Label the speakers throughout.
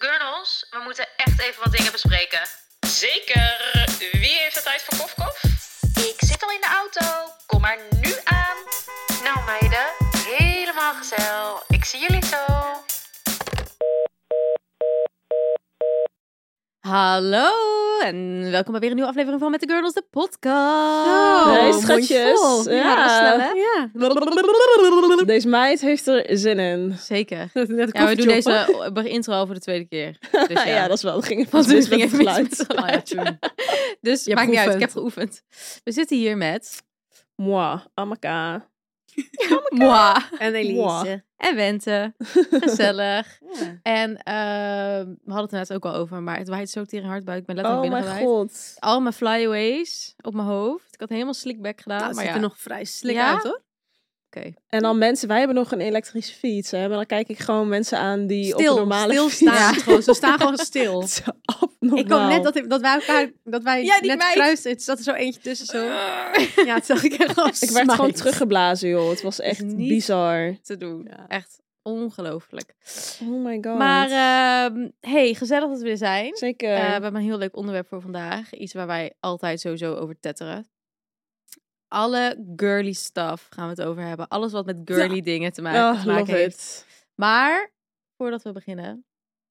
Speaker 1: Gurnels, we moeten echt even wat dingen bespreken.
Speaker 2: Zeker. Wie heeft de tijd voor kofkof?
Speaker 1: Ik zit al in de auto. Kom maar nu aan. Nou meiden, helemaal gezellig. Ik zie jullie zo.
Speaker 3: Hallo en welkom bij weer een nieuwe aflevering van Met de Girls, de podcast.
Speaker 2: Zo, Hey,
Speaker 3: Mondvol.
Speaker 2: schatjes.
Speaker 3: Ja,
Speaker 2: Ja.
Speaker 3: dat was snel, hè? ja.
Speaker 2: Deze meid heeft er zin in.
Speaker 3: Zeker.
Speaker 2: Net
Speaker 3: Ja, we doen deze eh, intro voor de tweede keer. Dus ja,
Speaker 2: Ja, dat is wel. Dat ging even,
Speaker 3: was
Speaker 2: mis
Speaker 3: dus
Speaker 2: met
Speaker 3: ging even mis
Speaker 2: geluid.
Speaker 3: met het geluid. Dus
Speaker 2: Je hebt
Speaker 3: maakt niet uit, ik heb
Speaker 2: geoefend.
Speaker 3: geoefend. We zitten hier met
Speaker 2: Moi, Amaka.
Speaker 3: Moi
Speaker 4: En
Speaker 2: Moi.
Speaker 3: en Wente. Gezellig. En ehm, we hadden het er net ook al over, maar het waait zo tegen hard buiten. Ik ben
Speaker 2: Oh
Speaker 3: letterlijk
Speaker 2: mijn
Speaker 3: binnengewaaid.
Speaker 2: god.
Speaker 3: Al mijn flyaways op mijn hoofd. Ik had helemaal slickback gedaan.
Speaker 4: Nou, het
Speaker 3: maar
Speaker 4: ziet
Speaker 3: ja,
Speaker 4: er nog vrij slik
Speaker 3: Ja?
Speaker 4: uit hoor.
Speaker 2: En dan mensen, wij hebben nog een elektrische fiets. Hè? Maar dan kijk ik gewoon mensen aan die op een
Speaker 4: Stil,
Speaker 2: normale
Speaker 4: stilstaan.
Speaker 2: fiets...
Speaker 4: Gewoon, ze staan gewoon stil.
Speaker 2: Het is abnormaal.
Speaker 4: Ik kwam net dat, ik- dat wij elkaar, dat wij
Speaker 3: Ja, die
Speaker 4: net
Speaker 3: meid.
Speaker 4: kruisten. Het zat er zo eentje tussen zo. Ja, het zag ik echt gewoon
Speaker 2: Ik werd gewoon
Speaker 4: smijt.
Speaker 2: teruggeblazen, joh. Het was echt
Speaker 3: niet-
Speaker 2: bizar.
Speaker 3: te doen. Echt ongelooflijk.
Speaker 2: Oh my god.
Speaker 3: Maar ehm, hey, gezellig dat we er zijn.
Speaker 2: Zeker.
Speaker 3: Eh, we hebben een heel leuk onderwerp voor vandaag. Iets waar wij altijd sowieso over tetteren. Alle girly stuff gaan we het over hebben. Alles wat met girly dingen te ma-
Speaker 2: Oh,
Speaker 3: te maken
Speaker 2: love
Speaker 3: heeft.
Speaker 2: it.
Speaker 3: Maar voordat we beginnen,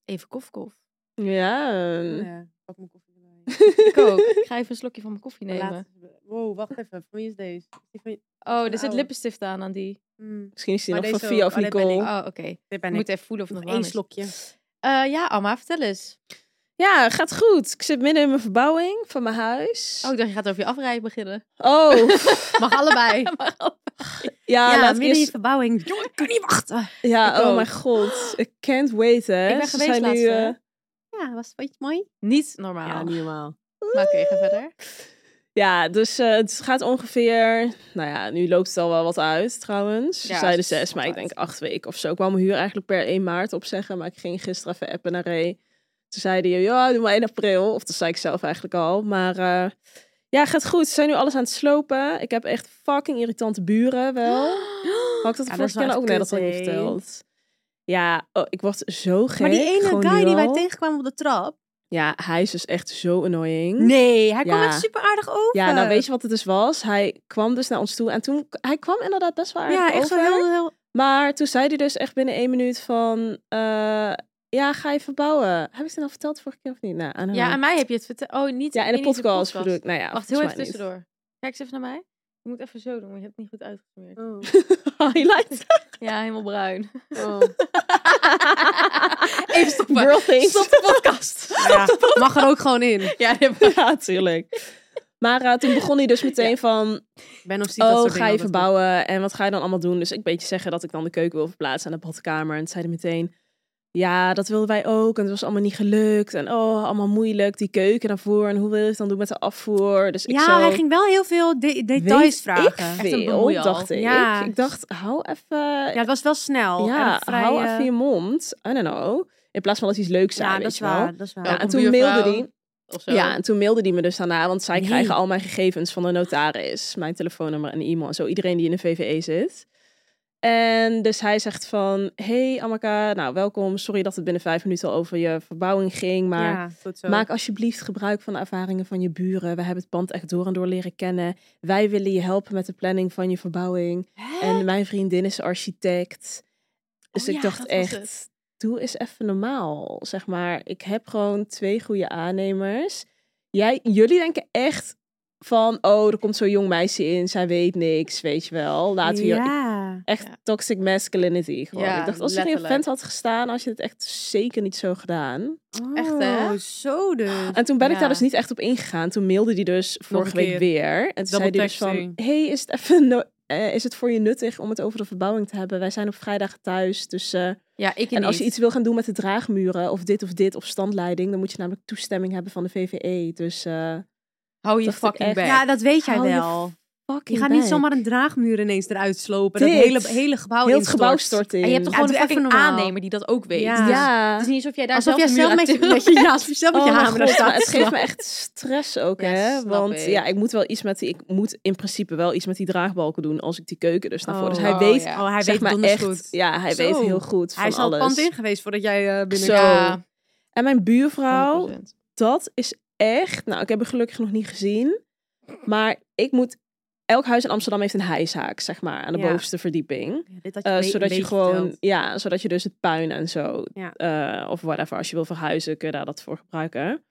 Speaker 3: even kofkof.
Speaker 2: Ja.
Speaker 4: Ja, pak mijn koffie erbij.
Speaker 3: Ik ook. Ik ga even een slokje van mijn koffie
Speaker 4: De
Speaker 3: nemen.
Speaker 4: laatste- Wow, wacht even. Van wie is deze? Die van-
Speaker 3: Oh, er zit
Speaker 4: Oude.
Speaker 3: lippenstift aan aan die.
Speaker 4: Hmm,
Speaker 2: Misschien is die
Speaker 4: Maar
Speaker 2: nog van
Speaker 4: deze
Speaker 2: Via
Speaker 4: ook.
Speaker 2: of
Speaker 4: Oh, dit ben
Speaker 2: Nicole.
Speaker 3: Oh, oké.
Speaker 4: dit
Speaker 3: Ik
Speaker 4: ben
Speaker 3: moet
Speaker 4: ik.
Speaker 3: even voelen of het
Speaker 4: Nog
Speaker 3: nog warm
Speaker 4: één
Speaker 3: is.
Speaker 4: slokje.
Speaker 3: Eh, ja, Alma, vertel eens.
Speaker 2: Ja, gaat goed. Ik zit midden in mijn verbouwing van mijn huis.
Speaker 3: Oh, ik dacht je gaat over je afrijden beginnen.
Speaker 2: Oh,
Speaker 4: Mag allebei.
Speaker 2: ja,
Speaker 4: ja,
Speaker 2: laat ik
Speaker 4: midden in je
Speaker 2: eerst...
Speaker 4: verbouwing. Jongen, ik kan niet wachten.
Speaker 2: Ja,
Speaker 3: Ik
Speaker 2: oh
Speaker 3: ook.
Speaker 2: mijn god. Ik can't wait, hè.
Speaker 3: Ik ben
Speaker 2: Ze
Speaker 3: geweest
Speaker 2: zijn
Speaker 3: laatst,
Speaker 2: nu,
Speaker 3: hè?
Speaker 2: eh,
Speaker 4: Ja, was vond je het mooi?
Speaker 3: Niet normaal.
Speaker 4: normaal.
Speaker 3: Maar oké, ga verder.
Speaker 2: Ja, dus eh, het gaat ongeveer... Nou ja, nu loopt het al wel wat uit, trouwens. Ze
Speaker 3: Ja,
Speaker 2: zeiden
Speaker 3: het is
Speaker 2: zes, maar
Speaker 3: wat
Speaker 2: ik denk acht weken of zo. Ik wou mijn huur eigenlijk per 1 maart opzeggen. Maar ik ging gisteren even appen naar Ray. Toen zeiden je, ja, doe maar 1 april. Of dat zei ik zelf eigenlijk al. Maar eh, ja, gaat goed. Ze zijn nu alles aan het slopen. Ik heb echt fucking irritante buren wel. Had ik dat de
Speaker 4: Ja, dat is
Speaker 2: vorige
Speaker 4: wel
Speaker 2: keer
Speaker 4: echt
Speaker 2: nou ook net
Speaker 4: kut,
Speaker 2: al niet
Speaker 4: hè?
Speaker 2: verteld? Ja, oh, ik word zo gek.
Speaker 4: Maar die ene
Speaker 2: gewoon
Speaker 4: guy
Speaker 2: nu
Speaker 4: die wij
Speaker 2: al.
Speaker 4: tegenkwamen op de trap.
Speaker 2: Ja, hij is dus echt zo annoying.
Speaker 4: Nee, hij
Speaker 2: Ja.
Speaker 4: kwam echt super aardig over.
Speaker 2: Ja, nou weet je wat het dus was? Hij kwam dus naar ons toe en toen... Hij kwam inderdaad best wel aardig
Speaker 4: Ja, echt zo
Speaker 2: over.
Speaker 4: heel, heel...
Speaker 2: Maar toen zei hij dus echt binnen één minuut van... eh, ja, ga je verbouwen. Heb ik het al verteld vorige keer of niet? Nou, aan
Speaker 3: Ja, aan mij heb je het verteld. Oh, niet
Speaker 2: ja, in de podcast, bedoel ik. Nou ja,
Speaker 3: Wacht, heel
Speaker 2: volgens
Speaker 3: even
Speaker 2: mij niet.
Speaker 3: tussendoor. Kijk eens even naar mij. Ik moet even zo doen, want je hebt het niet goed uitgesmeerd.
Speaker 2: Oh. Highlight.
Speaker 3: Ja, helemaal bruin.
Speaker 2: Even
Speaker 3: stoppen.
Speaker 2: Girl things.
Speaker 3: podcast.
Speaker 4: Ja, mag er ook gewoon in.
Speaker 3: Ja, die heb ik.
Speaker 2: Ja, tuurlijk. Maar eh, toen begon hij dus meteen van...
Speaker 4: Ik ben of zie dat
Speaker 2: Oh,
Speaker 4: soort
Speaker 2: ga
Speaker 4: dingen
Speaker 2: je
Speaker 4: altijd doen.
Speaker 2: verbouwen en wat ga je dan allemaal doen? Dus ik een beetje zeggen dat ik dan de keuken wil verplaatsen aan de badkamer. En toen zei hij meteen, ja, dat wilden wij ook. En het was allemaal niet gelukt. En oh, allemaal moeilijk, die keuken daarvoor. En hoe wil je het dan doen met de afvoer? Dus ik
Speaker 4: Ja,
Speaker 2: zo,
Speaker 4: hij ging wel heel veel de-
Speaker 2: "Weet
Speaker 4: details
Speaker 2: ik
Speaker 4: vragen.
Speaker 3: Echt een
Speaker 2: veel,
Speaker 3: bemoeial.
Speaker 2: dacht ik.
Speaker 4: Ja.
Speaker 2: Ik dacht, hou even...
Speaker 4: Ja, het was wel snel. en
Speaker 2: Ja,
Speaker 4: ook vrij,
Speaker 2: hou
Speaker 4: eh,
Speaker 2: even je mond. I don't know. In plaats van dat hij iets leuks zei,
Speaker 4: Ja, dat
Speaker 2: weet
Speaker 4: is
Speaker 2: je wel.
Speaker 4: waar. Dat is waar.
Speaker 2: Ja,
Speaker 3: Ook
Speaker 2: en
Speaker 3: een
Speaker 2: toen
Speaker 3: buurvrouw.
Speaker 2: mailde hij...
Speaker 3: Of zo.
Speaker 2: Ja, en toen mailde die me dus daarna, want zij
Speaker 4: Nee.
Speaker 2: krijgen al mijn gegevens van de notaris, mijn telefoonnummer en e-mail en zo, iedereen die in de VVE zit. En dus hij zegt van, hey Amaka, nou welkom, sorry dat het binnen vijf minuten al over je verbouwing ging, maar
Speaker 4: Ja, goed zo.
Speaker 2: maak alsjeblieft gebruik van de ervaringen van je buren. We hebben het pand echt door en door leren kennen. Wij willen je helpen met de planning van je verbouwing. En mijn vriendin is architect. Dus
Speaker 3: Oh
Speaker 2: ik
Speaker 3: ja,
Speaker 2: dacht
Speaker 3: dat was
Speaker 2: echt,
Speaker 3: het.
Speaker 2: doe eens even normaal. Zeg maar, ik heb gewoon twee goede aannemers. Jij, jullie denken echt van, oh, er komt zo'n jong meisje in, zij weet niks, weet je wel. Laten we hier...
Speaker 4: Ja.
Speaker 2: Echt
Speaker 3: Ja.
Speaker 2: toxic masculinity gewoon.
Speaker 3: Ja,
Speaker 2: ik dacht, als er een
Speaker 3: letterlijk.
Speaker 2: vent had gestaan, had je het echt zeker niet zo gedaan.
Speaker 3: Echt, hè?
Speaker 4: Oh, zo dus.
Speaker 2: En toen ben ik
Speaker 3: Ja.
Speaker 2: daar dus niet echt op ingegaan. Toen mailde die dus vorige
Speaker 4: een
Speaker 2: week
Speaker 4: keer.
Speaker 2: weer. En toen
Speaker 4: Double
Speaker 2: zei die dus van,
Speaker 4: texting.
Speaker 2: hey, is het even no- eh, is het voor je nuttig om het over de verbouwing te hebben? Wij zijn op vrijdag thuis, dus... eh,
Speaker 3: Ja, ik
Speaker 2: en als je
Speaker 3: niet.
Speaker 2: iets wil gaan doen met de draagmuren, of dit of dit, of standleiding... dan moet je namelijk toestemming hebben van de VVE, dus... eh
Speaker 3: Hou je
Speaker 2: dacht ik
Speaker 3: fucking
Speaker 2: echt-
Speaker 3: back.
Speaker 5: Ja, dat weet jij
Speaker 2: Hou je
Speaker 5: wel. Je
Speaker 2: fucking
Speaker 5: gaat niet
Speaker 2: back.
Speaker 5: zomaar een draagmuur ineens eruit slopen. Dat
Speaker 2: Dit.
Speaker 5: hele, hele gebouw
Speaker 2: Heel het
Speaker 5: instort.
Speaker 2: gebouw stort in.
Speaker 3: en je hebt toch
Speaker 5: Ja,
Speaker 3: gewoon
Speaker 5: doe
Speaker 3: een
Speaker 5: even
Speaker 3: fucking
Speaker 5: normaal.
Speaker 3: aannemer die dat ook weet.
Speaker 5: Ja.
Speaker 3: Dus
Speaker 2: Ja.
Speaker 3: Het is niet alsof jij daar
Speaker 5: Alsof jij
Speaker 3: zelf,
Speaker 5: zelf met,
Speaker 3: je...
Speaker 5: met je, ja, alsof je zelf met je
Speaker 2: Oh mijn
Speaker 5: hamer daar
Speaker 2: god, maar
Speaker 5: staat.
Speaker 2: het
Speaker 5: te
Speaker 2: geeft me
Speaker 5: slaan.
Speaker 2: echt stress ook,
Speaker 3: Ja,
Speaker 2: hè?
Speaker 3: snap
Speaker 2: Want
Speaker 3: ik.
Speaker 2: ja, ik moet wel iets met die, ik moet in principe wel iets met die draagbalken doen als ik die keuken dus naar voren. Dus
Speaker 5: Oh,
Speaker 2: hij
Speaker 3: oh,
Speaker 2: weet,
Speaker 3: ja.
Speaker 5: Oh, hij
Speaker 2: zeg
Speaker 5: weet
Speaker 2: maar
Speaker 5: donders
Speaker 2: echt,
Speaker 5: goed.
Speaker 2: ja, hij
Speaker 5: Zo.
Speaker 2: weet heel goed van
Speaker 5: Hij is al het
Speaker 2: alles.
Speaker 5: pand in geweest voordat jij eh binnen
Speaker 2: Zo.
Speaker 3: Ja,
Speaker 2: En mijn
Speaker 5: Oh,
Speaker 2: buurvrouw,
Speaker 3: 100%.
Speaker 2: dat is echt, nou, ik heb hem gelukkig nog niet gezien, maar ik moet Elk huis in Amsterdam heeft een hijzaak, zeg maar, aan de
Speaker 5: Ja.
Speaker 2: bovenste verdieping.
Speaker 5: Ja, dit had
Speaker 2: Eh,
Speaker 5: me-
Speaker 2: zodat je
Speaker 5: beetje
Speaker 2: gewoon,
Speaker 5: verteld.
Speaker 2: ja, zodat je dus het puin en zo,
Speaker 5: Ja.
Speaker 2: eh, of whatever, als je wil verhuizen, kun je daar dat voor gebruiken.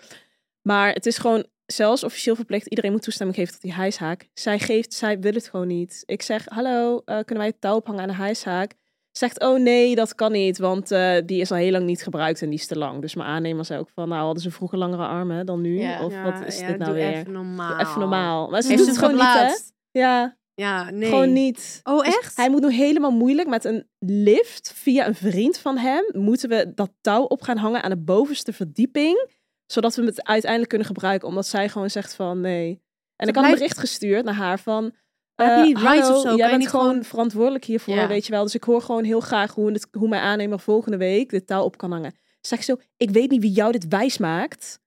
Speaker 2: Maar het is gewoon zelfs officieel verplicht, iedereen moet toestemming geven tot die hijshaak. Zij geeft, zij wil het gewoon niet. Ik zeg, hallo, eh, kunnen wij het touw ophangen aan de hijshaak? Zegt, oh nee, dat kan niet, want eh, die is al heel lang niet gebruikt en die is te lang. Dus mijn aannemer zei ook van, nou hadden ze vroeger langere armen dan nu?
Speaker 3: Ja.
Speaker 2: Of
Speaker 5: Ja,
Speaker 2: wat is
Speaker 5: ja,
Speaker 2: dit nou
Speaker 5: doe
Speaker 2: weer?
Speaker 5: Even normaal.
Speaker 2: Even normaal. Maar ze
Speaker 5: Heeft
Speaker 2: doet
Speaker 5: ze
Speaker 2: het
Speaker 5: hem
Speaker 2: gewoon niet,
Speaker 5: geplaatst?
Speaker 2: hè? Ja,
Speaker 5: Ja, nee.
Speaker 2: gewoon niet.
Speaker 5: Oh,
Speaker 2: Dus
Speaker 5: echt?
Speaker 2: hij moet nu helemaal moeilijk met een lift via een vriend van hem. Moeten we dat touw op gaan hangen aan de bovenste verdieping. Zodat we het uiteindelijk kunnen gebruiken. Omdat zij gewoon zegt van nee. En ik had een
Speaker 5: blijft-
Speaker 2: bericht gestuurd naar haar van...
Speaker 5: Maar heb
Speaker 2: eh,
Speaker 5: je niet rights
Speaker 2: hallo,
Speaker 5: of zo? Kan
Speaker 2: Jij
Speaker 5: je
Speaker 2: bent
Speaker 5: niet
Speaker 2: gewoon,
Speaker 5: gewoon-
Speaker 2: verantwoordelijk hiervoor,
Speaker 3: Ja.
Speaker 2: weet je wel. Dus ik hoor gewoon heel graag hoe, het, hoe mijn aannemer volgende week dit touw op kan hangen. Zeg ik zo, ik weet niet wie jou dit wijs maakt.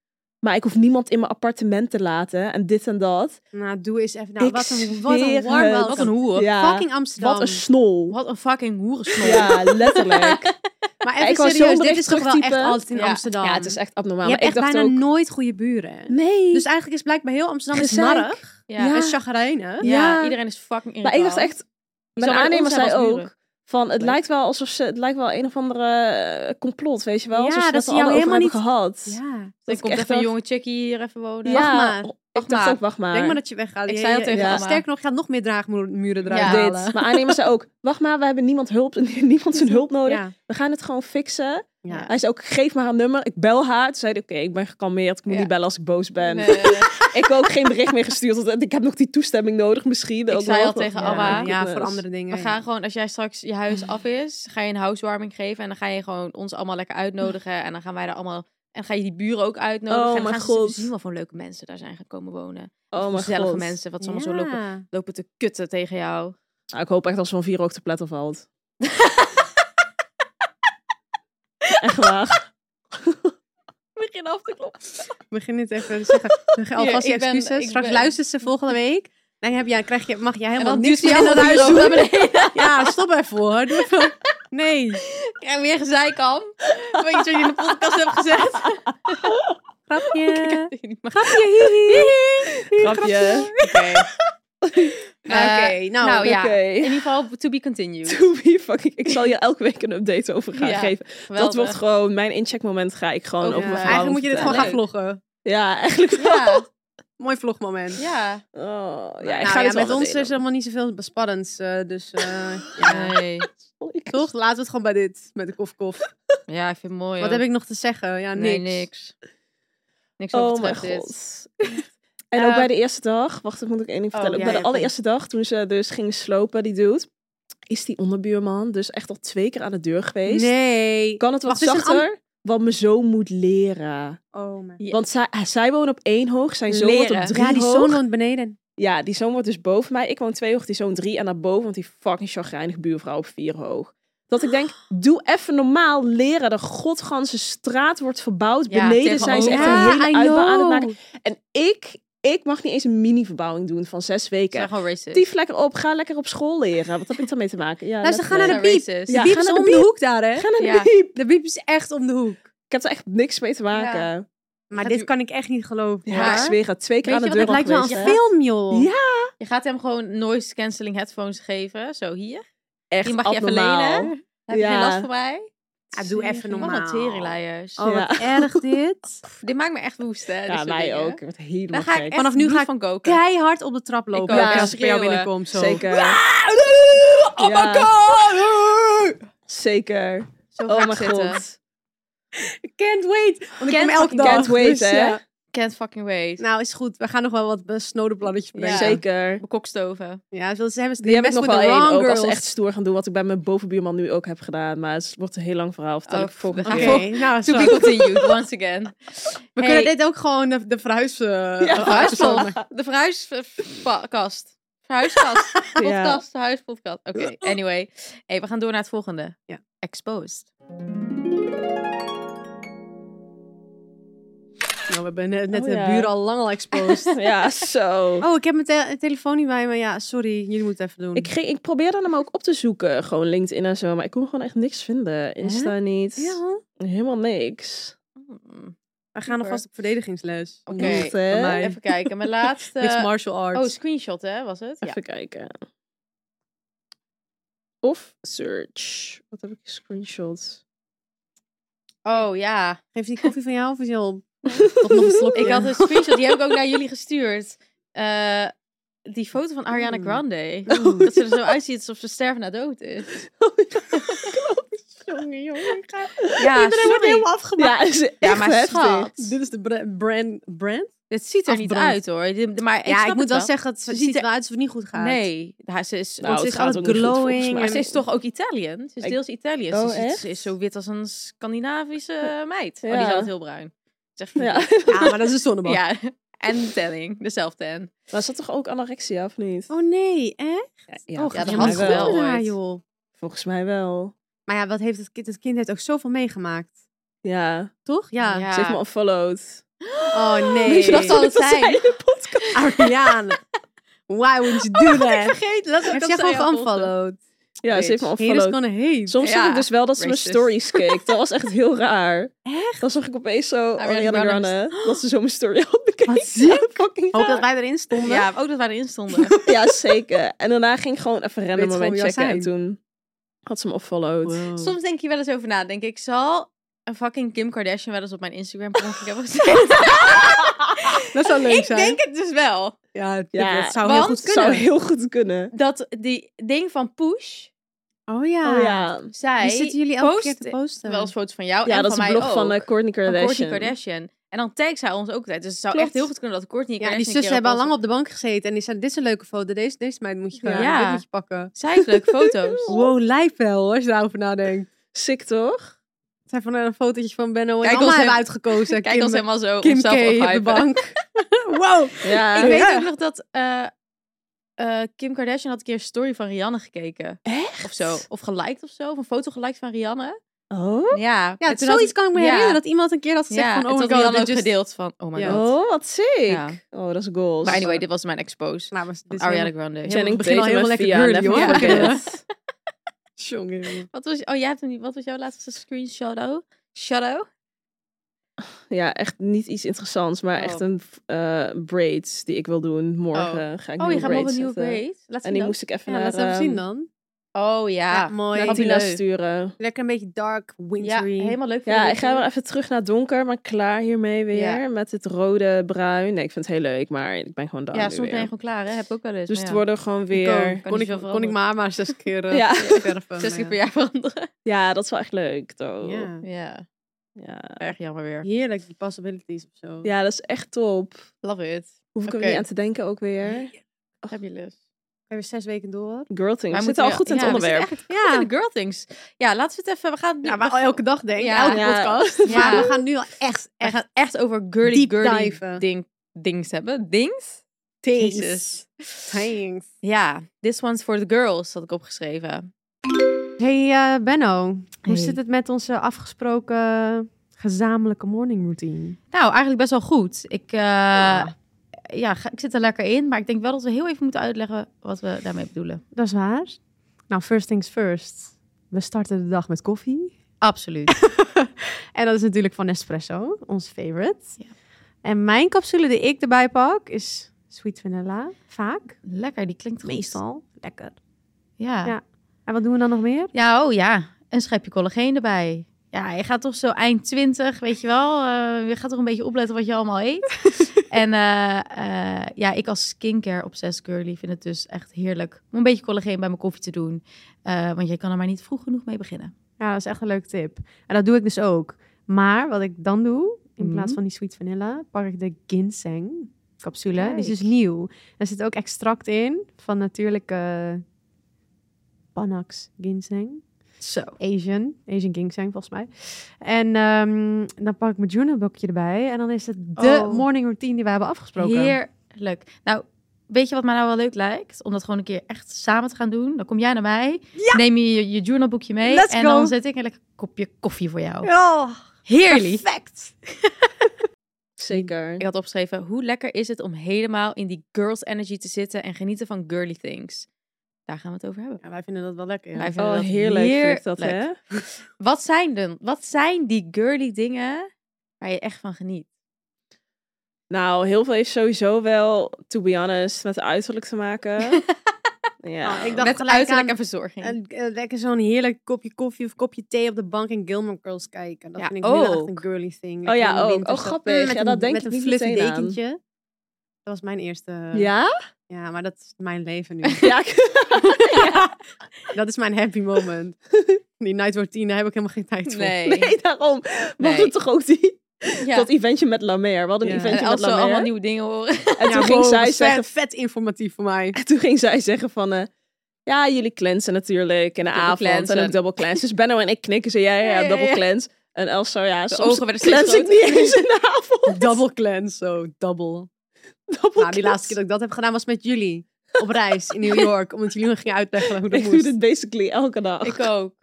Speaker 2: Maar ik hoef niemand in mijn appartement te laten. En dit en dat.
Speaker 5: Nou, doe eens even. Nou,
Speaker 2: Ik
Speaker 5: wat een, wat een
Speaker 2: zweer
Speaker 5: warm
Speaker 2: het.
Speaker 5: welkom.
Speaker 3: Wat een hoer.
Speaker 2: Ja,
Speaker 5: Fucking Amsterdam.
Speaker 2: wat een snol.
Speaker 3: Wat een fucking hoerensnol.
Speaker 2: Ja, letterlijk. Ik
Speaker 5: Maar
Speaker 2: wou
Speaker 5: even
Speaker 2: zo'n
Speaker 5: serieus, dit
Speaker 2: bericht
Speaker 5: is toch wel echt
Speaker 2: terugtypen.
Speaker 5: altijd in
Speaker 3: Ja.
Speaker 5: Amsterdam.
Speaker 2: ja, het is echt abnormaal.
Speaker 5: Je hebt
Speaker 2: Maar ik
Speaker 5: echt
Speaker 2: dacht
Speaker 5: bijna
Speaker 2: ook...
Speaker 5: nooit goede buren.
Speaker 2: Nee.
Speaker 5: Dus eigenlijk is blijkbaar heel Amsterdam is
Speaker 2: Gezeik.
Speaker 5: narrig.
Speaker 3: Ja.
Speaker 2: Ja.
Speaker 5: En chagrijnen.
Speaker 2: Ja.
Speaker 3: Ja, iedereen is fucking
Speaker 2: maar ik dacht echt... Mijn
Speaker 3: zou bij
Speaker 2: aannemer
Speaker 3: ons zijn
Speaker 2: zei
Speaker 3: als
Speaker 2: ook...
Speaker 3: buren.
Speaker 2: Van, het
Speaker 3: Leuk.
Speaker 2: lijkt wel alsof ze... Het lijkt wel een of andere eh, complot, weet je wel?
Speaker 5: Ja,
Speaker 2: Alsof ze dat
Speaker 5: dat ze
Speaker 2: er allemaal
Speaker 5: jou
Speaker 2: over hebben
Speaker 5: helemaal
Speaker 2: gehad.
Speaker 5: Ja.
Speaker 3: Er
Speaker 2: ik
Speaker 3: komt
Speaker 2: echt
Speaker 3: even een
Speaker 2: dacht-
Speaker 3: jonge chickie hier even wonen.
Speaker 2: Ja,
Speaker 5: maar.
Speaker 2: Ik
Speaker 5: Wacht
Speaker 2: dacht
Speaker 5: maar.
Speaker 2: ook, wacht maar.
Speaker 5: Denk maar dat je weggaat.
Speaker 3: Ik
Speaker 5: Je-
Speaker 3: zei al
Speaker 5: je-
Speaker 3: tegen
Speaker 5: ja.
Speaker 3: mama.
Speaker 5: Sterker nog, je gaat nog meer draagmuren eruit
Speaker 3: Ja.
Speaker 5: halen.
Speaker 2: dit. Mijn aannemer zei ook, wacht maar, we hebben niemand hulp, niemand zijn hulp nodig.
Speaker 5: Ja.
Speaker 2: We gaan het gewoon fixen.
Speaker 5: Ja.
Speaker 2: Hij zei ook, geef maar haar nummer. Ik bel haar. Toen zei hij, oké, ik ben gekalmeerd. Ik moet
Speaker 3: Ja.
Speaker 2: niet bellen als ik boos ben.
Speaker 3: Nee, nee, nee.
Speaker 2: Ik heb ook geen bericht meer gestuurd. Want ik heb nog die toestemming nodig misschien.
Speaker 3: Ik
Speaker 2: Ook
Speaker 3: zei al
Speaker 2: nog.
Speaker 3: tegen
Speaker 2: Ja, dus-
Speaker 3: Alma, dus
Speaker 5: Ja, ja, voor
Speaker 2: goodness.
Speaker 5: andere dingen.
Speaker 3: We gaan gewoon, als jij straks je
Speaker 2: Mm.
Speaker 3: huis af is, ga je een housewarming geven. En dan ga je gewoon ons allemaal lekker uitnodigen. En dan gaan wij daar allemaal... En ga je die buren ook uitnodigen.
Speaker 2: Oh
Speaker 3: en dan
Speaker 2: mijn
Speaker 3: gaan ze
Speaker 2: god.
Speaker 3: zien wat voor leuke mensen daar zijn gekomen wonen.
Speaker 2: Oh mijn
Speaker 3: Gezellige
Speaker 2: god.
Speaker 3: mensen, wat ze allemaal
Speaker 5: Ja.
Speaker 3: zo lopen, lopen te kutten tegen jou.
Speaker 2: Nou, ik hoop echt als van vier ook te pletten valt. echt waar.
Speaker 3: Begin af te kloppen.
Speaker 5: Begin niet even te zeggen. Dan ga je
Speaker 3: Hier,
Speaker 5: alvast je
Speaker 3: ik ben-
Speaker 5: excuses.
Speaker 3: ik
Speaker 5: Straks
Speaker 3: ben-
Speaker 5: luistert ze volgende week. Dan heb jij, krijg je, mag jij
Speaker 3: En
Speaker 5: helemaal
Speaker 3: dan
Speaker 5: niks
Speaker 3: duwt hij
Speaker 5: meer in
Speaker 3: jou
Speaker 5: dat
Speaker 3: naar
Speaker 5: huis
Speaker 3: naar
Speaker 5: doen.
Speaker 3: beneden.
Speaker 5: Ja, stop even hoor. Doe even- Nee.
Speaker 3: En weer gezeik aan. Weet je wat je in de podcast hebt gezet?
Speaker 5: Grapje.
Speaker 3: Maar
Speaker 5: Grapje, hihi.
Speaker 2: Grapje.
Speaker 5: Oké,
Speaker 3: Eh,
Speaker 5: nou,
Speaker 3: nou ja.
Speaker 2: Oké.
Speaker 3: In ieder geval, to be continued.
Speaker 2: To be fucking... Ik zal je elke week een update over gaan
Speaker 3: Ja,
Speaker 2: geven. Dat wordt gewoon... Mijn incheckmoment ga ik gewoon
Speaker 3: Ook
Speaker 2: over
Speaker 3: ja.
Speaker 2: mijn verhaal
Speaker 5: Eigenlijk moet je dit gewoon
Speaker 2: vertellen.
Speaker 5: gaan vloggen.
Speaker 2: Ja, eigenlijk wel.
Speaker 3: Ja,
Speaker 5: Mooi vlogmoment.
Speaker 3: ja.
Speaker 2: Oh, ja,
Speaker 5: Nou
Speaker 2: ik ga
Speaker 5: ja,
Speaker 2: dit wel
Speaker 5: met ons
Speaker 2: delen.
Speaker 5: is allemaal niet zoveel spannends. eh, dus eh, ja.
Speaker 3: Nee.
Speaker 2: Sorry, Chris.
Speaker 5: toch? Laten we het gewoon bij dit. Met de kof-kof.
Speaker 3: Ja, ik vind het mooi.
Speaker 5: Wat heb ik nog te zeggen? Ja, niks.
Speaker 3: Nee, niks. Niks over
Speaker 2: Oh
Speaker 3: het
Speaker 2: mijn
Speaker 3: betreft dit.
Speaker 2: god. En ook
Speaker 3: Eh,
Speaker 2: bij de eerste dag, wacht, dat moet ik één ding vertellen.
Speaker 5: Ehm, oh, ja,
Speaker 2: bij de
Speaker 5: ja,
Speaker 2: allereerste dag, toen ze dus ging slopen, die dude, is die onderbuurman dus echt al twee keer aan de deur geweest.
Speaker 5: Nee.
Speaker 2: Kan het wat
Speaker 5: Wacht, is een
Speaker 2: zachter? Wat mijn zoon moet leren.
Speaker 5: Oh mijn.
Speaker 3: Ja.
Speaker 2: Want zij, zij woont op één hoog, zijn zoon wordt
Speaker 3: Leren.
Speaker 2: op drie
Speaker 5: Ja, die
Speaker 2: hoog.
Speaker 5: zoon woont beneden.
Speaker 2: Ja, die zoon wordt dus boven mij. Ik woon twee hoog, die zoon drie. En daarboven, want die fucking chagrijnige buurvrouw op vier hoog. Dat ik denk, doe even normaal leren. De godganse straat wordt verbouwd.
Speaker 3: Ja,
Speaker 2: Beneden zijn ze echt
Speaker 3: tegenover.
Speaker 2: een
Speaker 5: I
Speaker 2: hele uitbouw aan het
Speaker 5: know.
Speaker 2: maken. En ik, ik mag niet eens een mini-verbouwing doen van zes
Speaker 3: Ze zijn
Speaker 2: weken.
Speaker 3: gewoon racist.
Speaker 2: Tief lekker op, ga lekker op school leren. Wat heb ik daarmee te maken? Ja,
Speaker 5: Luister,
Speaker 2: letterlijk.
Speaker 5: ga naar de
Speaker 3: Ja,
Speaker 5: piep.
Speaker 3: racist.
Speaker 5: De
Speaker 2: Ja,
Speaker 5: piep
Speaker 2: ga
Speaker 5: is
Speaker 2: naar de
Speaker 5: om de
Speaker 2: piep.
Speaker 5: hoek daar, hè?
Speaker 2: Ga naar de
Speaker 3: Ja.
Speaker 2: piep.
Speaker 5: De piep is echt om de hoek.
Speaker 2: Ik heb er echt niks mee te maken. Ja,
Speaker 5: Maar
Speaker 3: Gaat
Speaker 5: dit
Speaker 3: u-
Speaker 5: kan ik echt niet geloven. hoor.
Speaker 2: ik zweer het. Twee keer
Speaker 3: Weet
Speaker 2: aan
Speaker 3: je
Speaker 2: de
Speaker 3: wat
Speaker 2: deur
Speaker 5: Het lijkt wel
Speaker 2: al
Speaker 5: een
Speaker 2: geweest, hè?
Speaker 5: film, joh.
Speaker 2: Ja.
Speaker 3: Je gaat hem gewoon noise cancelling headphones geven. Zo hier.
Speaker 2: Echt
Speaker 3: Die mag je even
Speaker 2: abnormaal.
Speaker 3: lenen. Daar heb je
Speaker 2: Ja.
Speaker 3: geen last van mij.
Speaker 5: Ja, doe even
Speaker 3: Wat
Speaker 5: normaal.
Speaker 3: een teringleiers.
Speaker 5: Oh, wat erg dit.
Speaker 3: Dit maakt me echt woest, hè. dit
Speaker 2: Ja,
Speaker 3: soort
Speaker 2: mij
Speaker 3: dingen.
Speaker 2: ook. Ik word helemaal
Speaker 3: Daar ga
Speaker 2: gek.
Speaker 3: ik
Speaker 5: Vanaf nu ga ik
Speaker 3: van koken.
Speaker 5: Keihard op de trap lopen
Speaker 2: ook. Ja,
Speaker 5: als ik bij jou
Speaker 3: schreeuwen.
Speaker 5: binnenkom. Zo.
Speaker 2: Zeker.
Speaker 3: Oh
Speaker 2: Ja.
Speaker 3: my god!
Speaker 2: Zeker.
Speaker 3: Zo ga
Speaker 2: Oh
Speaker 3: ik
Speaker 2: mijn
Speaker 3: zitten.
Speaker 2: god.
Speaker 5: Can't wait. Want
Speaker 3: Can't
Speaker 5: ik kom elke
Speaker 3: fucking
Speaker 5: dag.
Speaker 2: Can't wait,
Speaker 5: dus,
Speaker 2: hè?
Speaker 5: ja.
Speaker 3: Can't fucking wait.
Speaker 5: Nou, is goed. We gaan nog wel wat eh, besnode plannetjes
Speaker 3: Ja.
Speaker 5: bedenken.
Speaker 2: Zeker.
Speaker 3: Bekokstoven.
Speaker 5: Ja, dus ze hebben
Speaker 2: Die heb ik
Speaker 5: best
Speaker 2: nog wel
Speaker 5: met de
Speaker 2: één,
Speaker 5: wrong
Speaker 2: ook als ze
Speaker 5: girls.
Speaker 2: echt stoer gaan doen, wat ik bij mijn bovenbuurman nu ook heb gedaan. Maar het wordt een heel lang verhaal, vertel
Speaker 3: Oh,
Speaker 2: ik volgende
Speaker 3: we
Speaker 5: Oké,
Speaker 2: keer.
Speaker 3: gaan-
Speaker 5: nou,
Speaker 3: To
Speaker 5: zo.
Speaker 3: be continued, once again. Hey.
Speaker 5: We kunnen dit ook gewoon de, de verhuis... eh,
Speaker 3: De
Speaker 5: afhalen.
Speaker 3: verhuispot. De verhuiskast. Verhuiskast.
Speaker 2: Ja.
Speaker 3: Podcast, verhuispodcast. Oké, anyway. Hey, we gaan door naar het volgende.
Speaker 5: Ja.
Speaker 3: Exposed.
Speaker 5: Nou, we hebben net, net
Speaker 2: Oh,
Speaker 5: de
Speaker 2: ja.
Speaker 5: buren al lang al exposed.
Speaker 2: Ja, zo.
Speaker 5: Oh, ik heb mijn te- telefoon niet bij me. Ja, sorry. Jullie moeten het even doen.
Speaker 2: Ik, ging, ik probeerde hem ook op te zoeken, gewoon LinkedIn en zo, maar ik kon gewoon echt niks vinden. Insta niet,
Speaker 5: Ja,
Speaker 2: helemaal niks.
Speaker 3: Hmm.
Speaker 5: we gaan alvast op verdedigingsles.
Speaker 3: Oké,
Speaker 2: Echt, hè?
Speaker 5: bij mij.
Speaker 3: even kijken. Mijn laatste...
Speaker 5: Mixed martial
Speaker 3: Oh,
Speaker 5: arts.
Speaker 3: screenshot, hè, was het? Ja.
Speaker 2: Even kijken. Of search. Wat heb ik gescreenshot?
Speaker 3: Oh, ja.
Speaker 5: Geef die koffie van jou of is die al... dus- Toch nog een slokje?
Speaker 3: Ik had een screenshot, die heb ik ook naar jullie gestuurd. Eh, die foto van Ariana
Speaker 5: Mm.
Speaker 3: Grande.
Speaker 5: Oeh. Oh,
Speaker 3: Dat ze er zo uitziet alsof ze sterven na dood is.
Speaker 5: Jongen, jongen. ik ga-
Speaker 3: Ja,
Speaker 5: Iedereen wordt helemaal afgemaakt.
Speaker 2: Ja, is echt
Speaker 3: maar
Speaker 2: heftig.
Speaker 3: schat.
Speaker 5: Dit is de bra- brand... brand?
Speaker 3: Dit ziet er niet
Speaker 5: Afbrand.
Speaker 3: uit, hoor. Dit- Maar ik
Speaker 5: ja,
Speaker 3: snap
Speaker 5: ik moet
Speaker 3: het
Speaker 5: wel zeggen, het ziet
Speaker 3: er-
Speaker 5: er wel uit alsof het niet goed gaat.
Speaker 3: Nee, ja, ze is,
Speaker 2: Nou,
Speaker 3: want ze
Speaker 2: het
Speaker 3: is
Speaker 2: gaat
Speaker 3: altijd
Speaker 2: ook niet goed,
Speaker 3: glowing.
Speaker 2: volgens mij.
Speaker 3: maar ze is toch ook Italiaans? Ze is
Speaker 2: Ik-
Speaker 3: deels Italiaans.
Speaker 2: Oh,
Speaker 3: dus ze, is,
Speaker 2: echt?
Speaker 3: ze is zo wit als een Scandinavische eh, meid. Oh,
Speaker 2: Ja.
Speaker 3: die is altijd heel bruin. Zeg
Speaker 2: Ja.
Speaker 5: Ja, maar dat is een zonnebank.
Speaker 3: ja. En telling, de self-tan.
Speaker 2: Maar is dat toch ook anorexia, of niet?
Speaker 5: Oh nee, hè?
Speaker 2: Ja,
Speaker 5: oh,
Speaker 3: ja,
Speaker 5: gaat
Speaker 3: dat
Speaker 5: helemaal
Speaker 3: had
Speaker 5: goed
Speaker 3: ze wel
Speaker 5: met haar,
Speaker 3: ooit.
Speaker 5: joh.
Speaker 2: Volgens mij wel.
Speaker 5: Maar ja, wat heeft het kind? Het kind heeft ook zoveel meegemaakt.
Speaker 2: Ja,
Speaker 5: Toch? Ja.
Speaker 3: Ja.
Speaker 2: ze heeft me unfollowed.
Speaker 5: Oh nee.
Speaker 3: Weet je dat zal het
Speaker 2: Dat
Speaker 3: zijn?
Speaker 2: zei de podcast.
Speaker 5: Ariane. Why would you do that?
Speaker 3: Vergeet, laat
Speaker 5: Heeft jij gewoon geunfollowed?
Speaker 2: Ja, ze heeft me
Speaker 5: Haters
Speaker 2: unfollowed.
Speaker 5: gonna hate.
Speaker 2: Soms zag
Speaker 3: Ja,
Speaker 2: ik dus wel dat ze mijn
Speaker 3: racist.
Speaker 2: stories keek. Dat was echt heel raar. Echt? Dan zag ik opeens zo Ariana
Speaker 3: Grande.
Speaker 2: Grande, dat ze zo mijn story had bekeken.
Speaker 5: Wat ziek.
Speaker 2: Fucking
Speaker 5: Hoop dat
Speaker 2: raar.
Speaker 5: wij erin stonden.
Speaker 3: Ja, ook dat wij erin stonden.
Speaker 5: Oh.
Speaker 2: Ja, zeker. En daarna ging ik gewoon even random
Speaker 5: Weet gewoon
Speaker 2: moment
Speaker 5: wie jou
Speaker 2: checken. En toen had ze me unfollowed.
Speaker 5: Soms
Speaker 3: Soms denk je wel eens over na. Denk ik, zal een fucking Kim Kardashian wel eens op mijn Instagram per ongeluk hebben gezet?
Speaker 5: dat zou leuk
Speaker 3: ik
Speaker 5: zijn.
Speaker 3: denk het dus wel.
Speaker 5: ja,
Speaker 2: Ja,
Speaker 5: dat zou
Speaker 3: want-
Speaker 5: heel goed
Speaker 2: Het
Speaker 5: kunnen.
Speaker 2: zou heel goed kunnen.
Speaker 3: Dat die ding van Push,
Speaker 5: Oh ja.
Speaker 2: Oh ja.
Speaker 3: zij
Speaker 5: Die zitten jullie elke keer te
Speaker 3: posten-
Speaker 5: posten.
Speaker 3: wel eens foto's van jou
Speaker 2: Ja,
Speaker 3: en
Speaker 2: dat is
Speaker 3: van
Speaker 2: de
Speaker 3: mij
Speaker 2: blog van
Speaker 3: ook.
Speaker 2: eh, Kourtney
Speaker 3: Van
Speaker 2: Kardashian.
Speaker 3: Kourtney Kardashian. En dan tagt zij ons ook altijd. Dus het zou
Speaker 5: Klopt.
Speaker 3: echt heel goed kunnen dat Kourtney
Speaker 5: ja,
Speaker 3: Kardashian
Speaker 5: die
Speaker 3: een
Speaker 5: zussen
Speaker 3: keer
Speaker 5: hebben al lang
Speaker 3: ons-
Speaker 5: op de bank gezeten. En die zeiden, dit is een leuke foto. Deze, deze meid moet je gaan.
Speaker 3: Ja.
Speaker 5: Dit moet je pakken.
Speaker 3: Zij heeft leuke foto's.
Speaker 5: Wow, lijp wel, als je daarover nadenkt.
Speaker 2: Sick, toch?
Speaker 5: Het zijn van eh, een fotootje van Benno en
Speaker 3: Kijk,
Speaker 5: Alma
Speaker 3: ons
Speaker 5: hebben
Speaker 3: hem-
Speaker 5: uitgekozen.
Speaker 3: Kijk
Speaker 5: Kim-
Speaker 3: ons helemaal zo
Speaker 5: Kim
Speaker 3: onszelf
Speaker 5: K op de
Speaker 3: ophypen.
Speaker 5: bank. wow.
Speaker 2: Ja.
Speaker 3: Ik weet
Speaker 5: Ja.
Speaker 3: ook nog dat eh, eh, Kim Kardashian had een keer een story van Rihanne gekeken.
Speaker 2: Echt?
Speaker 3: Of zo. Of geliked of zo. Of een foto geliked van Rihanne.
Speaker 2: Oh,
Speaker 3: Ja.
Speaker 5: Ja, zoiets kan ik me
Speaker 3: ja.
Speaker 5: herinneren. Dat iemand een keer dat zegt
Speaker 3: Ja,
Speaker 5: van,
Speaker 3: en
Speaker 5: oh
Speaker 3: toen had
Speaker 5: my god,
Speaker 3: Rihanne ook
Speaker 5: dit is-
Speaker 3: gedeeld van, oh my
Speaker 5: Ja.
Speaker 3: god.
Speaker 2: oh wat sick.
Speaker 3: Ja.
Speaker 2: Oh, dat is goals.
Speaker 3: Maar anyway, dit was mijn expose.
Speaker 5: Nou, maar dit is
Speaker 3: Ariana
Speaker 5: helemaal-
Speaker 3: Grande.
Speaker 5: Ja.
Speaker 2: Channing
Speaker 5: we beginnen al
Speaker 2: Tatum en
Speaker 5: helemaal
Speaker 2: Via,
Speaker 5: lekker girly,
Speaker 2: never
Speaker 5: hoor. We
Speaker 2: forget.
Speaker 5: beginnen. Jongen, jongen.
Speaker 3: Wat was, oh, jij hebt hem niet. Wat was jouw laatste screenshot? oh? Shadow?
Speaker 2: Ja, echt niet iets interessants, maar
Speaker 3: Oh.
Speaker 2: echt een eh braid die ik wil doen. Morgen ga ik
Speaker 3: Oh, je gaat
Speaker 2: nieuwe
Speaker 3: me op
Speaker 2: braids
Speaker 3: een nieuwe
Speaker 2: zetten.
Speaker 3: braid. Laat
Speaker 2: En
Speaker 3: zien
Speaker 2: die
Speaker 3: dan.
Speaker 2: moest ik even
Speaker 5: Ja,
Speaker 2: naar
Speaker 5: laten we even zien
Speaker 2: ehm,
Speaker 5: dan.
Speaker 3: Oh
Speaker 5: Ja,
Speaker 3: ja.
Speaker 5: mooi.
Speaker 3: dat
Speaker 2: Tabila
Speaker 3: leuk.
Speaker 2: sturen.
Speaker 5: Lekker een beetje dark,
Speaker 3: Ja,
Speaker 5: wintry.
Speaker 3: helemaal leuk. voor de
Speaker 2: Ja, ik
Speaker 3: winter.
Speaker 2: ga weer even terug naar donker, maar klaar hiermee weer.
Speaker 3: Ja.
Speaker 2: Met dit rode bruin. Nee, ik vind het heel leuk, maar ik ben gewoon down
Speaker 3: Ja,
Speaker 2: nu
Speaker 3: soms ben
Speaker 2: Oh, weer.
Speaker 3: je gewoon klaar, hè? Heb ik ook wel eens.
Speaker 2: Dus
Speaker 3: maar
Speaker 2: het
Speaker 3: ja.
Speaker 2: worden gewoon
Speaker 5: Kon,
Speaker 2: weer...
Speaker 3: kan
Speaker 5: kon,
Speaker 3: niet
Speaker 5: ik,
Speaker 3: veel
Speaker 5: kon ik
Speaker 3: veranderen.
Speaker 5: maar maar zes keer eh,
Speaker 2: Ja.
Speaker 5: verven.
Speaker 3: Zes keer
Speaker 5: maar
Speaker 3: per
Speaker 5: ja.
Speaker 3: jaar veranderen.
Speaker 2: Ja, dat is wel echt leuk, toch?
Speaker 5: Ja.
Speaker 3: Ja,
Speaker 2: Ja.
Speaker 3: erg jammer weer.
Speaker 5: Heerlijk, die possibilities of zo.
Speaker 2: Ja, dat is echt top.
Speaker 3: Love it.
Speaker 2: Hoef ik
Speaker 3: Oké.
Speaker 2: er niet aan te denken ook weer.
Speaker 3: Heb je lust?
Speaker 5: Even zes weken door.
Speaker 2: Girl things.
Speaker 3: moeten
Speaker 2: We zitten al
Speaker 3: weer-
Speaker 2: goed in het
Speaker 3: ja, we
Speaker 2: onderwerp.
Speaker 3: Ja, de girl things. Ja, laten we het even. We gaan het nu-
Speaker 5: Ja, maar al elke dag denk ik.
Speaker 3: Ja.
Speaker 5: Elke
Speaker 2: Ja.
Speaker 5: podcast.
Speaker 3: Ja.
Speaker 5: Maar we gaan nu al echt,
Speaker 3: we
Speaker 5: echt
Speaker 3: gaan echt over girly
Speaker 5: Deep
Speaker 3: girly
Speaker 5: diven.
Speaker 3: ding, dings hebben. Dings?
Speaker 5: things.
Speaker 3: Jezus. Ja, this one's for the girls had ik opgeschreven.
Speaker 5: Hey eh, Benno,
Speaker 3: Hey.
Speaker 5: hoe zit het met onze afgesproken gezamenlijke morning routine?
Speaker 3: Nou, eigenlijk best wel goed. Ik, eh, ja, ga- ik zit er lekker in, maar ik denk wel dat we heel even moeten uitleggen wat we daarmee bedoelen.
Speaker 5: Dat is waar. Nou, first things first. We starten de dag met koffie.
Speaker 3: Absoluut.
Speaker 5: En dat is natuurlijk van Nespresso, ons favorite.
Speaker 3: Ja.
Speaker 5: En mijn capsule die ik erbij pak is sweet vanilla, vaak.
Speaker 3: lekker, die klinkt goed.
Speaker 5: Meestal. Lekker.
Speaker 3: Ja.
Speaker 5: Ja. En wat doen we dan nog meer?
Speaker 3: Ja, oh ja. Een schepje collageen erbij. Ja, je gaat toch zo eind 20, weet je wel. eh, je gaat toch een beetje opletten wat je allemaal eet. en eh, eh, ja, ik als skincare obsessed girly vind het dus echt heerlijk om een beetje collageen bij mijn koffie te doen. Eh, want je kan er maar niet vroeg genoeg mee beginnen.
Speaker 5: Ja, dat is echt een leuke tip. En dat doe ik dus ook. Maar wat ik dan doe,
Speaker 4: in
Speaker 6: Mhm.
Speaker 4: plaats van die sweet vanilla, pak ik de ginseng capsule. Die is dus
Speaker 6: Kijk.
Speaker 4: nieuw. Er zit ook extract in van natuurlijke Panax ginseng.
Speaker 3: Zo.
Speaker 4: Asian, Asian ginseng volgens mij. En ehm, dan pak ik mijn Junebokje erbij en dan is het de
Speaker 3: Oh.
Speaker 4: morning routine die we hebben afgesproken.
Speaker 3: Heerlijk. Nou, weet je wat mij nou wel leuk lijkt? Om dat gewoon een keer echt samen te gaan doen. Dan kom jij naar mij, neem je je, je journalboekje mee
Speaker 4: Let's
Speaker 3: en
Speaker 4: go.
Speaker 3: dan zet ik een lekker kopje koffie voor jou.
Speaker 4: Oh,
Speaker 3: Heerlijk.
Speaker 4: perfect.
Speaker 2: Zeker.
Speaker 3: Ik had opgeschreven, hoe lekker is het om helemaal in die girls energy te zitten en genieten van girly things? Daar gaan we het over hebben.
Speaker 5: Ja, wij vinden dat wel lekker. Ja.
Speaker 3: Wij vinden
Speaker 2: Oh,
Speaker 3: dat
Speaker 2: heerlijk vind ik dat,
Speaker 3: heerlijk.
Speaker 2: hè?
Speaker 3: Wat zijn, dan, wat zijn die girly dingen waar je echt van geniet?
Speaker 2: Nou, heel veel heeft sowieso wel, to be honest, met uiterlijk te maken. ja.
Speaker 5: Ah,
Speaker 2: Oh,
Speaker 5: ik dacht
Speaker 3: Met
Speaker 5: gelijk
Speaker 3: uiterlijk
Speaker 5: aan-
Speaker 3: en verzorging.
Speaker 5: En, eh, lekker zo'n heerlijk kopje koffie of kopje thee op de bank en Gilmore Girls kijken. Dat
Speaker 3: Ja,
Speaker 5: vind ik nu echt
Speaker 3: ook.
Speaker 5: een girly thing.
Speaker 2: Oh ja,
Speaker 5: Lekker in de
Speaker 2: ook.
Speaker 5: winter
Speaker 2: Oh,
Speaker 5: zo,
Speaker 2: grappig.
Speaker 5: met
Speaker 2: Ja,
Speaker 5: een-
Speaker 2: dat denk
Speaker 5: met
Speaker 2: ik
Speaker 5: een
Speaker 2: niet
Speaker 5: fluffy
Speaker 2: meteen aan.
Speaker 5: dekentje. Dat was mijn eerste.
Speaker 2: Ja?
Speaker 5: Ja, maar dat is mijn leven nu.
Speaker 2: Eh, Ja, ik-
Speaker 5: dat is mijn happy moment. Die night routine, daar heb ik helemaal geen tijd voor.
Speaker 2: nee, daarom. We
Speaker 3: Nee.
Speaker 2: hadden toch ook die,
Speaker 3: Ja.
Speaker 2: dat eventje met Lamer. We hadden een
Speaker 5: Ja.
Speaker 3: en
Speaker 2: eventje met
Speaker 3: als we
Speaker 2: Lamer.
Speaker 3: allemaal nieuwe dingen horen.
Speaker 2: En
Speaker 5: Ja,
Speaker 2: toen, ging
Speaker 5: wow,
Speaker 2: zij
Speaker 5: vet-
Speaker 2: zeggen, Oh,
Speaker 5: Vet informatief voor mij.
Speaker 2: en toen ging zij zeggen van... eh, ja, jullie cleansen natuurlijk in de
Speaker 3: Double
Speaker 2: avond. En
Speaker 3: cleansen.
Speaker 2: ook double cleanse. Dus Benno en ik knikken ze, ja, ja,
Speaker 3: Ja,
Speaker 2: ja,
Speaker 3: ja,
Speaker 2: double
Speaker 3: ja.
Speaker 2: cleanse. En Elsa, ja,
Speaker 3: De
Speaker 2: soms
Speaker 3: ogen werden steeds
Speaker 2: cleanse ik
Speaker 3: groter.
Speaker 2: niet eens in de avond.
Speaker 5: Double cleanse, zo. double.
Speaker 2: Double
Speaker 5: Nou, die laatste keer dat ik dat heb gedaan was met jullie. Op reis in New York. Omdat jullie me gingen uitleggen hoe dat
Speaker 2: cleanse. Ik
Speaker 5: moest.
Speaker 2: doe dit basically elke dag.
Speaker 3: Ik ook.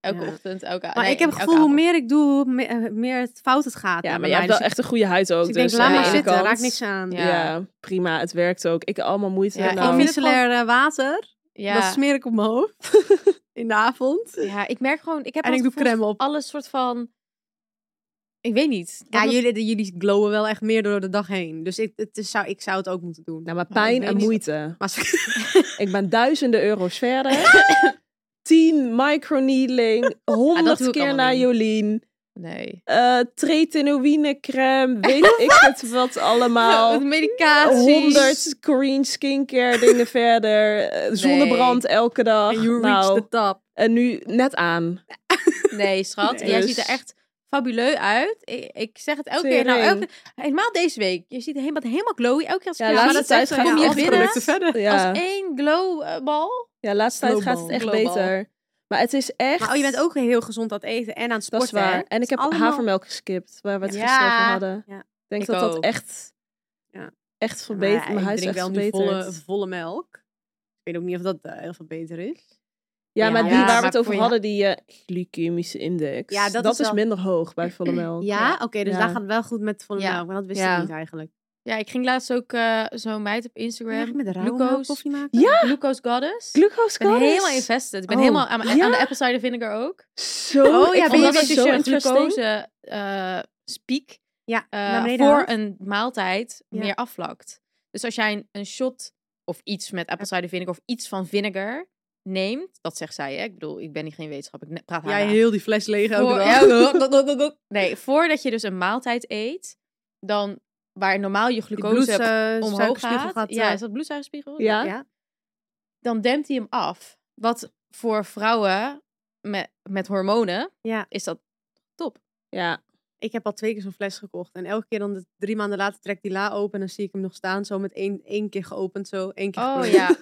Speaker 3: Elke
Speaker 5: Ja.
Speaker 3: ochtend, elke
Speaker 5: Maar
Speaker 3: nee,
Speaker 5: ik heb het
Speaker 3: elke
Speaker 5: gevoel, hoe
Speaker 3: avond.
Speaker 5: meer ik doe, hoe me- eh, meer het fout het gaat.
Speaker 2: ja,
Speaker 5: bij
Speaker 2: maar jij
Speaker 5: mij.
Speaker 2: hebt wel
Speaker 5: Dus
Speaker 2: echt een goede huid ook.
Speaker 5: ik- dus ik
Speaker 2: dus
Speaker 5: denk, laat
Speaker 2: aan de
Speaker 5: maar
Speaker 3: ja.
Speaker 2: ene
Speaker 5: zitten,
Speaker 2: kant-
Speaker 5: raakt niks aan.
Speaker 3: Ja.
Speaker 2: Ja. prima. Het werkt ook. Ik allemaal moeite.
Speaker 3: Ja, ik
Speaker 2: nou.
Speaker 5: Gewoon
Speaker 3: vind het
Speaker 5: micellair eh, water,
Speaker 3: Ja.
Speaker 5: dat smeer ik op mijn hoofd in de avond.
Speaker 3: ja, ik merk gewoon... Ik heb
Speaker 5: En
Speaker 3: wel
Speaker 5: ik
Speaker 3: het
Speaker 5: doe
Speaker 3: gevoel
Speaker 5: crème op.
Speaker 3: dat Alles soort van... Ik weet niet.
Speaker 5: Ja,
Speaker 3: Dat-
Speaker 5: jullie, de- jullie glowen wel echt meer door de dag heen. Dus ik, het is, zou, ik zou het ook moeten doen. Oh,
Speaker 2: Nou, maar
Speaker 3: ik
Speaker 2: pijn
Speaker 3: weet
Speaker 2: en
Speaker 3: niet.
Speaker 2: moeite.
Speaker 5: Maar als-
Speaker 2: Ik ben duizenden euro's verder. 10 microneedling.
Speaker 3: dat
Speaker 2: Honderd
Speaker 3: doe ik
Speaker 2: keer
Speaker 3: allemaal
Speaker 2: naar
Speaker 3: niet.
Speaker 2: Jolien.
Speaker 3: Nee.
Speaker 2: eh tretinoïne crème. Weet ik het wat
Speaker 5: Oh,
Speaker 2: allemaal.
Speaker 3: Met medicatie.
Speaker 2: Honderd Korean skincare dingen verder. eh, Zonnebrand elke dag.
Speaker 5: and you reach
Speaker 2: nou,
Speaker 5: the top.
Speaker 2: en nu net aan.
Speaker 3: Nee, schat.
Speaker 2: Nee.
Speaker 3: Jij
Speaker 2: Dus-
Speaker 3: ziet er echt fabuleus uit. Ik, ik zeg het elke keer. Nou,
Speaker 2: Tering.
Speaker 3: elke, helemaal deze week. Je ziet er helemaal, helemaal glowy. Elke keer als ik
Speaker 2: Ja,
Speaker 3: jou-
Speaker 2: laatste
Speaker 3: maar dat is
Speaker 2: tijd
Speaker 3: echt
Speaker 2: gaan
Speaker 3: zo,
Speaker 2: we
Speaker 3: kom je
Speaker 2: alle
Speaker 3: binnen
Speaker 5: producten verder.
Speaker 2: Ja,
Speaker 3: als één glowbal.
Speaker 2: ja laatst tijd gaat het
Speaker 5: Global.
Speaker 2: echt
Speaker 3: Global.
Speaker 2: beter. Maar het is echt...
Speaker 5: Maar oh, je bent ook heel gezond aan het eten en aan het
Speaker 2: Dat
Speaker 5: sporten.
Speaker 2: is waar.
Speaker 5: hè?
Speaker 2: En ik
Speaker 5: Het
Speaker 2: heb
Speaker 5: is allemaal-
Speaker 2: havermelk geskipt, waar we het
Speaker 3: Ja.
Speaker 2: gisteren over hadden.
Speaker 5: Ja.
Speaker 2: Ik denk
Speaker 3: Ik
Speaker 2: dat dat
Speaker 3: ook.
Speaker 2: echt,
Speaker 5: Ja.
Speaker 2: echt
Speaker 5: Maar
Speaker 2: verbeterd.
Speaker 5: ja,
Speaker 2: mijn
Speaker 5: ik
Speaker 2: huis is
Speaker 5: drink
Speaker 2: echt
Speaker 5: wel nu
Speaker 2: verbeterd.
Speaker 5: volle, volle melk. Ik weet ook niet of dat eh, heel veel beter is.
Speaker 2: Ja,
Speaker 3: Ja,
Speaker 2: maar die
Speaker 3: ja,
Speaker 2: waar
Speaker 3: maar
Speaker 2: we het over
Speaker 3: voor je-
Speaker 2: hadden, die eh, glycemische index,
Speaker 5: Ja,
Speaker 2: dat,
Speaker 5: dat
Speaker 2: is,
Speaker 5: is wel-
Speaker 2: minder hoog bij volle melk.
Speaker 5: Ja, oké, dus
Speaker 2: Ja.
Speaker 5: daar gaat het wel goed met volle
Speaker 3: Ja.
Speaker 5: melk. Maar dat wist
Speaker 2: Ja.
Speaker 5: ik niet eigenlijk.
Speaker 3: Ja, ik ging laatst ook eh, zo'n meid op Instagram.
Speaker 5: Eigenlijk met de rauwe melk
Speaker 3: glucose.
Speaker 5: koffie maken?
Speaker 3: Ja. Glucose Goddess.
Speaker 2: Glucose
Speaker 3: Ik ben
Speaker 2: goddess.
Speaker 3: helemaal invested. Ik ben
Speaker 2: Oh,
Speaker 3: helemaal aan, mijn-
Speaker 2: ja?
Speaker 3: aan de apple cider vinegar ook.
Speaker 2: Zo,
Speaker 5: Oh,
Speaker 2: ik
Speaker 5: ja,
Speaker 2: vond
Speaker 5: ben je
Speaker 2: dat
Speaker 5: weer
Speaker 3: Omdat
Speaker 5: is
Speaker 3: als
Speaker 2: zo
Speaker 3: je een
Speaker 2: interesting.
Speaker 3: glucose eh piek
Speaker 5: Ja,
Speaker 3: eh,
Speaker 5: naar beneden
Speaker 3: voor
Speaker 5: haalt.
Speaker 3: een maaltijd
Speaker 5: Ja.
Speaker 3: meer afvlakt. Dus als jij een, een shot of iets met apple cider vinegar of iets van vinegar neemt, dat zegt zij. Hè? Ik bedoel, ik ben niet geen wetenschapper. Ik ne- praat haar
Speaker 5: Jij
Speaker 3: na.
Speaker 5: heel die fles leeg elke
Speaker 3: Voor-
Speaker 5: dag.
Speaker 3: Ja, nee, voordat je dus een maaltijd eet, dan waar normaal je
Speaker 5: Die
Speaker 3: glucose
Speaker 5: bloeds, eh,
Speaker 3: omhoog
Speaker 5: suikerspiegel
Speaker 3: gaat.
Speaker 5: eh,
Speaker 3: ja, is dat bloedzuigerspiegel?
Speaker 2: Ja.
Speaker 3: dan dempt hij hem af. Wat voor vrouwen met, met hormonen
Speaker 5: Ja.
Speaker 3: is dat top.
Speaker 2: Ja,
Speaker 5: Ik heb al twee keer zo'n fles gekocht. En elke keer dan de- drie maanden later trek ik die la open. En dan zie ik hem nog staan. Zo met één, één keer geopend. Zo één keer
Speaker 3: Oh
Speaker 5: geprobeerd.
Speaker 3: ja.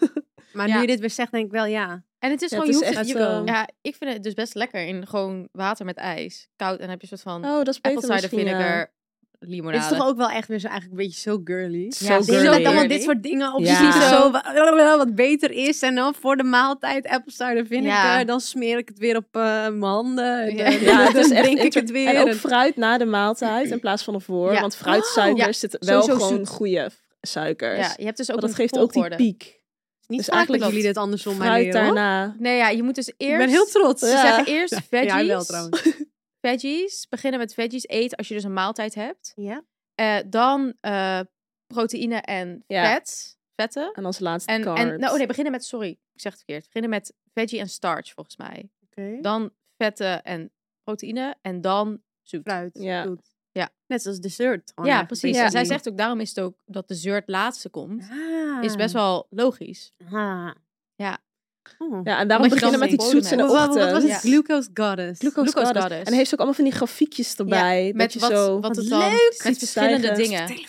Speaker 5: Maar
Speaker 3: Ja.
Speaker 5: nu je dit weer zegt, denk ik wel ja.
Speaker 3: En het is
Speaker 2: Ja,
Speaker 3: gewoon,
Speaker 2: het
Speaker 3: je
Speaker 2: is
Speaker 3: hoeft
Speaker 2: echt
Speaker 3: je-
Speaker 2: zo.
Speaker 3: Ja, ik vind het dus best lekker in gewoon water met ijs. Koud en dan heb je een soort van
Speaker 2: oh, dat is beter
Speaker 3: apple cider
Speaker 2: misschien, ja.
Speaker 3: vinegar
Speaker 5: Dit is
Speaker 3: limonade.
Speaker 5: toch ook wel echt weer zo, eigenlijk een beetje zo girly.
Speaker 2: Zo
Speaker 3: Ja,
Speaker 5: Zo
Speaker 3: girly.
Speaker 5: Met allemaal
Speaker 3: girly.
Speaker 5: dit soort dingen op
Speaker 2: Ja.
Speaker 5: ja. zo wa- wat beter is. En dan voor de maaltijd apple cider vinegar.
Speaker 3: Ja.
Speaker 5: Dan smeer ik het weer op eh, mijn handen. En,
Speaker 3: Ja.
Speaker 5: eh,
Speaker 2: Ja, het is
Speaker 5: dan
Speaker 2: echt
Speaker 5: drink ik
Speaker 2: inter-
Speaker 5: het weer.
Speaker 2: En ook
Speaker 5: En-
Speaker 2: fruit na de maaltijd in plaats van ervoor.
Speaker 3: Ja. Oh,
Speaker 2: Want fruitsuikers
Speaker 3: Ja,
Speaker 2: zitten wel
Speaker 3: sowieso
Speaker 2: gewoon
Speaker 3: zoet.
Speaker 2: goede suikers.
Speaker 3: Ja, je hebt dus ook
Speaker 2: Want dat
Speaker 3: een
Speaker 2: geeft ook die
Speaker 3: volgorde.
Speaker 2: piek.
Speaker 5: Niet
Speaker 2: dus
Speaker 5: dus
Speaker 2: eigenlijk
Speaker 5: eigenlijk dat jullie dit andersom mij
Speaker 2: Fruit
Speaker 5: leren. hoor.
Speaker 2: daarna.
Speaker 3: Nee, ja, je moet dus eerst...
Speaker 5: Ik ben heel trots.
Speaker 3: Ze
Speaker 2: Ja.
Speaker 3: zeggen eerst veggies.
Speaker 5: jij wel trouwens.
Speaker 3: Veggies. Beginnen met veggies. Eet als je dus een maaltijd hebt.
Speaker 5: Ja.
Speaker 3: Eh, dan eh, proteïne en
Speaker 2: Ja.
Speaker 3: vet. Vetten.
Speaker 2: En als laatste
Speaker 3: En,
Speaker 2: carbs.
Speaker 3: en, nou, oh nee, beginnen met, sorry, ik zeg het verkeerd. Beginnen met veggie en starch, volgens mij.
Speaker 2: Hm?
Speaker 5: Oké.
Speaker 3: Dan vetten en proteïne en dan zoet.
Speaker 5: fruit.
Speaker 2: Ja.
Speaker 5: zoet.
Speaker 3: Ja.
Speaker 5: Net zoals dessert. gewoon
Speaker 3: Oh, Ja,
Speaker 5: eigenlijk,
Speaker 3: precies.
Speaker 2: Ja.
Speaker 3: En zij
Speaker 5: basically.
Speaker 3: zegt ook, daarom is het ook dat de zeurt laatste komt.
Speaker 5: Mm. Ah.
Speaker 3: Is best wel logisch.
Speaker 5: Ah.
Speaker 3: Ja.
Speaker 5: Oh.
Speaker 2: Ja, en daarom
Speaker 3: Omdat je
Speaker 2: beginnen
Speaker 3: dan
Speaker 2: met die
Speaker 3: denkt,
Speaker 2: zoets in de
Speaker 5: Wat- wat-
Speaker 2: ochtend.
Speaker 5: eh, Wat was het?
Speaker 3: Ja.
Speaker 5: Glucose Goddess.
Speaker 2: Glucose
Speaker 3: Glucose
Speaker 2: Goddess.
Speaker 3: Goddess.
Speaker 2: En heeft ook allemaal van die grafiekjes erbij. dat
Speaker 3: met
Speaker 2: je
Speaker 3: wat,
Speaker 2: zo,
Speaker 3: wat het
Speaker 2: leuk.
Speaker 3: dan,
Speaker 2: Iets
Speaker 3: met verschillende
Speaker 2: bestijgen.
Speaker 3: dingen.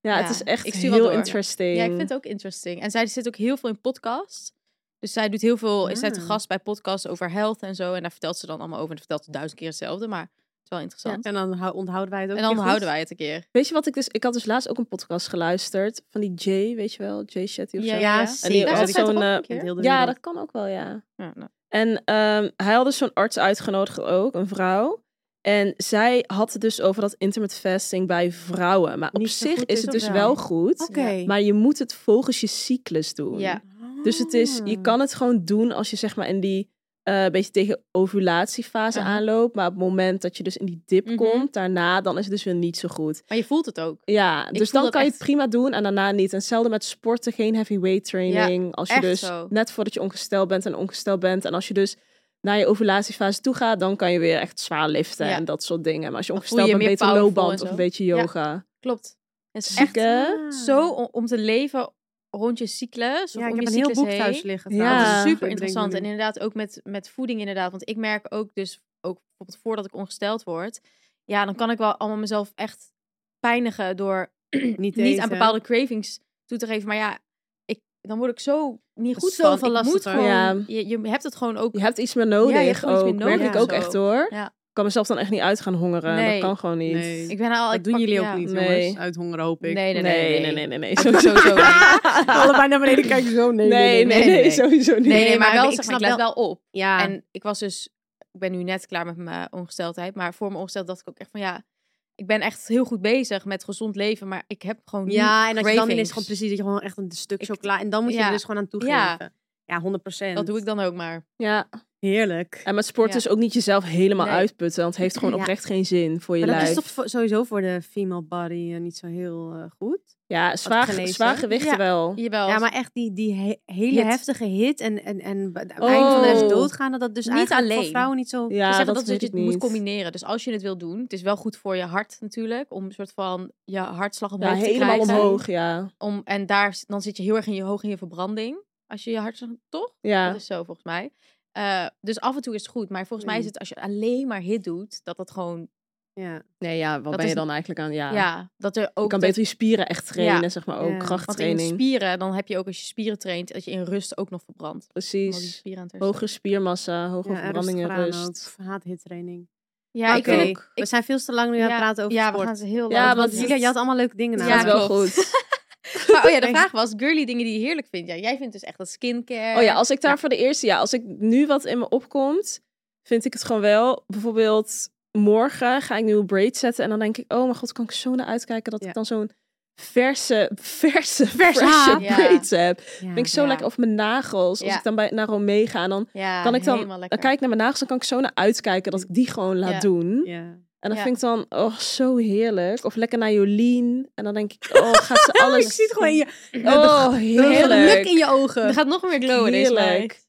Speaker 2: Ja, het
Speaker 3: Ja,
Speaker 2: is echt
Speaker 3: ik stuur wel
Speaker 2: heel
Speaker 3: door.
Speaker 2: interesting.
Speaker 3: Ja, ik vind het ook interesting. En zij zit ook heel veel in podcasts. Dus zij doet heel veel, is zij te
Speaker 5: Ah.
Speaker 3: gast bij podcasts over health en zo. En daar vertelt ze dan allemaal over. En dat vertelt ze duizend keer hetzelfde, maar het is wel interessant.
Speaker 5: En dan hou- onthouden wij het ook.
Speaker 3: en dan
Speaker 5: weer goed.
Speaker 3: houden wij het een keer.
Speaker 2: Weet je wat ik dus... Ik had dus laatst ook een podcast geluisterd. Van die Jay, weet je wel? Jay Shetty of zo.
Speaker 5: ja,
Speaker 2: die-
Speaker 3: Daar
Speaker 2: had
Speaker 3: zat
Speaker 2: ik
Speaker 3: zij
Speaker 2: zo'n,
Speaker 3: toch ook
Speaker 2: eh,
Speaker 3: een keer?
Speaker 5: Het heel de
Speaker 2: Ja,
Speaker 5: wereld.
Speaker 2: dat kan ook wel, ja.
Speaker 3: Ja, nou.
Speaker 2: En ehm, hij had dus zo'n arts uitgenodigd ook, een vrouw. En zij had het dus over dat intermittent fasting bij vrouwen. Maar op
Speaker 5: Niet zo
Speaker 2: zich
Speaker 5: goed
Speaker 2: is
Speaker 5: is
Speaker 2: het
Speaker 5: of
Speaker 2: dus
Speaker 5: wel?
Speaker 2: wel goed.
Speaker 5: Oké.
Speaker 2: Maar je moet het volgens je cyclus doen.
Speaker 3: Ja.
Speaker 2: Dus het is, je
Speaker 5: Ah.
Speaker 2: kan het gewoon doen als je zeg maar in die eh, beetje tegen ovulatiefase
Speaker 3: Aha.
Speaker 2: aanloopt. Maar op het moment dat je dus in die dip
Speaker 3: Mhm.
Speaker 2: komt, daarna, dan is het dus weer niet zo goed.
Speaker 3: Maar je voelt het ook.
Speaker 2: Ja, dus
Speaker 3: voel
Speaker 2: dan
Speaker 3: dat
Speaker 2: kan je
Speaker 3: echt.
Speaker 2: het prima doen en daarna niet. En hetzelfde met sporten, geen heavyweight training. als je
Speaker 3: echt
Speaker 2: dus
Speaker 3: zo.
Speaker 2: net voordat je ongesteld bent en ongesteld bent. En als je dus naar je ovulatiefase toe gaat, dan kan je weer echt zwaar liften
Speaker 3: Ja.
Speaker 2: en dat soort dingen. Maar als je
Speaker 3: Dan voel
Speaker 2: ongesteld
Speaker 3: je
Speaker 2: bent,
Speaker 3: je meer
Speaker 2: beter
Speaker 3: powerful en
Speaker 2: loopband
Speaker 3: zo.
Speaker 2: of een beetje
Speaker 3: Ja.
Speaker 2: yoga.
Speaker 3: Klopt. Het is echt
Speaker 2: Zieke.
Speaker 3: zo om, om te leven rond je cyclus. Of
Speaker 5: Ja, ik
Speaker 3: om
Speaker 5: heb
Speaker 3: je
Speaker 5: een heel
Speaker 3: cyclus
Speaker 5: boek
Speaker 3: heen.
Speaker 5: thuis liggen.
Speaker 2: Ja.
Speaker 5: trouwens.
Speaker 2: Dat is
Speaker 5: Ik
Speaker 3: super
Speaker 5: bedenk
Speaker 3: interessant.
Speaker 5: me
Speaker 3: En
Speaker 5: nu.
Speaker 3: inderdaad ook met, met voeding inderdaad. Want ik merk ook dus, ook bijvoorbeeld voordat ik ongesteld word. Ja, dan kan ik wel allemaal mezelf echt pijnigen door
Speaker 5: Niet
Speaker 3: niet,
Speaker 5: eten.
Speaker 3: aan bepaalde cravings toe te geven. Maar ja, ik, dan word ik zo niet goed
Speaker 5: Zoveel
Speaker 3: van. Ik
Speaker 5: last
Speaker 3: moet
Speaker 5: van.
Speaker 3: gewoon,
Speaker 2: Ja.
Speaker 3: je, je hebt het gewoon ook.
Speaker 2: Je hebt iets meer nodig
Speaker 3: Ja, je hebt gewoon iets
Speaker 2: ook.
Speaker 3: meer nodig
Speaker 2: Merk ik
Speaker 5: en
Speaker 2: ook
Speaker 3: zo.
Speaker 2: echt hoor.
Speaker 3: Ja.
Speaker 2: Ik kan mezelf dan echt niet uit gaan hongeren.
Speaker 3: Nee.
Speaker 2: Dat kan gewoon niet.
Speaker 5: Nee.
Speaker 3: Ik ben al.
Speaker 5: Dat
Speaker 3: ik
Speaker 5: doen
Speaker 3: pak-
Speaker 5: jullie
Speaker 3: ja.
Speaker 5: ook niet,
Speaker 2: Nee.
Speaker 5: jongens. Uit honger hoop ik.
Speaker 3: Nee, nee, nee.
Speaker 2: nee, nee, nee, nee, nee.
Speaker 3: Dat doe ik sowieso niet.
Speaker 5: Allebei naar beneden kijken zo. Nee,
Speaker 2: Nee, nee, nee,
Speaker 3: nee, nee.
Speaker 2: sowieso niet.
Speaker 3: Nee, nee, maar wel,
Speaker 5: ik
Speaker 3: zeg maar,
Speaker 5: snap
Speaker 3: ik let wel op.
Speaker 5: Ja.
Speaker 2: Ah.
Speaker 3: En ik was dus, ik ben nu net klaar met mijn ongesteldheid, maar voor mijn ongesteld dacht ik ook echt van ja, ik ben echt heel goed bezig met gezond leven, maar ik heb gewoon nu
Speaker 5: ja, en dat je dan
Speaker 3: cravings.
Speaker 5: is gewoon precies dat je gewoon echt een stuk
Speaker 3: Ik-
Speaker 5: chocola en dan moet je
Speaker 3: ja.
Speaker 5: er dus gewoon aan toegeven.
Speaker 3: Ja.
Speaker 5: Ja, 100 procent.
Speaker 3: Dat doe ik dan ook maar.
Speaker 2: Ja.
Speaker 5: Heerlijk.
Speaker 2: En met sport
Speaker 3: Ja.
Speaker 2: dus ook niet jezelf helemaal
Speaker 3: Nee.
Speaker 2: uitputten. Want het heeft gewoon
Speaker 5: Ja.
Speaker 2: oprecht geen zin voor je
Speaker 5: Maar dat
Speaker 2: lijf.
Speaker 5: is toch voor- sowieso voor de female body eh, niet zo heel eh, goed.
Speaker 2: Ja, zwaar,
Speaker 5: gelezen.
Speaker 2: zwaar gewichten
Speaker 5: Ja.
Speaker 2: wel.
Speaker 3: Jawel.
Speaker 5: Ja, maar echt die, die he- hele
Speaker 3: Hit.
Speaker 5: heftige hit en, en, en aan het
Speaker 2: Oh.
Speaker 5: eind van de rest doodgaan, dat dat dus
Speaker 3: Niet
Speaker 5: eigenlijk voor
Speaker 3: alleen.
Speaker 5: vrouwen niet zo...
Speaker 2: Ja,
Speaker 3: Ze zeggen
Speaker 2: dat,
Speaker 3: dat, is dat
Speaker 2: weet
Speaker 3: je
Speaker 2: ik
Speaker 3: het moet
Speaker 2: niet.
Speaker 3: combineren. Dus als je het wil doen, het is wel goed voor je hart natuurlijk, om een soort van je hartslag omhoog
Speaker 2: Ja,
Speaker 3: te
Speaker 2: helemaal
Speaker 3: krijgen.
Speaker 2: omhoog, ja.
Speaker 3: Om, en daar, s- dan zit je heel erg in je, hoog in je verbranding, als je je hartslag, toch?
Speaker 2: Ja,
Speaker 3: Dat is zo volgens mij. Eh, dus af en toe is het goed, maar volgens mij is
Speaker 5: Mm.
Speaker 3: het als je alleen maar hit doet, dat dat gewoon,
Speaker 5: Ja.
Speaker 2: nee, ja wat
Speaker 3: Dat
Speaker 2: ben je
Speaker 3: is-
Speaker 2: dan eigenlijk aan? Ja,
Speaker 3: ja, dat er ook
Speaker 2: je kan
Speaker 3: dat-
Speaker 2: beter je spieren echt trainen,
Speaker 3: Ja.
Speaker 2: zeg maar ook.
Speaker 5: Ja.
Speaker 3: Want in
Speaker 2: Krachttraining,
Speaker 3: spieren, dan heb je ook als je spieren traint, dat je in rust ook nog verbrandt. Omdat die
Speaker 2: precies.
Speaker 3: spieren aan het herstellen
Speaker 2: Hogere spiermassa, hogere
Speaker 5: Ja, en
Speaker 2: verbranding en
Speaker 5: rustig
Speaker 2: rust.
Speaker 5: aan ook. Haat hit training.
Speaker 3: zijn. Ja,
Speaker 5: Maar
Speaker 3: ik
Speaker 5: oké,
Speaker 3: vind het...
Speaker 5: we zijn veel te lang nu aan het praten over
Speaker 3: ja,
Speaker 5: sport.
Speaker 3: we gaan ze heel
Speaker 2: Ja,
Speaker 3: lang.
Speaker 2: want
Speaker 5: Want Julia, je had allemaal leuke dingen
Speaker 3: Ja,
Speaker 2: dat is
Speaker 5: namelijk.
Speaker 2: wel
Speaker 3: klopt.
Speaker 2: goed.
Speaker 3: Maar, oh ja, de vraag was, girly dingen die je heerlijk vindt. Ja, jij vindt dus echt dat skincare.
Speaker 2: Oh ja, als ik daar voor de eerste, ja, als ik nu wat in me opkomt, vind ik het gewoon wel. Bijvoorbeeld morgen ga ik nieuwe braids zetten en dan denk ik, oh mijn god, kan ik zo naar uitkijken dat
Speaker 5: Ja.
Speaker 2: ik dan zo'n verse, verse,
Speaker 5: Vers
Speaker 2: verse
Speaker 5: haar.
Speaker 3: Ja.
Speaker 2: braids heb. Vind
Speaker 5: Ja.
Speaker 2: ik zo
Speaker 3: Ja.
Speaker 2: lekker. Of mijn nagels, als
Speaker 3: Ja.
Speaker 2: ik dan bij, naar Romee ga en dan
Speaker 3: Ja,
Speaker 2: kan ik dan,
Speaker 3: helemaal
Speaker 2: dan
Speaker 3: lekker.
Speaker 2: kijk ik naar mijn nagels, dan kan ik zo naar uitkijken dat ik die gewoon laat
Speaker 3: Ja.
Speaker 2: doen.
Speaker 5: Ja.
Speaker 2: En dan
Speaker 3: Ja.
Speaker 2: vind ik dan, oh, zo heerlijk. Of lekker naar Jolien. En dan denk ik, oh, gaat ze alles...
Speaker 5: Ik zie het gewoon in je
Speaker 2: Oh,
Speaker 5: geluk
Speaker 2: heerlijk.
Speaker 5: in je ogen.
Speaker 3: Er gaat nog meer glowen deze
Speaker 2: Heerlijk.
Speaker 3: meid.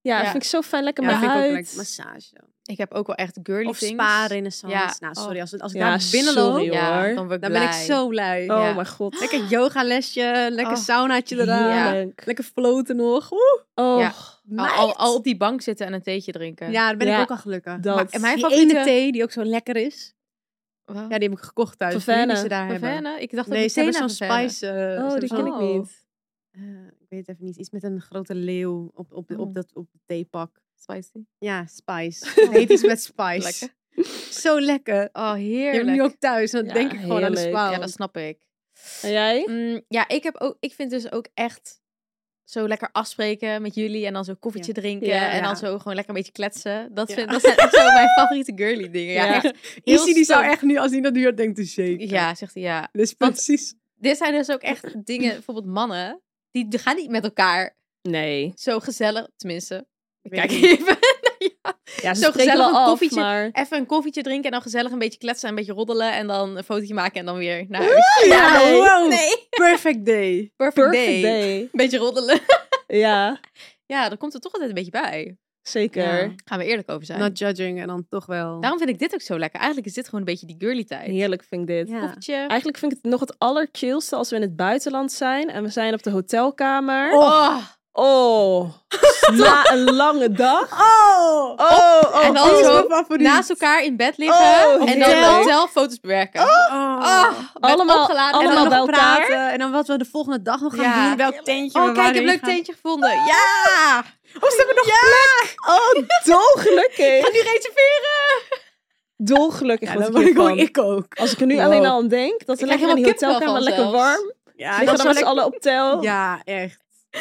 Speaker 2: Ja,
Speaker 3: Ja.
Speaker 2: dat vind ik zo fijn. Lekker
Speaker 5: Ja,
Speaker 2: mijn
Speaker 5: vind ik ook
Speaker 2: huid.
Speaker 5: lekker. Massage.
Speaker 3: Ik heb ook wel echt girly
Speaker 5: Of
Speaker 3: things.
Speaker 5: spa, renaissance.
Speaker 3: Ja.
Speaker 5: Nou,
Speaker 3: Oh.
Speaker 5: sorry, als, het- als ik
Speaker 2: Ja,
Speaker 5: daar binnen loop,
Speaker 2: sorry,
Speaker 3: Ja,
Speaker 2: hoor.
Speaker 3: dan word ik
Speaker 5: dan ben ik
Speaker 3: blij.
Speaker 5: zo blij.
Speaker 2: Oh
Speaker 3: Ja.
Speaker 2: mijn god.
Speaker 5: Lekker yogalesje, lekker
Speaker 3: Oh.
Speaker 5: saunaatje eraan.
Speaker 3: Ja.
Speaker 2: Heerlijk.
Speaker 5: Lekker floten nog. Oeh,
Speaker 2: Oh,
Speaker 3: Ja. Al,
Speaker 5: meid.
Speaker 3: al, al op die bank zitten en een theetje drinken.
Speaker 5: Ja, daar ben
Speaker 2: Ja,
Speaker 5: ik ook al gelukkig.
Speaker 2: dat.
Speaker 5: Maar,
Speaker 3: En mijn
Speaker 5: die
Speaker 3: favoriete-
Speaker 5: ene thee die ook zo lekker is.
Speaker 3: Wow.
Speaker 5: Ja, die heb ik gekocht thuis.
Speaker 2: Van
Speaker 5: Die
Speaker 2: Venne.
Speaker 5: die ze daar hebben.
Speaker 3: Vervenne? nou? Ik dacht
Speaker 5: Nee,
Speaker 3: dat
Speaker 5: ze hebben
Speaker 3: meteen
Speaker 5: zo'n
Speaker 3: aan Vervenne.
Speaker 5: spice. eh,
Speaker 2: oh,
Speaker 5: ze
Speaker 2: die
Speaker 5: hebben
Speaker 2: ken
Speaker 5: zo'n-
Speaker 2: ik niet.
Speaker 5: eh, ik weet even niet. Iets met een grote leeuw op, op, de-
Speaker 3: Oh.
Speaker 5: op, dat, op de theepak.
Speaker 3: Spicy.
Speaker 5: Ja, spice. Het heet iets met spice.
Speaker 3: Lekker.
Speaker 5: Zo lekker.
Speaker 3: Oh,
Speaker 5: Je hebt
Speaker 3: heerlijk.
Speaker 5: nu ook oh, thuis. En dan
Speaker 2: Ja,
Speaker 5: denk ik gewoon aan de
Speaker 2: heerlijk.
Speaker 5: spa.
Speaker 3: Ja, dat snap ik.
Speaker 2: En jij?
Speaker 3: Mm, ja, ik, heb ook, ik vind dus ook echt zo lekker afspreken met jullie en dan zo koffietje drinken
Speaker 2: Ja,
Speaker 3: en
Speaker 5: ja.
Speaker 3: dan zo gewoon lekker een beetje kletsen. Dat,
Speaker 5: Ja.
Speaker 3: vind, dat zijn echt zo mijn favoriete girly dingen. Ja,
Speaker 2: Ja.
Speaker 3: echt heel
Speaker 5: Izzy die zou
Speaker 3: stom.
Speaker 5: echt nu, als hij dat nu hoort, denkt hij zeker.
Speaker 3: Ja, zegt hij, ja.
Speaker 5: Dus
Speaker 3: Want-
Speaker 5: precies.
Speaker 3: Dit zijn dus ook echt dingen, bijvoorbeeld mannen, die, die gaan niet met elkaar
Speaker 2: Nee.
Speaker 3: zo gezellig, tenminste. Ik
Speaker 5: Weet
Speaker 3: kijk
Speaker 5: niet.
Speaker 3: even. Ja.
Speaker 2: Ja,
Speaker 3: Zo
Speaker 2: spreken
Speaker 3: gezellig
Speaker 2: wel
Speaker 3: een
Speaker 2: af,
Speaker 3: koffietje.
Speaker 2: maar...
Speaker 3: Even een koffietje drinken en dan gezellig een beetje kletsen en een beetje roddelen en dan een fotootje maken en dan weer naar huis.
Speaker 5: Ja,
Speaker 2: nee.
Speaker 5: wow.
Speaker 3: Nee,
Speaker 5: Perfect day.
Speaker 3: perfect, day.
Speaker 2: Perfect day.
Speaker 3: Beetje roddelen.
Speaker 2: Ja,
Speaker 3: Ja, dan komt er toch altijd een beetje bij.
Speaker 2: zeker.
Speaker 5: Ja.
Speaker 3: Gaan we eerlijk over zijn.
Speaker 5: Not judging en dan toch wel.
Speaker 3: Daarom vind ik dit ook zo lekker. Eigenlijk is dit gewoon een beetje die girly tijd.
Speaker 2: Heerlijk vind ik dit.
Speaker 5: ja.
Speaker 3: Koffietje.
Speaker 2: Eigenlijk vind ik het nog het allerchillste als we in het buitenland zijn en we zijn op de hotelkamer.
Speaker 3: Oh,
Speaker 2: Oh, na een lange dag.
Speaker 5: Oh!
Speaker 2: Oh, oh,
Speaker 3: en dan
Speaker 2: oh.
Speaker 3: zo
Speaker 5: favoriet.
Speaker 3: naast elkaar in bed liggen
Speaker 2: Oh,
Speaker 3: en dan
Speaker 2: heerlijk.
Speaker 3: zelf foto's bewerken.
Speaker 5: Oh.
Speaker 3: Ah, met
Speaker 2: Allemaal-
Speaker 3: opgeladen en
Speaker 2: allemaal
Speaker 3: dan nog
Speaker 2: bij elkaar.
Speaker 3: praten.
Speaker 5: En dan wat we de volgende dag nog gaan
Speaker 3: Ja.
Speaker 5: doen. Welk tentje
Speaker 3: Oh, kijk,
Speaker 5: we
Speaker 3: ik heb
Speaker 5: waarheen
Speaker 3: een leuk
Speaker 5: gaan.
Speaker 3: tentje gevonden. Ja!
Speaker 5: Oh, ze hebben nog plek.
Speaker 2: Oh, dolgelukkig.
Speaker 3: Ga nu reserveren!
Speaker 2: Dolgelukkig
Speaker 5: Ja,
Speaker 2: word ik
Speaker 5: dat wil ik ook.
Speaker 2: hiervan.
Speaker 5: Ik ook.
Speaker 2: Als ik er nu
Speaker 5: Wow.
Speaker 2: alleen al aan denk, dat we
Speaker 3: Ik
Speaker 2: lekker
Speaker 3: krijg
Speaker 2: in die
Speaker 3: helemaal
Speaker 2: hotelkamer
Speaker 3: kippenvel
Speaker 2: lekker
Speaker 3: van zelfs.
Speaker 2: warm.
Speaker 5: Ja,
Speaker 2: Liggen dan met z'n allen op tel.
Speaker 5: Ja, echt.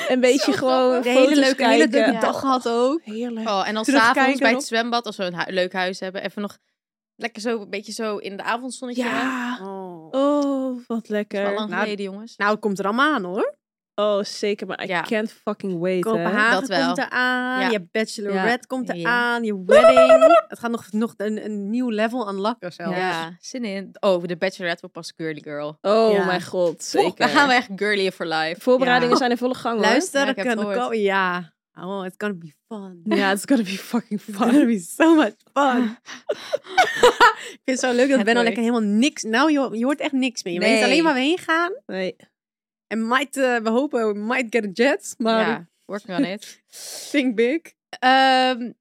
Speaker 2: Een beetje
Speaker 3: Zo
Speaker 2: gewoon
Speaker 3: grappig.
Speaker 5: De hele
Speaker 2: foto's
Speaker 5: leuke, hele
Speaker 2: kijken.
Speaker 5: drukke
Speaker 3: Ja.
Speaker 5: dag gehad ook.
Speaker 2: Heerlijk.
Speaker 3: Oh, en dan
Speaker 5: Terugkijken
Speaker 3: s'avonds bij
Speaker 5: nog.
Speaker 3: het zwembad, als we een hu- leuk huis hebben, even nog lekker zo, een beetje zo in de avondzonnetje. Dat
Speaker 2: Ja.
Speaker 5: Oh.
Speaker 2: Oh, wat
Speaker 3: is wel
Speaker 2: lekker.
Speaker 3: lang
Speaker 5: Nou,
Speaker 3: geleden, jongens.
Speaker 5: Nou, het komt er allemaal aan hoor.
Speaker 2: Oh, zeker. Maar I
Speaker 3: Ja.
Speaker 2: can't fucking wait. hè.
Speaker 5: Kopenhagen
Speaker 3: eh, Dat wel.
Speaker 5: komt eraan.
Speaker 3: Ja.
Speaker 5: Je bachelorette komt
Speaker 3: Ja.
Speaker 5: eraan. Je wedding. Het gaat nog, nog een, een nieuw level aan lakken zelfs.
Speaker 3: ja, zin in. Oh, de Bachelorette wordt pas girly girl.
Speaker 2: Oh
Speaker 5: Ja.
Speaker 2: mijn god,
Speaker 3: Oeh,
Speaker 2: zeker.
Speaker 3: Dan gaan we echt girly for life.
Speaker 2: Voorbereidingen
Speaker 5: Ja.
Speaker 2: zijn in volle gang hoor.
Speaker 5: Luister,
Speaker 3: Ja,
Speaker 5: ik
Speaker 3: ik heb
Speaker 5: kan
Speaker 3: het
Speaker 5: de
Speaker 3: gehoord.
Speaker 5: ko- Ja. Oh, it's gonna be fun.
Speaker 2: Ja, it's gonna be fucking
Speaker 5: It's gonna
Speaker 2: fun.
Speaker 5: be so much fun. ik vind het zo leuk dat
Speaker 3: Het
Speaker 5: Ben al
Speaker 3: leuk.
Speaker 5: lekker helemaal niks... Nou, je, je hoort echt niks meer. Je weet
Speaker 3: Nee.
Speaker 5: alleen waar we heen gaan.
Speaker 2: Nee.
Speaker 5: En might, eh, we hopen, we might get a jet. Maar
Speaker 3: Ja, working on it.
Speaker 5: think big.
Speaker 3: Ehm,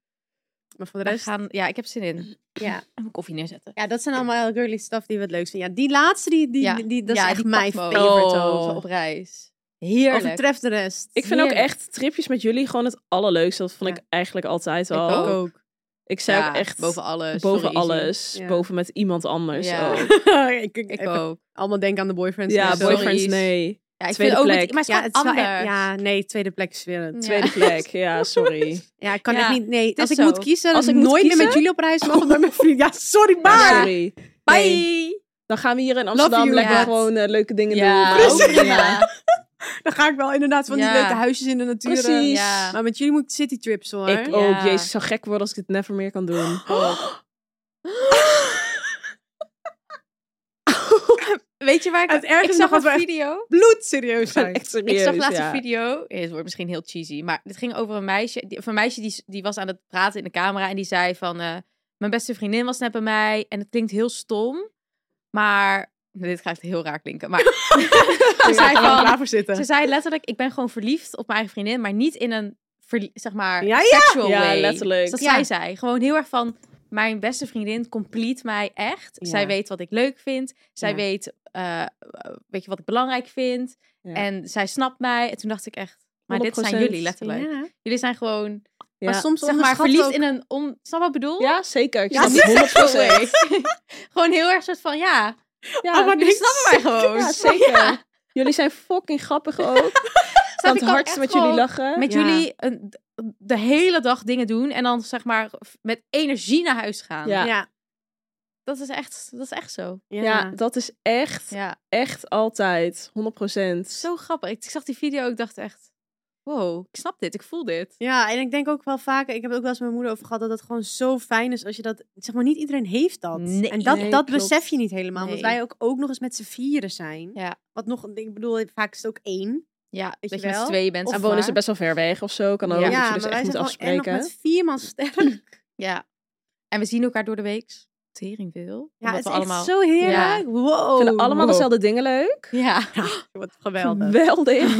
Speaker 5: Maar voor de
Speaker 3: we
Speaker 5: rest...
Speaker 3: gaan, ja, ik heb zin in. Ik
Speaker 5: Ja.
Speaker 3: ga mijn koffie neerzetten.
Speaker 5: ja, dat zijn allemaal girly stuff die we het leukst vinden. Ja, die laatste, die, die,
Speaker 3: Ja.
Speaker 5: die, dat
Speaker 3: ja,
Speaker 5: is echt mijn
Speaker 3: pakmo.
Speaker 5: favorite
Speaker 3: Oh,
Speaker 5: ook.
Speaker 3: Op reis. Heerlijk.
Speaker 5: Overtreft de rest.
Speaker 2: Ik vind ook
Speaker 3: Heerlijk.
Speaker 2: echt tripjes met jullie gewoon het allerleukste. Dat vond
Speaker 5: Ja.
Speaker 2: ik eigenlijk altijd
Speaker 3: Ik
Speaker 2: al.
Speaker 3: ook.
Speaker 2: Ik zei
Speaker 3: Ja,
Speaker 2: ook echt
Speaker 3: boven alles.
Speaker 2: boven
Speaker 3: Sorry, Izzy.
Speaker 2: alles.
Speaker 5: Ja.
Speaker 2: Boven met iemand anders.
Speaker 3: Ja.
Speaker 2: ook.
Speaker 5: ik, ik,
Speaker 3: Ik
Speaker 5: even
Speaker 3: ook.
Speaker 5: Allemaal denken aan de boyfriends.
Speaker 2: ja
Speaker 5: en zo.
Speaker 3: sorry,
Speaker 2: boyfriends,
Speaker 3: Izzy.
Speaker 2: nee.
Speaker 3: Ja, ik
Speaker 2: Tweede
Speaker 3: vind ook met-
Speaker 2: plek.
Speaker 3: maar het is e-
Speaker 5: Ja,
Speaker 3: gewoon
Speaker 5: het is wel echt-
Speaker 3: anders.
Speaker 5: ja, nee, tweede plek is weer een-
Speaker 2: Tweede plek, ja, sorry.
Speaker 5: Ja, ik kan
Speaker 3: Ja,
Speaker 5: echt niet. Nee, als
Speaker 3: is
Speaker 5: ik
Speaker 3: zo.
Speaker 5: moet kiezen,
Speaker 2: Als
Speaker 5: als
Speaker 2: ik
Speaker 5: ik
Speaker 2: moet
Speaker 5: nooit meer
Speaker 2: kiezen?
Speaker 5: met jullie op reis mag, met mijn vriend. Ja, sorry,
Speaker 2: Ja,
Speaker 5: maar.
Speaker 2: sorry.
Speaker 5: Bye.
Speaker 2: Dan gaan we hier in
Speaker 5: Love
Speaker 2: Amsterdam
Speaker 5: you,
Speaker 2: lekker
Speaker 3: ja.
Speaker 2: gewoon eh, leuke dingen
Speaker 3: Ja,
Speaker 2: doen.
Speaker 3: ook prima.
Speaker 5: Dan ga ik wel inderdaad van
Speaker 3: Ja.
Speaker 5: die leuke huisjes in de natuur. eh.
Speaker 2: Precies.
Speaker 3: Ja.
Speaker 5: Maar met jullie moet ik citytrips hoor.
Speaker 2: Ik
Speaker 3: Ja.
Speaker 2: ook, jezus, ik zou gek worden als ik dit never meer kan doen. Oh.
Speaker 3: Weet je waar ik...
Speaker 5: Het ergste
Speaker 3: ik
Speaker 5: is
Speaker 3: zag
Speaker 5: nog
Speaker 3: een
Speaker 5: dat we echt
Speaker 3: video.
Speaker 5: bloed serieus zijn.
Speaker 2: Echt
Speaker 3: Ik
Speaker 2: serieus,
Speaker 3: zag laatst
Speaker 2: ja.
Speaker 3: een video. Het wordt misschien heel cheesy, maar dit ging over een meisje. Die, of een meisje die, die was aan het praten in de camera en die zei van... eh, mijn beste vriendin was net bij mij en het klinkt heel stom, maar... Dit gaat heel raar klinken, maar... ze,
Speaker 5: Daar
Speaker 3: zei
Speaker 5: gaan we
Speaker 3: van,
Speaker 5: klaar voor
Speaker 3: ze
Speaker 5: zitten.
Speaker 3: zei letterlijk, ik ben gewoon verliefd op mijn eigen vriendin, maar niet in een, verlie- zeg maar,
Speaker 5: Ja, ja.
Speaker 3: sexual
Speaker 2: Ja,
Speaker 3: way.
Speaker 2: letterlijk.
Speaker 3: Dus dat
Speaker 5: Ja.
Speaker 3: zij zei. Gewoon heel erg van, mijn beste vriendin complete mij echt.
Speaker 5: Ja.
Speaker 3: Zij weet wat ik leuk vind. Zij
Speaker 5: Ja.
Speaker 3: weet, eh, weet je, wat ik belangrijk vind.
Speaker 2: Ja.
Speaker 3: En zij snapt mij. En toen dacht ik echt, maar dit zijn
Speaker 2: 100%.
Speaker 3: jullie letterlijk.
Speaker 5: Ja.
Speaker 3: Jullie zijn gewoon,
Speaker 2: Ja.
Speaker 5: Maar soms
Speaker 3: zeg maar,
Speaker 5: onderschat
Speaker 3: verliefd
Speaker 5: ook-
Speaker 3: in een, on... snap wat ik bedoel?
Speaker 2: Ja, zeker. Ik
Speaker 5: Ja,
Speaker 2: snap het 100%.
Speaker 3: gewoon heel erg soort van, ja,
Speaker 2: Ja,
Speaker 3: oh, maar jullie
Speaker 5: niks.
Speaker 3: snappen mij gewoon.
Speaker 2: Ja, zeker. Jullie zijn fucking grappig ook.
Speaker 3: Snap, ik
Speaker 2: Aan het
Speaker 3: kan
Speaker 2: hardst
Speaker 3: echt
Speaker 2: met
Speaker 3: gewoon-
Speaker 2: jullie lachen.
Speaker 3: met
Speaker 5: Ja.
Speaker 3: jullie een, de hele dag dingen doen en dan zeg maar f- met energie naar huis gaan.
Speaker 2: Ja.
Speaker 5: Ja. Ja.
Speaker 3: Dat, is echt, dat is echt zo.
Speaker 2: ja. dat is echt,
Speaker 3: Ja,
Speaker 2: echt altijd. 100%.
Speaker 3: zo grappig. Ik, ik zag die video, ik dacht echt, wow, ik snap dit, ik voel dit.
Speaker 5: Ja, en ik denk ook wel vaker, ik heb het ook wel eens met mijn moeder over gehad, dat het gewoon zo fijn is als je dat, zeg maar, niet iedereen heeft dat.
Speaker 3: Nee,
Speaker 5: en dat,
Speaker 2: nee,
Speaker 5: dat
Speaker 2: klopt.
Speaker 5: besef je niet helemaal, want
Speaker 3: Nee.
Speaker 5: wij ook, ook nog eens met z'n vieren zijn.
Speaker 3: Ja.
Speaker 5: Wat nog, ik bedoel, vaak is het ook één.
Speaker 3: Ja,
Speaker 5: Weet
Speaker 3: dat je
Speaker 5: je
Speaker 3: met
Speaker 5: wel?
Speaker 3: z'n tweeën bent.
Speaker 2: Of
Speaker 3: zeg
Speaker 2: wonen
Speaker 3: maar.
Speaker 2: ze best wel ver weg of zo. Kan ook.
Speaker 3: Ja,
Speaker 2: moet je dus
Speaker 5: maar
Speaker 2: echt
Speaker 5: wij
Speaker 2: niet
Speaker 5: zijn gewoon echt nog
Speaker 2: afspreken.
Speaker 5: met vier man sterk.
Speaker 3: Ja. En we zien elkaar door de week. Tering veel.
Speaker 5: Ja, het is
Speaker 3: we
Speaker 5: allemaal...
Speaker 3: allemaal...
Speaker 5: zo heerlijk. Wow.
Speaker 2: We vinden allemaal dezelfde dingen leuk.
Speaker 3: Ja,
Speaker 5: Wat geweldig.
Speaker 2: Geweldig.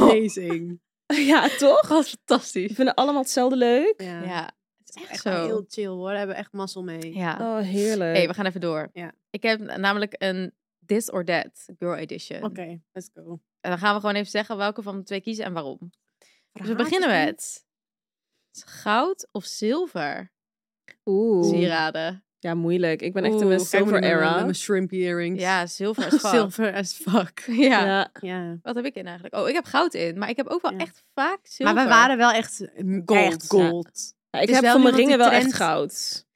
Speaker 5: Amazing.
Speaker 2: Ja, toch?
Speaker 3: dat is
Speaker 2: We
Speaker 3: fantastisch.
Speaker 2: vinden allemaal hetzelfde leuk.
Speaker 5: Ja.
Speaker 3: Ja, het is
Speaker 5: Echt,
Speaker 3: echt
Speaker 5: wel
Speaker 3: zo.
Speaker 5: heel chill hoor. Daar hebben we echt mazzel mee.
Speaker 3: Ja.
Speaker 2: Oh, heerlijk.
Speaker 3: hey, we gaan even door.
Speaker 5: Ja.
Speaker 3: Ik heb namelijk een This or That Girl Edition.
Speaker 5: Oké, let's go.
Speaker 3: En dan gaan we gewoon even zeggen welke van de twee kiezen en waarom. Dus we beginnen met goud of zilver
Speaker 2: Oeh.
Speaker 3: sieraden.
Speaker 2: Ja, moeilijk. Ik ben echt
Speaker 3: Oeh,
Speaker 2: in mijn
Speaker 3: kijk maar
Speaker 2: silver era.
Speaker 5: Mijn shrimp earrings.
Speaker 3: Ja, zilver is goud.
Speaker 5: Silver as fuck.
Speaker 3: Ja.
Speaker 2: Ja.
Speaker 5: Ja.
Speaker 3: Wat heb ik in eigenlijk? Oh, ik heb goud in, maar ik heb ook wel
Speaker 5: Ja.
Speaker 3: echt vaak zilver.
Speaker 5: Maar we waren wel echt gold.
Speaker 3: Echt,
Speaker 5: gold.
Speaker 2: Ja, ik
Speaker 3: Dus
Speaker 2: heb
Speaker 3: wel
Speaker 2: voor
Speaker 3: iemand
Speaker 2: mijn
Speaker 3: die
Speaker 2: ringen wel echt
Speaker 3: trends-
Speaker 2: goud.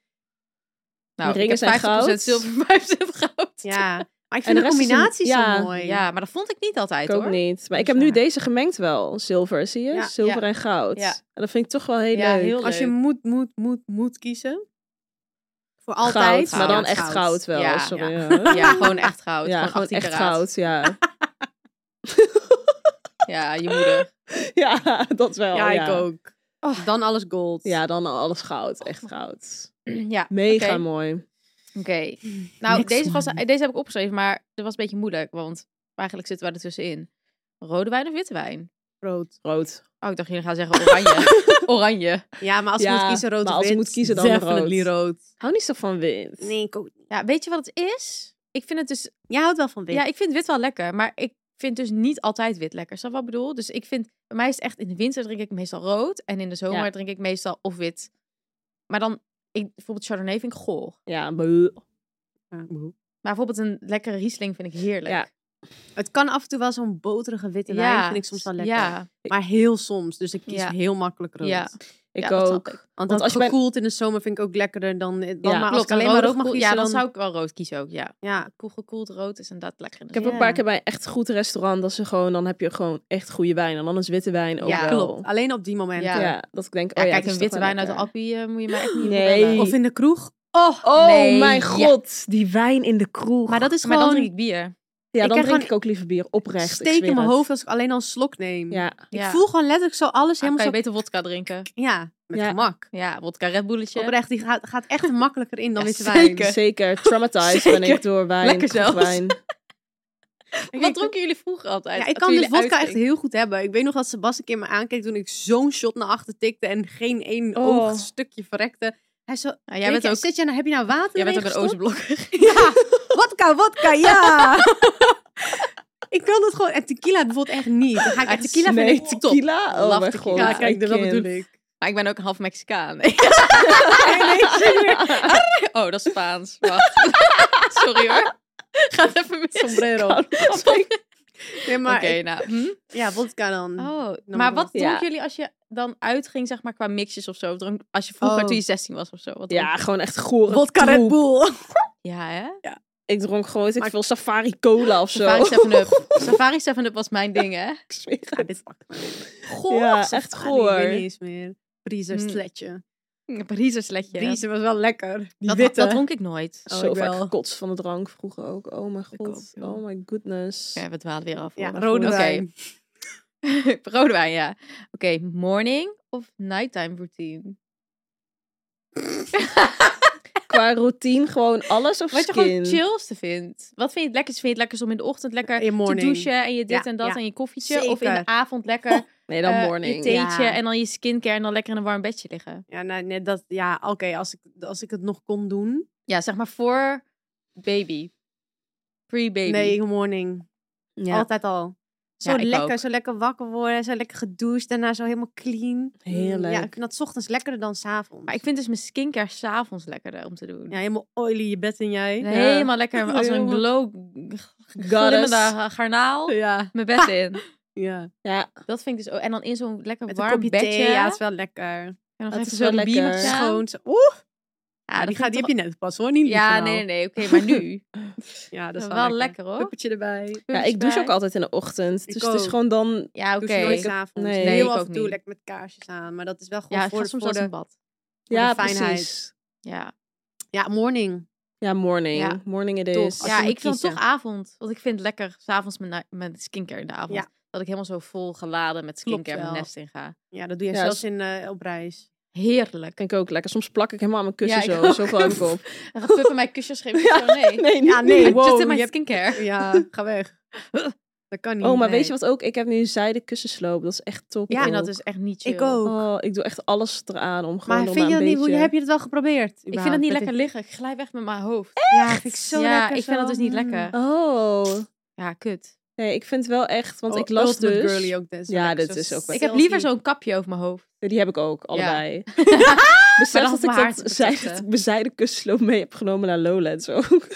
Speaker 3: nou,
Speaker 2: ringen
Speaker 3: ik heb
Speaker 2: zijn
Speaker 3: 50%
Speaker 2: goud.
Speaker 3: zilver, 50% goud.
Speaker 5: Ja. Maar ik vind
Speaker 2: de
Speaker 5: de,
Speaker 2: rest is-
Speaker 5: combinatie
Speaker 2: ja,
Speaker 5: zo mooi.
Speaker 3: Ja, maar dat vond ik niet altijd
Speaker 2: Ik ook
Speaker 3: hoor.
Speaker 2: niet. Maar ik
Speaker 5: Dus
Speaker 2: heb nu
Speaker 5: ja.
Speaker 2: deze gemengd wel. Zilver, zie je?
Speaker 5: Ja.
Speaker 2: Zilver
Speaker 3: Ja.
Speaker 2: en goud.
Speaker 3: Ja.
Speaker 2: En dat vind ik toch wel heel
Speaker 3: Ja,
Speaker 2: leuk.
Speaker 3: heel leuk.
Speaker 5: Als je moet, moet, moet, moet kiezen. Voor
Speaker 2: Goud,
Speaker 5: altijd.
Speaker 2: maar dan
Speaker 3: Ja,
Speaker 2: echt goud wel.
Speaker 3: Ja.
Speaker 2: Sorry.
Speaker 5: Ja.
Speaker 2: hoor.
Speaker 3: Ja, gewoon echt goud.
Speaker 2: Ja, gewoon
Speaker 3: 18
Speaker 2: echt
Speaker 3: karaat.
Speaker 2: goud, ja.
Speaker 3: Ja, je moeder.
Speaker 2: ja, dat wel.
Speaker 5: Ja,
Speaker 2: Ja,
Speaker 5: ik ook. Dan alles gold.
Speaker 2: Ja, dan alles goud. Echt goud.
Speaker 3: ja,
Speaker 2: Mega
Speaker 3: Oké.
Speaker 2: mooi.
Speaker 3: oké. Nou,
Speaker 5: Next
Speaker 3: deze, was,
Speaker 5: one.
Speaker 3: deze heb ik opgeschreven, maar dat was een beetje moeilijk, want eigenlijk zitten we er tussenin. Rode wijn of witte wijn?
Speaker 5: Rood.
Speaker 2: Rood.
Speaker 3: Oh, ik dacht jullie gaan zeggen oranje. oranje.
Speaker 5: Ja, maar als
Speaker 2: Ja,
Speaker 5: je moet kiezen rood
Speaker 2: maar
Speaker 5: of
Speaker 2: als je
Speaker 5: wit,
Speaker 2: moet kiezen, dan
Speaker 5: definitely
Speaker 2: rood.
Speaker 5: rood.
Speaker 2: Hou niet zo van wind.
Speaker 5: Nee, ik ook niet.
Speaker 3: Ja, weet je wat het is? Ik vind het dus...
Speaker 5: Jij houdt wel van wit.
Speaker 3: Ja, ik vind wit wel lekker. Maar ik vind dus niet altijd wit lekker. Snap je wat ik bedoel? Dus ik vind... Bij mij is het echt... In de winter drink ik meestal rood. En in de zomer
Speaker 2: Ja.
Speaker 3: drink ik meestal of wit. Maar dan... Ik, bijvoorbeeld Chardonnay vind ik goor.
Speaker 2: Ja, bleh.
Speaker 3: Maar bijvoorbeeld een lekkere Riesling vind ik heerlijk.
Speaker 2: Ja.
Speaker 5: Het kan af en toe wel zo'n boterige witte wijn, vind ik soms wel lekker.
Speaker 3: Ja,
Speaker 5: Maar heel soms, dus ik kies
Speaker 3: Ja.
Speaker 5: heel makkelijk rood.
Speaker 3: Ja.
Speaker 2: ik
Speaker 3: ja, dat snap
Speaker 2: ook.
Speaker 3: ik.
Speaker 5: Want,
Speaker 2: Want
Speaker 5: dat
Speaker 2: als je bij-
Speaker 5: gekoeld in de zomer vind ik ook lekkerder dan... eh, dan
Speaker 2: Ja,
Speaker 5: maar als
Speaker 3: Klopt,
Speaker 5: ik alleen maar rood
Speaker 3: of
Speaker 5: mag
Speaker 3: koel-
Speaker 5: kiezen,
Speaker 3: ja, dan zou ik wel rood kiezen ook, ja.
Speaker 5: Ja,
Speaker 3: Koel gekoeld rood is inderdaad lekker. in de
Speaker 2: Ik heb
Speaker 3: zomer.
Speaker 2: ook een paar keer bij een echt goed restaurant, dat ze gewoon, dan heb je gewoon echt goede wijn. En dan is witte wijn ook
Speaker 3: Ja,
Speaker 2: wel.
Speaker 5: klopt. Alleen op die momenten.
Speaker 2: Ja.
Speaker 3: Ja.
Speaker 2: dat ik denk,
Speaker 3: ja,
Speaker 2: oh ja,
Speaker 3: kijk,
Speaker 2: het
Speaker 3: een
Speaker 2: is
Speaker 3: witte
Speaker 2: toch wel
Speaker 3: wijn uit de
Speaker 2: lekker.
Speaker 3: appie eh, moet je maar echt niet
Speaker 2: Nee.
Speaker 3: nee.
Speaker 5: Of in de kroeg.
Speaker 3: Oh,
Speaker 2: Oh
Speaker 3: nee.
Speaker 2: mijn
Speaker 3: Ja.
Speaker 2: god, die wijn in de kroeg.
Speaker 5: Maar dat is
Speaker 3: Maar dan
Speaker 5: gewoon...
Speaker 3: drink ik bier.
Speaker 2: ja, dan
Speaker 5: ik krijg
Speaker 2: drink
Speaker 5: gewoon
Speaker 2: ik ook liever bier oprecht. ik
Speaker 5: steek in
Speaker 2: zweer
Speaker 5: mijn
Speaker 2: het.
Speaker 5: hoofd als ik alleen al een slok neem.
Speaker 2: Ja,
Speaker 5: Ik
Speaker 3: Ja.
Speaker 5: voel gewoon letterlijk zo alles
Speaker 3: Dan kan
Speaker 5: helemaal
Speaker 3: je
Speaker 5: zo...
Speaker 3: beter wodka drinken.
Speaker 5: Ja, met
Speaker 2: Ja.
Speaker 5: gemak.
Speaker 3: Ja, wodka Red Bulletje.
Speaker 5: Oprecht, die gaat, gaat echt makkelijker in dan
Speaker 3: Ja,
Speaker 5: witte wijn.
Speaker 3: zeker.
Speaker 2: zeker. Traumatized ben ik
Speaker 3: Zeker.
Speaker 2: door wijn.
Speaker 3: Lekker zelfs.
Speaker 2: kroegwijn.
Speaker 3: Wat dronken jullie vroeger altijd?
Speaker 5: Ja, ik
Speaker 3: Toen
Speaker 5: kan dus
Speaker 3: jullie
Speaker 5: vodka echt
Speaker 3: uitgingen?
Speaker 5: heel goed hebben. Ik weet nog dat Sebastian een keer me aankeek toen ik zo'n shot naar achter tikte en geen één
Speaker 2: Oh.
Speaker 5: oog stukje verrekte. Hij zo,
Speaker 3: Nou, jij bent ook,
Speaker 5: zit jij nou, heb je nou water
Speaker 3: jij bent ook
Speaker 5: erin
Speaker 3: een
Speaker 5: gestopt?"
Speaker 3: Oostblokker.
Speaker 5: Ja, wodka, wodka, ja. ik kan dat gewoon, en tequila bijvoorbeeld echt niet. Dan ga ik
Speaker 3: Ah,
Speaker 5: echt tequila
Speaker 3: vind
Speaker 2: nee,
Speaker 3: ik top.
Speaker 2: tequila? Oh
Speaker 3: Love
Speaker 2: mijn
Speaker 3: tequila.
Speaker 2: god.
Speaker 3: Ja,
Speaker 2: mijn kind.
Speaker 5: ik.
Speaker 3: Maar ik ben ook half Mexicaan. Nee. oh, dat is Spaans. Wacht. Sorry hoor. Gaat even mis.
Speaker 5: Sombrero.
Speaker 3: Oké,
Speaker 5: Nee, maar ik-
Speaker 3: nou. hm?
Speaker 5: ja, wodka dan.
Speaker 3: Oh,
Speaker 5: Dan
Speaker 3: maar
Speaker 5: wel.
Speaker 3: wat dronken
Speaker 2: Ja.
Speaker 3: jullie als je dan uitging, zeg maar, qua mixjes of zo? Dronk, als je vroeger
Speaker 5: Oh.
Speaker 3: toen je 16 was of zo? Wat
Speaker 2: Ja,
Speaker 3: dronk-
Speaker 2: gewoon echt gore
Speaker 5: Wodka Red
Speaker 2: troep.
Speaker 5: Bull.
Speaker 3: ja hè?
Speaker 2: Ik dronk gewoon, weet ik
Speaker 5: Maar-
Speaker 2: veel, safari cola of zo.
Speaker 3: Safari 7-Up. Safari 7-Up was mijn ding, hè?
Speaker 2: Ik zweer het.
Speaker 5: Ja, dit pakt me.
Speaker 3: Goh.
Speaker 2: ja, echt
Speaker 5: Goor. Ik weet niet
Speaker 2: goor.
Speaker 5: eens meer. Breezer,
Speaker 3: Hm.
Speaker 5: sletje.
Speaker 3: Een Pariser sletje.
Speaker 5: Breezer was wel lekker. Die
Speaker 3: dat,
Speaker 5: witte.
Speaker 3: dat dronk ik nooit.
Speaker 5: Oh,
Speaker 2: zo
Speaker 5: ik
Speaker 2: vaak
Speaker 5: wel.
Speaker 2: gekotst van de drank vroeger ook. Oh mijn
Speaker 5: Ik
Speaker 2: god.
Speaker 5: ook, joh.
Speaker 2: oh my goodness.
Speaker 3: Oké, we dwalen weer af.
Speaker 5: ja,
Speaker 3: hoor.
Speaker 5: rode
Speaker 3: Oké.
Speaker 5: wijn.
Speaker 3: Rode wijn, ja. Oké, morning of nighttime routine?
Speaker 2: Qua routine gewoon alles of
Speaker 3: Wat je
Speaker 2: skin?
Speaker 3: gewoon het chillste vindt. Wat vind je het lekkerst? Vind je het lekkerst om in de ochtend lekker
Speaker 5: In
Speaker 3: te
Speaker 5: morning.
Speaker 3: douchen en je dit
Speaker 5: Ja,
Speaker 3: en dat
Speaker 5: ja.
Speaker 3: en je koffietje? Of in de
Speaker 5: Zeker.
Speaker 3: avond lekker
Speaker 2: Nee, dan
Speaker 3: eh,
Speaker 2: morning.
Speaker 3: je theetje
Speaker 5: Ja.
Speaker 3: en dan je skincare en dan lekker in een warm bedje liggen?
Speaker 5: Ja, nou, nee, dat, ja oké, als, ik, als ik het nog kon doen.
Speaker 3: Ja, zeg maar voor baby. Pre-baby.
Speaker 5: Nee, morning.
Speaker 2: Ja.
Speaker 5: Altijd al. Zo
Speaker 3: Ja, ik
Speaker 5: lekker,
Speaker 3: ook.
Speaker 5: zo lekker wakker worden, zo lekker gedoucht, daarna zo helemaal clean.
Speaker 2: Heerlijk.
Speaker 5: Ja, ik vind dat 's ochtends lekkerder dan 's avonds.
Speaker 3: Maar ik vind dus mijn skincare s'avonds lekkerder om te doen.
Speaker 5: Ja, helemaal oily je bed en jij.
Speaker 3: Helemaal lekker als een
Speaker 2: Helemaal.
Speaker 3: glow glimmende garnaal
Speaker 5: Ja.
Speaker 3: mijn bed in.
Speaker 5: ja.
Speaker 2: Ja,
Speaker 3: Dat vind ik dus ook. En dan in zo'n lekker
Speaker 5: Met een
Speaker 3: warm
Speaker 5: kopje
Speaker 3: bedje.
Speaker 5: thee, ja, het is wel lekker.
Speaker 3: en
Speaker 2: dat
Speaker 3: nog
Speaker 2: is
Speaker 3: even
Speaker 2: wel
Speaker 3: zo'n
Speaker 2: lekker.
Speaker 3: biertje.
Speaker 2: Ja.
Speaker 5: Schoon. Oeh,
Speaker 3: Ja,
Speaker 5: die,
Speaker 3: dat
Speaker 5: gaat, die
Speaker 3: vind
Speaker 5: heb
Speaker 3: ik
Speaker 5: je net pas hoor, niet
Speaker 3: toch- Ja,
Speaker 5: liever
Speaker 3: nee, nee,
Speaker 5: nou.
Speaker 3: nee. Oké, maar nu.
Speaker 5: Ja, dat is
Speaker 3: wel lekker hoor.
Speaker 5: Puppertje erbij.
Speaker 2: ja ik douche ook altijd in de ochtend.
Speaker 5: Ik
Speaker 2: Dus het is
Speaker 5: ook.
Speaker 2: gewoon dan...
Speaker 3: Ja, oké.
Speaker 5: Doe je nooit 's avonds.
Speaker 2: Nee. Nee,
Speaker 5: Heel
Speaker 3: ik
Speaker 5: af
Speaker 3: ook
Speaker 5: en toe
Speaker 3: niet.
Speaker 5: lekker met kaarsjes aan. Maar dat is wel gewoon
Speaker 3: Ja, ik
Speaker 5: voor,
Speaker 3: ga
Speaker 5: de-
Speaker 3: soms
Speaker 5: voor
Speaker 3: wel eens
Speaker 5: de...
Speaker 3: in bad.
Speaker 2: Ja,
Speaker 5: de fijnheid.
Speaker 2: precies.
Speaker 3: Ja,
Speaker 5: Ja, morning.
Speaker 2: Ja, morning.
Speaker 3: Ja.
Speaker 2: Morning it
Speaker 5: Top.
Speaker 2: is.
Speaker 5: Als
Speaker 3: ja
Speaker 5: je moet
Speaker 3: ik vind
Speaker 5: kiezen.
Speaker 3: toch avond. Want ik vind het lekker s'avonds mijn, na- mijn skincare in de avond.
Speaker 5: Ja.
Speaker 3: Dat ik helemaal zo vol geladen met
Speaker 5: Klopt
Speaker 3: skincare mijn
Speaker 5: wel.
Speaker 3: nest in ga.
Speaker 5: Ja, dat doe je
Speaker 2: Ja,
Speaker 5: zelfs
Speaker 2: dat
Speaker 5: in, eh, op reis.
Speaker 3: Heerlijk.
Speaker 2: Vind ik ook lekker. Soms plak ik helemaal aan mijn kussen
Speaker 3: Ja, ik
Speaker 2: zo.
Speaker 3: ook.
Speaker 2: Zoveel heb ik op.
Speaker 3: En dan puppen mijn kusjes geven. Ja, nee.
Speaker 2: Nee,
Speaker 5: Ja,
Speaker 2: niet-
Speaker 5: nee.
Speaker 3: I
Speaker 5: wow,
Speaker 3: just in
Speaker 5: je
Speaker 3: mijn
Speaker 5: hebt-
Speaker 3: skincare.
Speaker 5: Ja, ga weg. Dat kan niet.
Speaker 2: Oh, maar
Speaker 5: nee.
Speaker 2: weet je wat ook? Ik heb nu een zijden kussensloop. Dat is echt top.
Speaker 3: Ik
Speaker 5: Ja,
Speaker 3: vind dat
Speaker 2: ook.
Speaker 3: dus echt niet chill.
Speaker 5: Ik ook.
Speaker 2: Oh, ik doe echt alles eraan om gewoon
Speaker 5: maar
Speaker 2: nog
Speaker 5: vind
Speaker 2: maar
Speaker 5: je dat
Speaker 2: een
Speaker 5: niet? Hoe
Speaker 2: beetje-
Speaker 5: heb je het wel geprobeerd?
Speaker 3: Ik vind het niet lekker liggen. Ik glij weg met mijn hoofd.
Speaker 5: Ja, vind ik zo
Speaker 3: ja,
Speaker 5: lekker
Speaker 3: ik vind
Speaker 5: zo.
Speaker 3: dat dus niet
Speaker 5: Mm.
Speaker 3: lekker.
Speaker 2: Oh.
Speaker 3: Ja, kut.
Speaker 2: Nee, ik vind wel echt... Want
Speaker 5: Oh,
Speaker 2: ik las
Speaker 5: Ultimate
Speaker 2: dus...
Speaker 5: Girly ook, dat is wel
Speaker 2: Ja,
Speaker 5: lekker,
Speaker 2: dat
Speaker 5: zo
Speaker 2: is ook wel-
Speaker 3: Ik heb
Speaker 5: silky.
Speaker 3: liever zo'n kapje over mijn hoofd.
Speaker 2: Die heb ik ook, allebei. Besef
Speaker 3: Maar dan
Speaker 2: dat
Speaker 3: hoef mijn haar
Speaker 2: ik
Speaker 3: te
Speaker 2: dat, zij,
Speaker 3: betutten.
Speaker 2: dat ik mijn zijden kussensloop mee heb genomen naar Lowlands ook.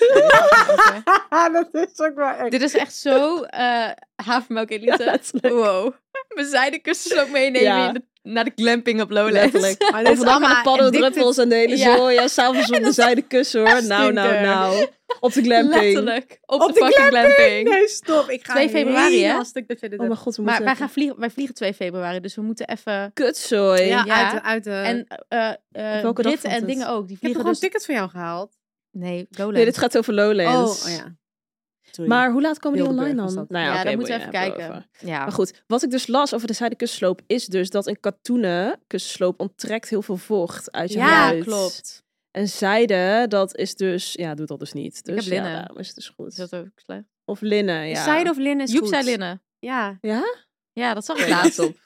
Speaker 5: dat is ook wel echt.
Speaker 3: Dit is echt zo eh havermelk elite.
Speaker 2: letterlijk.
Speaker 3: wow. We zijden kussens ook meenemen
Speaker 2: Ja.
Speaker 3: in de- naar de glamping op Lowlands.
Speaker 2: Letterlijk.
Speaker 5: Maar dit is
Speaker 2: Overdag met de
Speaker 5: allemaal
Speaker 2: paddeldruppels en de hele
Speaker 3: Ja.
Speaker 2: zooi. Ja, s'avonds op de zijde kussen hoor. Nou, nou,
Speaker 5: Stinker.
Speaker 2: nou. Op de glamping.
Speaker 3: Letterlijk. Op,
Speaker 5: Op
Speaker 3: de
Speaker 5: de
Speaker 3: fucking glamping.
Speaker 5: Nee, stop. Ik ga
Speaker 3: 2 februari, hè?
Speaker 5: helemaal stuk dat je
Speaker 2: Oh
Speaker 5: dit
Speaker 2: mijn
Speaker 5: hebt.
Speaker 2: god, we
Speaker 3: Maar
Speaker 2: moeten...
Speaker 3: wij, gaan vliegen, wij vliegen 2 februari, dus we moeten even...
Speaker 2: Kutzooi.
Speaker 5: Ja,
Speaker 3: Ja.
Speaker 5: uit de... Uit de...
Speaker 3: En eh eh,
Speaker 2: welke dag
Speaker 3: Britten
Speaker 2: valt
Speaker 3: en
Speaker 2: het?
Speaker 3: dingen ook. Die
Speaker 5: ik heb
Speaker 3: vliegen
Speaker 5: gewoon
Speaker 3: dus...
Speaker 5: tickets voor jou gehaald.
Speaker 3: Nee, Lowlands.
Speaker 2: Nee, dit gaat over Lowlands.
Speaker 5: Oh, oh ja. Sorry.
Speaker 2: Maar hoe laat komen die
Speaker 5: Wildeburg
Speaker 2: online
Speaker 5: was
Speaker 2: dan?
Speaker 5: dat.
Speaker 2: Nou
Speaker 3: ja,
Speaker 2: oké,
Speaker 3: dan moeten we
Speaker 2: boeien,
Speaker 3: even
Speaker 2: hebben
Speaker 3: kijken.
Speaker 2: over.
Speaker 3: Ja.
Speaker 2: Maar goed, wat ik dus las over de zijde kussensloop... is dus dat een katoenen kussensloop onttrekt heel veel vocht uit je
Speaker 3: ja,
Speaker 2: huid.
Speaker 3: klopt.
Speaker 2: En zijde, dat is dus... Ja, doet dat dus niet. Dus
Speaker 3: heb linnen.
Speaker 2: ja, daarom is het dus goed.
Speaker 3: Is dat ook slecht?
Speaker 2: Of linnen, ja.
Speaker 5: Zijde of linnen is
Speaker 3: Joep
Speaker 5: goed.
Speaker 3: zei linnen.
Speaker 5: Ja.
Speaker 2: Ja?
Speaker 3: Ja, dat zag ik
Speaker 2: Oké,
Speaker 3: laatst.
Speaker 2: top.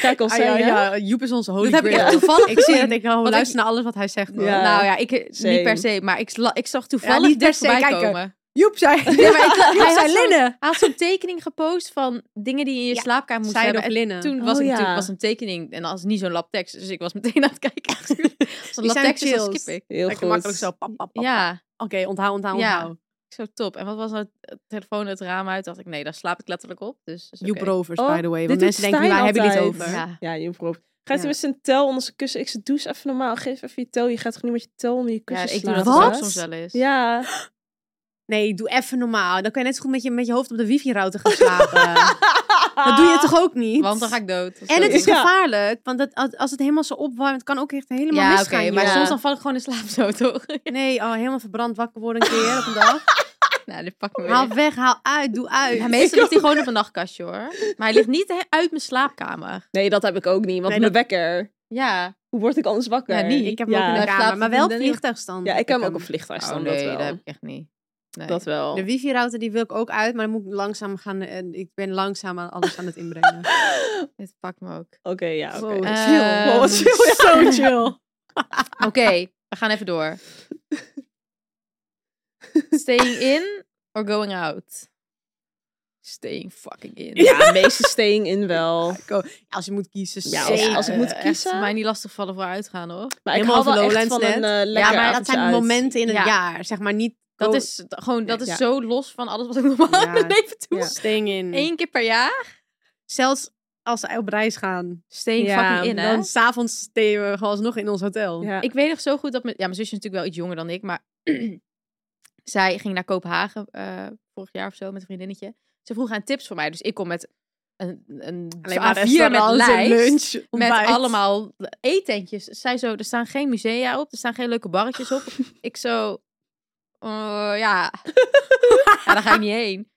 Speaker 2: Kijk ons
Speaker 5: Ah, ja,
Speaker 2: zijn, hè?
Speaker 5: ja, Joep is onze holy
Speaker 3: Dat heb ik echt
Speaker 5: grail.
Speaker 3: toevallig
Speaker 5: Ik zie
Speaker 3: gezien.
Speaker 5: dat ik oh,
Speaker 3: ik-
Speaker 5: luister naar alles wat hij zegt. man.
Speaker 2: Ja.
Speaker 3: Nou ja, ik,
Speaker 2: Same.
Speaker 3: niet per se, maar ik, sla- ik zag toevallig
Speaker 5: Ja, niet per
Speaker 3: dit
Speaker 5: se,
Speaker 3: voorbij
Speaker 5: kijk,
Speaker 3: komen.
Speaker 5: Joep zei...
Speaker 3: Ja, maar ik- hij, had
Speaker 5: zei
Speaker 3: zo'n,
Speaker 5: linnen.
Speaker 3: hij had zo'n tekening gepost van dingen die je in je
Speaker 5: Ja,
Speaker 3: slaapkamer moest
Speaker 5: Zij
Speaker 3: hebben.
Speaker 5: of
Speaker 3: En
Speaker 5: linnen.
Speaker 3: toen was
Speaker 2: Oh,
Speaker 3: ik
Speaker 2: ja.
Speaker 3: natuurlijk was een tekening en dat was niet zo'n lab tekst, dus ik was meteen aan het kijken. Als een
Speaker 5: Die
Speaker 3: lab
Speaker 5: zijn
Speaker 3: tekst is, dan
Speaker 5: chills.
Speaker 3: skip ik.
Speaker 2: Heel
Speaker 5: Lekker
Speaker 2: goed.
Speaker 5: makkelijk zo. Pap, pap, pap.
Speaker 3: Ja.
Speaker 5: Oké, onthoud, onthoud,
Speaker 3: Ja.
Speaker 5: onthoud.
Speaker 3: Zo top. En wat was nou het telefoon het raam uit? Dacht ik, nee, daar slaap ik letterlijk op. Dus is
Speaker 5: Joep
Speaker 3: oké.
Speaker 5: Rovers,
Speaker 2: Oh,
Speaker 5: by the way.
Speaker 2: dit
Speaker 5: Want
Speaker 2: doet
Speaker 5: mensen denken,
Speaker 2: Stijn
Speaker 5: waar hebben jullie het
Speaker 2: altijd.
Speaker 5: over?
Speaker 3: Ja.
Speaker 2: Ja, je proef. Gaat
Speaker 3: Ja.
Speaker 2: hij met zijn tel onder zijn kussen? Ik zeg, doe eens even normaal. Geef even je tel. Je gaat gewoon niet met je tel onder je
Speaker 3: Ja,
Speaker 2: kussen
Speaker 3: ik doe
Speaker 2: slaan.
Speaker 3: dat ook
Speaker 2: hè?
Speaker 3: soms wel eens.
Speaker 2: Ja.
Speaker 5: Nee, doe even normaal. Dan kan je net zo goed met je, met je hoofd op de wifi-router gaan slapen. dat doe je toch ook niet?
Speaker 3: Want dan ga ik dood. of
Speaker 5: En het
Speaker 3: zo.
Speaker 5: is
Speaker 2: Ja.
Speaker 5: gevaarlijk. Want dat, als- als het helemaal zo opwarmt, het kan ook echt helemaal
Speaker 3: Ja, oké.
Speaker 5: misgaan.
Speaker 3: maar
Speaker 5: joh.
Speaker 3: soms dan val ik gewoon in slaap zo, toch?
Speaker 5: Nee, oh, helemaal verbrand wakker worden een keer op een dag.
Speaker 3: nou, dit pak me weer.
Speaker 5: Haal weg, haal uit, doe uit.
Speaker 3: Ja, meestal ligt hij gewoon op een nachtkastje, hoor. Maar hij ligt niet he- uit mijn slaapkamer.
Speaker 2: Nee, dat heb ik ook niet. Want
Speaker 5: Nee,
Speaker 2: mijn wekker.
Speaker 3: Ja.
Speaker 2: Hoe word ik anders wakker?
Speaker 3: Ja, niet.
Speaker 5: Ik heb hem
Speaker 2: ja.
Speaker 5: ook in de
Speaker 3: Hij slaapt
Speaker 5: kamer, maar wel op
Speaker 3: vriendinnen.
Speaker 5: vliegtuigstand.
Speaker 2: Ja, ik heb hem ook op
Speaker 3: Oh,
Speaker 2: vliegtuig staan.
Speaker 3: nee,
Speaker 2: dat
Speaker 3: dat
Speaker 2: wel.
Speaker 3: heb ik echt niet. Nee.
Speaker 2: Dat wel.
Speaker 5: De wifi-router die wil ik ook uit, maar dan moet ik langzaam gaan. En ik ben langzaam aan alles aan het inbrengen.
Speaker 3: Dit pakt me ook.
Speaker 2: Oké, ja. oké.
Speaker 5: Wow,
Speaker 3: Eh,
Speaker 5: chill.
Speaker 2: Wow, wat chill, ja.
Speaker 5: Zo chill.
Speaker 3: Oké, we gaan even door. Staying in or going out? Staying fucking in.
Speaker 2: Ja, meeste staying in wel.
Speaker 5: Als je moet kiezen,
Speaker 2: Ja,
Speaker 5: zeker.
Speaker 2: als, als ik moet
Speaker 3: Eh,
Speaker 2: kiezen.
Speaker 3: Echt, mij niet lastig vallen voor uitgaan hoor.
Speaker 2: maar ik
Speaker 5: helemaal
Speaker 2: hou wel echt
Speaker 5: Lowlands
Speaker 2: van
Speaker 5: net.
Speaker 2: een eh,
Speaker 3: maar dat
Speaker 2: lekker
Speaker 5: dat
Speaker 2: avondje
Speaker 5: zijn
Speaker 2: uit.
Speaker 5: momenten in het
Speaker 3: Ja.
Speaker 5: jaar, zeg maar niet.
Speaker 3: Dat
Speaker 5: go-
Speaker 3: is t- gewoon, dat is
Speaker 2: Ja.
Speaker 3: zo los van alles wat ik normaal in
Speaker 5: Ja.
Speaker 3: mijn leven doe.
Speaker 2: Ja.
Speaker 5: staying in.
Speaker 3: Eén keer per jaar.
Speaker 5: Zelfs als we op reis gaan,
Speaker 3: Staying
Speaker 2: Ja,
Speaker 3: fucking in hè.
Speaker 5: dan s'avonds steken we gewoon alsnog in ons hotel.
Speaker 2: Ja.
Speaker 3: Ik weet nog zo goed dat mijn, ja, mijn zusje is natuurlijk wel iets jonger dan ik, maar zij ging naar Kopenhagen eh, vorig jaar of zo met een vriendinnetje. Ze vroeg aan tips voor mij, dus ik kom met een, een
Speaker 5: Alleen maar
Speaker 3: A4 met
Speaker 5: restaurants
Speaker 3: lijst.
Speaker 5: en lunch,
Speaker 3: Met
Speaker 5: ontbijt.
Speaker 3: allemaal eetentjes. Zij zo, er staan geen musea op, er staan geen leuke barretjes op. ik zo, eh, ja. ja, daar ga ik niet heen.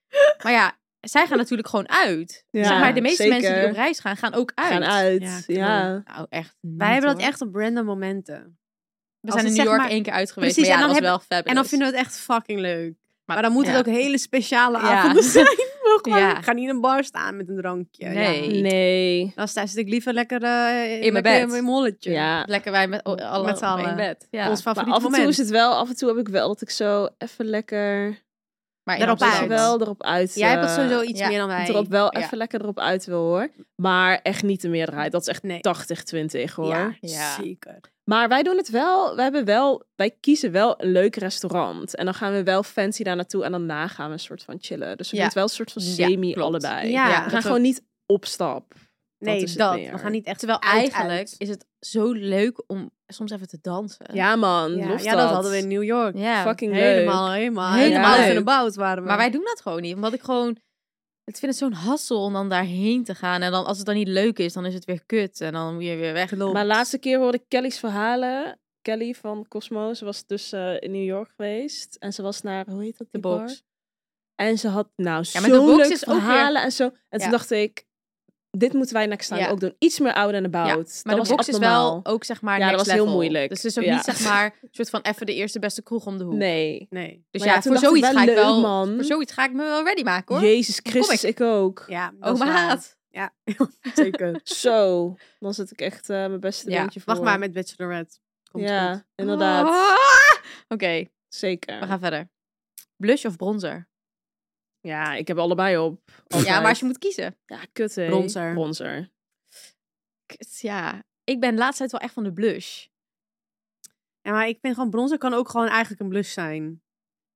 Speaker 3: Maar ja, zij gaan natuurlijk gewoon uit.
Speaker 2: Ja,
Speaker 3: zeg maar, de meeste
Speaker 2: zeker.
Speaker 3: mensen die op reis gaan, gaan ook uit.
Speaker 2: Gaan
Speaker 5: Ja,
Speaker 2: uit.
Speaker 5: klopt.
Speaker 2: Ja.
Speaker 3: Nou, echt. niet,
Speaker 5: Wij hebben dat
Speaker 3: hoor.
Speaker 5: echt op random momenten.
Speaker 3: We
Speaker 5: als
Speaker 3: zijn
Speaker 5: het
Speaker 3: in
Speaker 5: zeg
Speaker 3: New York
Speaker 5: maar-
Speaker 3: één keer uit geweest.
Speaker 5: Precies,
Speaker 3: maar ja,
Speaker 5: en
Speaker 3: dat
Speaker 5: dan
Speaker 3: was wel fabulous.
Speaker 5: En dan vinden we het echt fucking leuk. Maar, dan moet
Speaker 3: ja.
Speaker 5: het ook hele speciale
Speaker 3: Ja.
Speaker 5: avonden zijn. Nog maar.
Speaker 3: Ja.
Speaker 5: Ik ga niet in een bar staan met een drankje. Ja.
Speaker 3: Nee.
Speaker 2: Nee.
Speaker 5: Dan sta- zit ik liever lekker eh,
Speaker 3: In mijn
Speaker 5: lekker
Speaker 3: bed.
Speaker 5: In mijn molletje.
Speaker 2: Ja.
Speaker 3: Lekker wij met o- alle
Speaker 5: Met z'n allen.
Speaker 3: in bed. Ja.
Speaker 5: Ons
Speaker 2: Maar
Speaker 5: favoriete
Speaker 2: af en toe
Speaker 5: moment.
Speaker 2: is het wel, af en toe heb ik wel dat ik zo even lekker,
Speaker 3: Maar in
Speaker 5: Daarop
Speaker 3: Amsterdam
Speaker 5: uit.
Speaker 3: wel.
Speaker 2: wel erop uit.
Speaker 5: Jij hebt dat
Speaker 2: eh,
Speaker 5: sowieso iets
Speaker 3: ja.
Speaker 5: meer dan wij.
Speaker 2: dat erop wel
Speaker 3: Ja.
Speaker 2: even lekker erop uit wil hoor. Maar echt niet de meerderheid. Dat is echt
Speaker 5: Nee.
Speaker 2: 80-20 hoor.
Speaker 5: Ja,
Speaker 3: Ja.
Speaker 5: zeker.
Speaker 2: Maar wij doen het wel. We hebben wel. Wij kiezen wel een leuk restaurant. En dan gaan we wel fancy daar naartoe. En daarna gaan we een soort van chillen. Dus
Speaker 3: Ja.
Speaker 2: we doen het wel een soort van
Speaker 3: Ja,
Speaker 2: semi
Speaker 3: klopt.
Speaker 2: allebei.
Speaker 5: Ja,
Speaker 2: we
Speaker 3: Ja,
Speaker 2: gaan
Speaker 3: dat
Speaker 2: gewoon niet op stap.
Speaker 5: Nee,
Speaker 2: is
Speaker 5: dat.
Speaker 2: het meer.
Speaker 5: We gaan niet echt
Speaker 3: Terwijl
Speaker 5: uit,
Speaker 3: eigenlijk
Speaker 5: uit.
Speaker 3: is het zo leuk om soms even te dansen.
Speaker 2: Ja man,
Speaker 5: Ja,
Speaker 2: lof
Speaker 5: ja, dat. hadden we in New York.
Speaker 3: Ja.
Speaker 2: Fucking
Speaker 5: Helemaal,
Speaker 3: Helemaal
Speaker 5: helemaal. Helemaal
Speaker 3: leuk.
Speaker 5: in de bout waren we.
Speaker 3: Maar wij doen dat gewoon niet. Omdat ik gewoon... Ik vind het zo'n hassel om dan daarheen te gaan. En dan, als het dan niet leuk is, dan is het weer kut. En dan moet je weer weg.
Speaker 2: leuk. Maar laatste keer hoorde ik Kelly's verhalen. Kelly van Cosmo, ze was dus eh, in New York geweest. En ze was naar, hoe heet dat,
Speaker 3: de
Speaker 2: die bar?
Speaker 3: box.
Speaker 2: En ze had nou
Speaker 3: Ja, maar de
Speaker 2: zo'n
Speaker 3: box
Speaker 2: leuk
Speaker 3: is ook weer-
Speaker 2: verhalen en zo. En
Speaker 3: Ja.
Speaker 2: toen dacht ik, dit moeten wij next time
Speaker 3: Ja.
Speaker 2: ook doen. Iets meer ouder en about.
Speaker 3: Ja,
Speaker 2: Dat
Speaker 3: Maar de
Speaker 2: was
Speaker 3: box is
Speaker 2: abnormaal.
Speaker 3: wel ook zeg maar
Speaker 2: Ja, dat
Speaker 3: next
Speaker 2: was heel
Speaker 3: level.
Speaker 2: moeilijk.
Speaker 3: Dus het is ook
Speaker 2: Ja.
Speaker 3: niet zeg maar een soort van even de eerste beste kroeg om de hoek.
Speaker 2: Nee.
Speaker 5: Nee.
Speaker 3: Dus
Speaker 2: Maar
Speaker 3: ja,
Speaker 2: ja, toen
Speaker 3: voor,
Speaker 2: dacht ik
Speaker 3: zoiets
Speaker 2: wel
Speaker 3: ga ik
Speaker 2: leuk,
Speaker 3: wel,
Speaker 2: man.
Speaker 3: voor zoiets ga ik me wel ready maken hoor.
Speaker 2: Jezus Christus, ik. ook.
Speaker 5: Ja, dat
Speaker 3: Oh
Speaker 5: is waar.
Speaker 3: maat.
Speaker 5: Ja, zeker.
Speaker 2: Zo, dan zit ik echt eh, mijn beste
Speaker 3: Ja,
Speaker 2: dingetje voor.
Speaker 5: Wacht maar met Bachelorette. Komt
Speaker 2: ja,
Speaker 5: goed.
Speaker 2: inderdaad.
Speaker 3: Ah! Oké,
Speaker 2: Zeker.
Speaker 3: we gaan verder. Blush of bronzer?
Speaker 2: Ja, ik heb allebei op.
Speaker 3: Ja,
Speaker 2: Altijd.
Speaker 3: maar als je moet kiezen.
Speaker 2: Ja, kut hè.
Speaker 5: Bronzer.
Speaker 2: Bronzer.
Speaker 3: Kut, Ja, ik ben de laatste tijd wel echt van de blush.
Speaker 5: Ja, maar ik vind gewoon bronzer kan ook gewoon eigenlijk een blush zijn.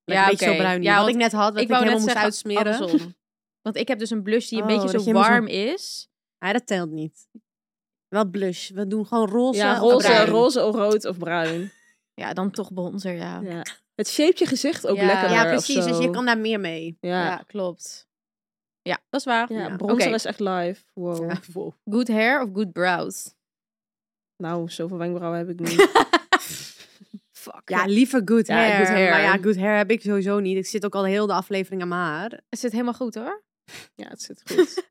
Speaker 5: ja,
Speaker 3: Ja,
Speaker 5: een beetje
Speaker 3: oké.
Speaker 5: zo bruin.
Speaker 3: Ja,
Speaker 5: Ja, wat
Speaker 3: want
Speaker 5: ik net had, dat ik,
Speaker 3: wou
Speaker 5: helemaal
Speaker 3: net
Speaker 5: moest
Speaker 3: zeggen,
Speaker 5: uitsmeren.
Speaker 3: andersom. Want ik heb dus een blush die een
Speaker 5: Oh,
Speaker 3: beetje
Speaker 5: dat
Speaker 3: zo
Speaker 5: je hem zo-
Speaker 3: warm is.
Speaker 5: Ja, dat telt niet. Wel blush. We doen gewoon roze.
Speaker 2: Ja,
Speaker 5: of
Speaker 2: roze,
Speaker 5: bruin.
Speaker 2: roze of rood of bruin.
Speaker 3: Ja, dan toch bronzer, ja.
Speaker 2: Ja. Het shape je gezicht ook
Speaker 3: Ja.
Speaker 2: lekker.
Speaker 5: Ja, precies. Dus je
Speaker 2: Ja,
Speaker 5: kan daar meer mee.
Speaker 3: Ja,
Speaker 2: ja.
Speaker 3: klopt. Ja, dat is waar.
Speaker 2: bronzer
Speaker 3: Oké.
Speaker 2: is echt live. Wow.
Speaker 5: Wow.
Speaker 3: Good hair of good brows?
Speaker 2: Nou, zoveel wenkbrauwen heb ik niet.
Speaker 3: Fuck.
Speaker 5: Ja, liever good
Speaker 2: Ja,
Speaker 5: hair.
Speaker 2: good hair.
Speaker 5: Maar ja, good hair heb ik sowieso niet. Ik zit ook al heel de aflevering aan mijn haar.
Speaker 3: het zit helemaal goed hoor.
Speaker 2: ja, het zit goed.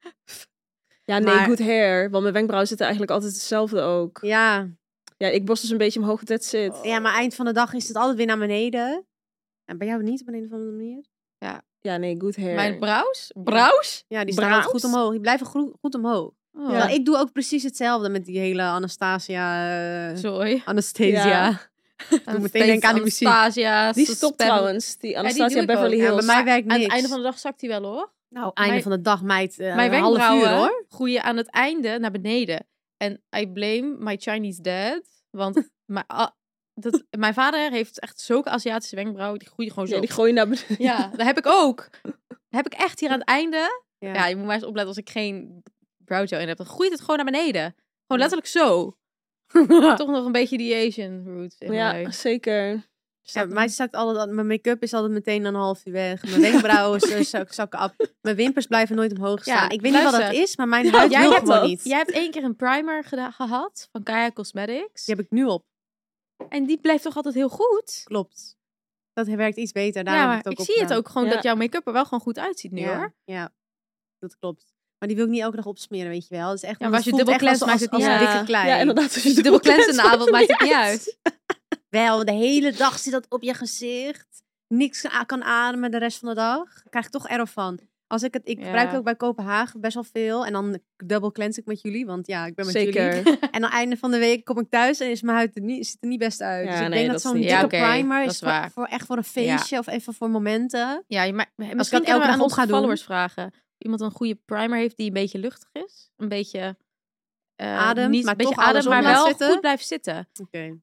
Speaker 2: Ja, nee,
Speaker 5: Maar-
Speaker 2: good hair. Want mijn wenkbrauwen zitten eigenlijk altijd hetzelfde ook.
Speaker 5: Ja. Oh.
Speaker 2: Ja, ik borst dus een beetje omhoog, that's it.
Speaker 5: ja, maar eind van de dag is het altijd weer naar beneden. En bij jou niet op een of andere manier?
Speaker 2: Ja, nee, good hair.
Speaker 3: Mijn brows? Brows?
Speaker 5: Ja, die staan
Speaker 2: Braus?
Speaker 5: altijd goed omhoog. Die blijven groe- goed omhoog.
Speaker 3: Oh,
Speaker 5: Nou, ik doe ook precies hetzelfde met die hele Anastasia. eh,
Speaker 3: Sorry.
Speaker 5: Anastasia.
Speaker 2: Ja.
Speaker 5: doe meteen denken aan die muziek.
Speaker 3: Anastasia,
Speaker 2: Die
Speaker 3: Suspend-
Speaker 2: stopt trouwens, die Anastasia
Speaker 3: doe ik
Speaker 2: Beverly
Speaker 3: ook. Ja,
Speaker 5: bij
Speaker 2: Hills.
Speaker 5: mij werkt
Speaker 3: Aan
Speaker 5: niks.
Speaker 3: het einde van de dag zakt hij wel hoor.
Speaker 5: Nou, einde
Speaker 3: mijn-
Speaker 5: van de dag, meid. eh,
Speaker 3: Mijn
Speaker 5: een half uur
Speaker 3: wenkbrauwen
Speaker 5: hoor.
Speaker 3: groeien aan het einde naar beneden. En I blame my Chinese dad. Want mijn, ah, dat, mijn vader heeft echt zulke Aziatische wenkbrauwen. Die groeien gewoon zo.
Speaker 2: Ja, die gooien naar beneden.
Speaker 3: Ja, dat heb ik ook. Dat heb ik echt hier aan het einde.
Speaker 5: Ja.
Speaker 3: Ja, je moet maar eens opletten als ik geen brow gel in heb. Dan groeit het gewoon naar beneden. Gewoon letterlijk zo. Toch nog een beetje die Asian roots in
Speaker 2: Ja,
Speaker 3: mij.
Speaker 2: zeker.
Speaker 5: Ja, bij mij staat altijd, mijn make-up is altijd meteen een half uur weg. Mijn wenkbrauwen zo- zo- zakken af. Mijn wimpers blijven nooit omhoog
Speaker 3: Ja,
Speaker 5: staan. ik weet niet wat dat
Speaker 3: luister.
Speaker 5: is, maar mijn
Speaker 2: Ja,
Speaker 5: huid
Speaker 3: jij
Speaker 5: wil
Speaker 3: hebt
Speaker 5: gewoon
Speaker 2: dat.
Speaker 5: niet.
Speaker 3: Jij hebt één keer een primer geda- gehad van Kaya Cosmetics.
Speaker 5: Die heb ik nu op.
Speaker 3: En die blijft toch altijd heel goed?
Speaker 5: Klopt. Dat werkt iets beter. Daarom
Speaker 3: Ja,
Speaker 5: heb
Speaker 3: maar
Speaker 5: het
Speaker 3: ik
Speaker 5: ook
Speaker 3: zie het
Speaker 5: opgedaan.
Speaker 3: ook gewoon
Speaker 2: Ja.
Speaker 3: dat jouw make-up er wel gewoon goed uitziet nu
Speaker 5: ja.
Speaker 3: hoor.
Speaker 5: Ja, dat klopt. Maar die wil ik niet elke dag opsmeren, weet je wel. Dat is echt,
Speaker 3: Ja, maar als
Speaker 5: want
Speaker 3: je
Speaker 5: het voelt
Speaker 3: dubbel
Speaker 5: echt als-
Speaker 3: cleanst, maakt
Speaker 5: als-
Speaker 3: het
Speaker 5: als
Speaker 3: niet
Speaker 5: een
Speaker 3: uit.
Speaker 5: dikke klei.
Speaker 2: Ja, inderdaad. Als je
Speaker 3: De dubbel cleansen in de Dus avond maakt het
Speaker 2: het
Speaker 3: niet uit.
Speaker 5: Wel, de hele dag zit dat op je gezicht. Niks a- kan ademen de rest van de dag. Krijg ik toch erg van. Als ik het, ik
Speaker 3: Ja.
Speaker 5: gebruik het ook bij Kopenhagen best wel veel. En dan dubbel cleanse ik met jullie, want ja, ik ben met jullie.
Speaker 2: Zeker.
Speaker 5: En aan het einde van de week kom ik thuis en is mijn huid er niet, ziet er niet best uit.
Speaker 2: Ja,
Speaker 5: dus ik
Speaker 2: nee,
Speaker 5: denk dat,
Speaker 2: dat is
Speaker 5: zo'n
Speaker 2: niet-
Speaker 5: dikke
Speaker 3: Ja, oké,
Speaker 5: primer
Speaker 3: dat
Speaker 5: is
Speaker 3: is
Speaker 5: voor,
Speaker 3: waar.
Speaker 5: voor echt voor een feestje of even voor momenten.
Speaker 3: Ja, je ma-
Speaker 5: elke
Speaker 3: misschien kunnen we
Speaker 5: dag
Speaker 3: aan
Speaker 5: op
Speaker 3: onze
Speaker 5: ga doen.
Speaker 3: followers vragen. Iemand een goede primer heeft die een beetje luchtig is. Een beetje... eh,
Speaker 5: Ademt,
Speaker 3: niet,
Speaker 5: maar
Speaker 3: een beetje
Speaker 5: toch
Speaker 3: ademt,
Speaker 5: alles op
Speaker 3: maar
Speaker 5: laat
Speaker 3: wel
Speaker 5: zitten.
Speaker 3: goed blijft zitten.
Speaker 5: Oké.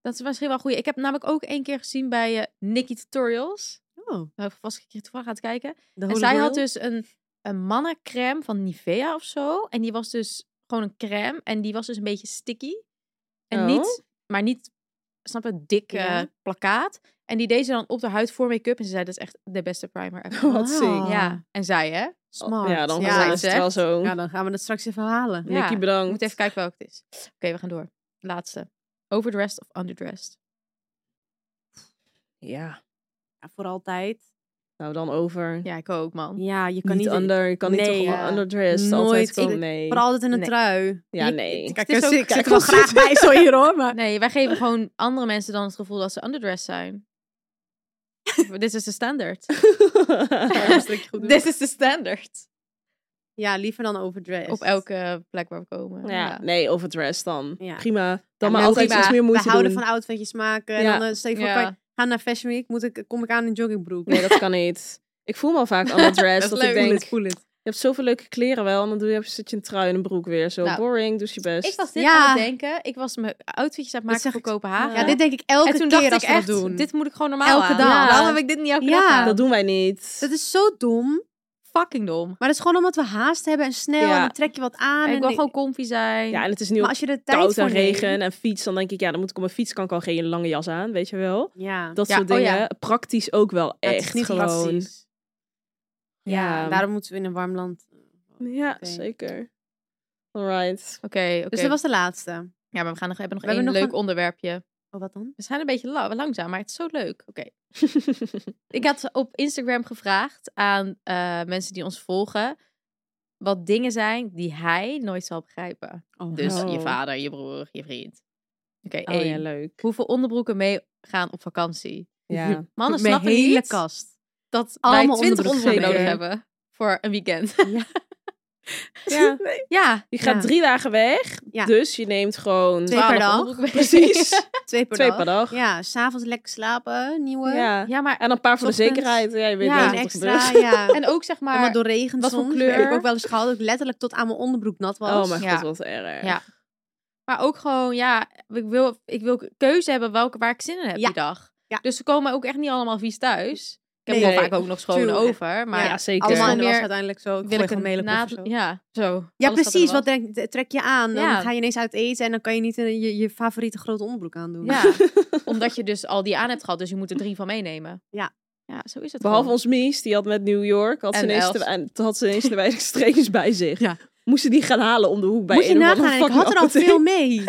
Speaker 3: Dat is misschien wel goed. Ik heb namelijk ook één keer gezien bij eh, Nikki Tutorials.
Speaker 5: Oh,
Speaker 3: Daar heb ik vast een keer toevallig aan het kijken.
Speaker 5: de
Speaker 3: En
Speaker 5: holy
Speaker 3: zij had
Speaker 5: grail.
Speaker 3: dus een, een mannencrème van Nivea of zo. En die was dus gewoon een crème. En die was dus een beetje sticky. En
Speaker 2: Oh.
Speaker 3: niet, maar niet, snap je, dik
Speaker 5: Ja.
Speaker 3: eh, plakkaat. En die deed ze dan op de huid voor make-up. En ze zei, dat is echt de beste primer ever.
Speaker 2: Wat ziek.
Speaker 5: Wow.
Speaker 3: Ja, en zij hè.
Speaker 5: Smart.
Speaker 2: Ja, dan
Speaker 3: Ja,
Speaker 2: is het
Speaker 3: zegt.
Speaker 2: wel zo.
Speaker 5: Ja, dan gaan we dat straks even halen.
Speaker 3: Ja.
Speaker 2: Nicky,
Speaker 3: Ik
Speaker 2: bedankt.
Speaker 3: moet even kijken welke het is. Oké, we gaan door. Laatste. Overdressed of underdressed?
Speaker 2: Ja,
Speaker 5: Ja, voor altijd.
Speaker 2: nou dan over.
Speaker 3: Ja, ik ook man.
Speaker 5: Ja, je
Speaker 2: Je kan niet, under, je kan niet
Speaker 5: Nee,
Speaker 2: toch
Speaker 5: ja.
Speaker 2: gewoon underdressed.
Speaker 5: Nooit.
Speaker 2: Altijd
Speaker 5: Ik-
Speaker 2: gewoon, nee.
Speaker 5: Voor altijd in een
Speaker 3: Nee.
Speaker 5: trui.
Speaker 2: Ja,
Speaker 3: ik-
Speaker 2: nee.
Speaker 3: Kijk,
Speaker 5: dus
Speaker 3: het is ook-
Speaker 5: er wel graag bij zo hier hoor. Maar...
Speaker 3: Nee, wij geven gewoon andere mensen dan het gevoel dat ze underdressed zijn. Dit is de standaard. Dit is de standaard.
Speaker 5: Ja, liever dan overdressed.
Speaker 3: Op elke plek waar we komen.
Speaker 2: ja, nee, overdressed dan.
Speaker 5: Ja. nou,
Speaker 2: Prima.
Speaker 3: Ja,
Speaker 2: Dan maar
Speaker 3: maar
Speaker 2: altijd
Speaker 3: prima.
Speaker 2: iets meer
Speaker 5: We
Speaker 2: moeite
Speaker 5: houden
Speaker 2: doen.
Speaker 5: van outfitjes maken.
Speaker 2: Ja.
Speaker 5: En dan eh, stel je voor,
Speaker 3: Ja.
Speaker 5: kijk, ga naar Fashion Week, moet ik, kom ik aan in joggingbroek.
Speaker 2: Nee, dat kan niet. Ik voel me al vaak underdressed.
Speaker 3: Dat
Speaker 2: dat,
Speaker 3: is
Speaker 2: ik
Speaker 3: leuk.
Speaker 2: denk,
Speaker 3: Voel
Speaker 2: je hebt zoveel leuke kleren wel. En dan doe je, zit je een trui en een broek weer. Zo
Speaker 3: Nou,
Speaker 2: boring, doe je best.
Speaker 3: Ik was dit
Speaker 5: Ja.
Speaker 3: aan het denken. Ik was mijn outfitjes aan het
Speaker 5: Dit
Speaker 3: maken
Speaker 5: zeg
Speaker 3: voor
Speaker 5: ik-
Speaker 3: Kopenhagen.
Speaker 5: Ja, dit denk ik elke
Speaker 3: en toen
Speaker 5: keer
Speaker 3: dacht
Speaker 5: als
Speaker 3: ik
Speaker 5: we dat
Speaker 3: echt,
Speaker 5: doen.
Speaker 3: dit moet ik gewoon normaal
Speaker 5: Elke
Speaker 3: aan.
Speaker 5: dag.
Speaker 3: Ja. Waarom
Speaker 5: Waarom
Speaker 3: heb
Speaker 5: heb
Speaker 3: ik dit niet elke
Speaker 5: dag
Speaker 3: dag
Speaker 5: gedaan?
Speaker 3: Dat
Speaker 2: Dat doen wij niet.
Speaker 5: Dat is zo dom.
Speaker 3: fucking dom.
Speaker 5: Maar dat is gewoon omdat we haast hebben en snel.
Speaker 2: Ja.
Speaker 5: En dan trek je wat aan.
Speaker 3: ik
Speaker 5: en
Speaker 3: wil gewoon comfy zijn.
Speaker 2: Ja, en het is nu
Speaker 5: Maar
Speaker 2: ook
Speaker 5: als je de tijd
Speaker 2: koud
Speaker 5: voor
Speaker 2: en
Speaker 5: neemt-
Speaker 2: regen en fiets. Dan denk ik, ja, dan moet ik op mijn fiets. Kan ik al geen lange jas aan, weet je wel.
Speaker 5: Ja.
Speaker 2: Dat
Speaker 3: Ja,
Speaker 2: soort
Speaker 3: oh
Speaker 2: dingen.
Speaker 3: ja.
Speaker 2: Praktisch ook wel
Speaker 5: Ja,
Speaker 2: echt
Speaker 5: het is niet
Speaker 2: gewoon.
Speaker 5: praktisch. Ja, daarom moeten we in een warm land.
Speaker 2: Ja,
Speaker 5: Oké.
Speaker 2: zeker. Alright.
Speaker 3: Oké, oké.
Speaker 5: Dus dat was de laatste.
Speaker 3: Ja, maar we, gaan nog, we hebben nog
Speaker 5: We
Speaker 3: één
Speaker 5: hebben nog
Speaker 3: leuk onderwerpje.
Speaker 5: Oh, wat dan?
Speaker 3: We zijn een beetje la- langzaam, maar het is zo leuk. Oké. Ik had op Instagram gevraagd aan eh, mensen die ons volgen... wat dingen zijn die hij nooit zal begrijpen. Dus
Speaker 2: Oh.
Speaker 3: je vader, je broer, je vriend. Oké,
Speaker 2: oh
Speaker 3: één.
Speaker 2: ja, leuk.
Speaker 3: Hoeveel onderbroeken meegaan op vakantie?
Speaker 2: Ja.
Speaker 3: Mannen
Speaker 5: Mijn
Speaker 3: snappen
Speaker 5: hele
Speaker 3: niet
Speaker 5: kast.
Speaker 3: dat wij
Speaker 5: Allemaal
Speaker 3: 20
Speaker 5: onderbroeken
Speaker 3: onderbroeken nodig
Speaker 2: zeker.
Speaker 3: hebben voor een weekend.
Speaker 2: ja.
Speaker 3: ja,
Speaker 2: Je gaat
Speaker 5: Ja.
Speaker 2: drie dagen weg.
Speaker 5: Ja.
Speaker 2: Dus je neemt gewoon
Speaker 5: Twee per
Speaker 3: 12
Speaker 5: dag.
Speaker 3: onderbroeken mee.
Speaker 2: Precies.
Speaker 5: Twee per
Speaker 2: Twee
Speaker 5: dag.
Speaker 2: per dag.
Speaker 5: Ja, s'avonds lekker slapen, nieuwe.
Speaker 2: Ja.
Speaker 3: Ja, maar
Speaker 2: En een paar voor de
Speaker 5: Ochtends.
Speaker 2: zekerheid. Ja, je weet
Speaker 3: Ja,
Speaker 2: nooit
Speaker 5: Eén
Speaker 2: wat er
Speaker 5: extra,
Speaker 2: gebeurt.
Speaker 5: ja.
Speaker 3: en ook zeg
Speaker 5: maar
Speaker 3: maar.
Speaker 5: door regen
Speaker 3: wat voor
Speaker 5: soms.
Speaker 3: kleur?
Speaker 5: Heb ik ook wel eens gehad dat ik letterlijk tot aan mijn onderbroek nat was.
Speaker 2: Oh mijn
Speaker 3: Ja.
Speaker 2: god, wat erg.
Speaker 3: Ja. Maar ook gewoon, ja, ik wil, ik wil keuze hebben welke, waar ik zin in heb
Speaker 5: Ja.
Speaker 3: die dag.
Speaker 5: Ja.
Speaker 3: Dus ze komen ook echt niet allemaal vies thuis. Ik heb
Speaker 5: Nee.
Speaker 3: wel
Speaker 2: Nee.
Speaker 3: vaak ook nog schoon
Speaker 5: True.
Speaker 3: over. Maar
Speaker 2: Ja, zeker.
Speaker 5: Alles
Speaker 3: Allemaal
Speaker 5: in de was
Speaker 3: meer-
Speaker 5: uiteindelijk zo. Ik
Speaker 3: wil ik
Speaker 5: een
Speaker 3: een
Speaker 5: mailen
Speaker 3: na- Ja, zo.
Speaker 5: Ja,
Speaker 3: Alles
Speaker 5: precies. Wat
Speaker 3: er
Speaker 5: trek, trek je aan? Dan
Speaker 3: Ja.
Speaker 5: ga je ineens uit eten en dan kan je niet eh, je, je favoriete grote onderbroek aandoen.
Speaker 3: wel. Ja, omdat je dus al die aan hebt gehad, dus je moet er drie van meenemen.
Speaker 5: Ja.
Speaker 3: Ja, zo is het
Speaker 2: Behalve
Speaker 3: gewoon.
Speaker 2: ons Mies, die had met New York, had ze,
Speaker 3: En
Speaker 2: ineens
Speaker 3: Els.
Speaker 2: de, en had ze ineens de weinig streepjes bij zich.
Speaker 5: Ja.
Speaker 2: Moesten die gaan halen om de hoek bij
Speaker 5: Moet je
Speaker 2: een of andere
Speaker 5: nagaan, en ik
Speaker 2: fucking
Speaker 5: had er al
Speaker 2: apotheek.
Speaker 5: veel mee.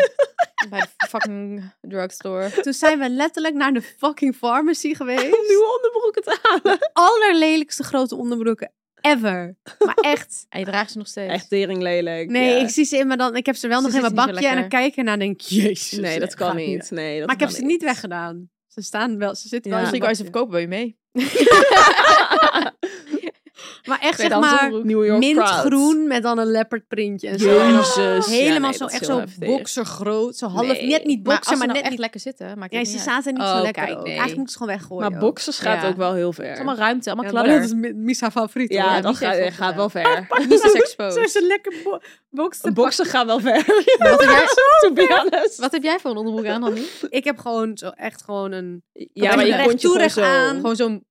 Speaker 3: bij de fucking drugstore.
Speaker 5: Toen zijn we letterlijk naar de fucking pharmacy
Speaker 2: Om
Speaker 5: geweest.
Speaker 2: nieuwe onderbroeken te halen.
Speaker 5: Allerlelijkste grote onderbroeken ever. Maar echt.
Speaker 3: En je draagt ze nog steeds.
Speaker 2: Echt tering lelijk.
Speaker 5: Nee,
Speaker 2: ja.
Speaker 5: ik zie ze in, maar dan, ik heb ze wel
Speaker 3: Ze
Speaker 5: nog in mijn
Speaker 3: zitten niet zo
Speaker 5: bakje. En
Speaker 3: lekker.
Speaker 5: dan kijk ik ernaar en denk ik, jezus.
Speaker 2: nee, dat kan
Speaker 5: gaat
Speaker 2: niet. Nee, dat
Speaker 5: Maar ik heb
Speaker 2: kan
Speaker 5: ze niet weggedaan. Ze staan wel, ze zitten
Speaker 2: Ja.
Speaker 5: wel
Speaker 3: Als
Speaker 5: in
Speaker 3: ik
Speaker 5: mijn
Speaker 3: als je
Speaker 5: bakje.
Speaker 3: verkopen, ben je mee.
Speaker 5: Maar echt zeg
Speaker 2: Tweedehands
Speaker 5: maar
Speaker 2: onderbroek. New York
Speaker 5: mintgroen met dan een leopard printje en zo.
Speaker 2: Jezus. Ja,
Speaker 5: Helemaal
Speaker 2: nee,
Speaker 5: zo
Speaker 2: dat is
Speaker 5: echt
Speaker 2: heel
Speaker 5: zo
Speaker 2: heftig.
Speaker 5: boksergroot. Zo half,
Speaker 2: Nee.
Speaker 5: net niet
Speaker 3: maar als ze
Speaker 5: boksen, maar,
Speaker 3: nou
Speaker 5: net
Speaker 3: echt
Speaker 5: niet...
Speaker 3: lekker zitten, maakt
Speaker 5: Ja,
Speaker 3: het
Speaker 5: ze
Speaker 3: niet uit.
Speaker 5: zaten niet
Speaker 2: Oh,
Speaker 5: zo lekker
Speaker 2: kijk,
Speaker 5: ook.
Speaker 2: nee.
Speaker 5: Eigenlijk moeten ze gewoon weggooien.
Speaker 2: Maar
Speaker 5: ook.
Speaker 2: boxers gaat
Speaker 3: Ja.
Speaker 2: ook wel heel
Speaker 3: Het
Speaker 2: ver.
Speaker 3: is allemaal ruimte, allemaal
Speaker 5: Ja, maar
Speaker 3: kladder.
Speaker 5: dat is Mi- Misa favoriet.
Speaker 2: ja,
Speaker 3: Ja,
Speaker 2: dat
Speaker 3: die
Speaker 2: gaat,
Speaker 3: geeft
Speaker 2: gaat
Speaker 3: wel
Speaker 2: wel ver.
Speaker 3: Niet zo
Speaker 5: Zo is
Speaker 3: exposed.
Speaker 5: een lekker bo boks te
Speaker 2: Boksen gaan wel ver.
Speaker 3: Wat heb jij-
Speaker 2: To be honest.
Speaker 3: Wat heb jij voor een onderbroek aan, Annie?
Speaker 5: pakken. Ik heb gewoon zo echt gewoon een...
Speaker 2: Ja,
Speaker 5: Wat
Speaker 2: maar
Speaker 5: heb
Speaker 2: je
Speaker 5: je
Speaker 2: kontje
Speaker 5: recht toe,
Speaker 2: gewoon
Speaker 5: recht
Speaker 2: zo.
Speaker 5: aan?
Speaker 3: Gewoon zo'n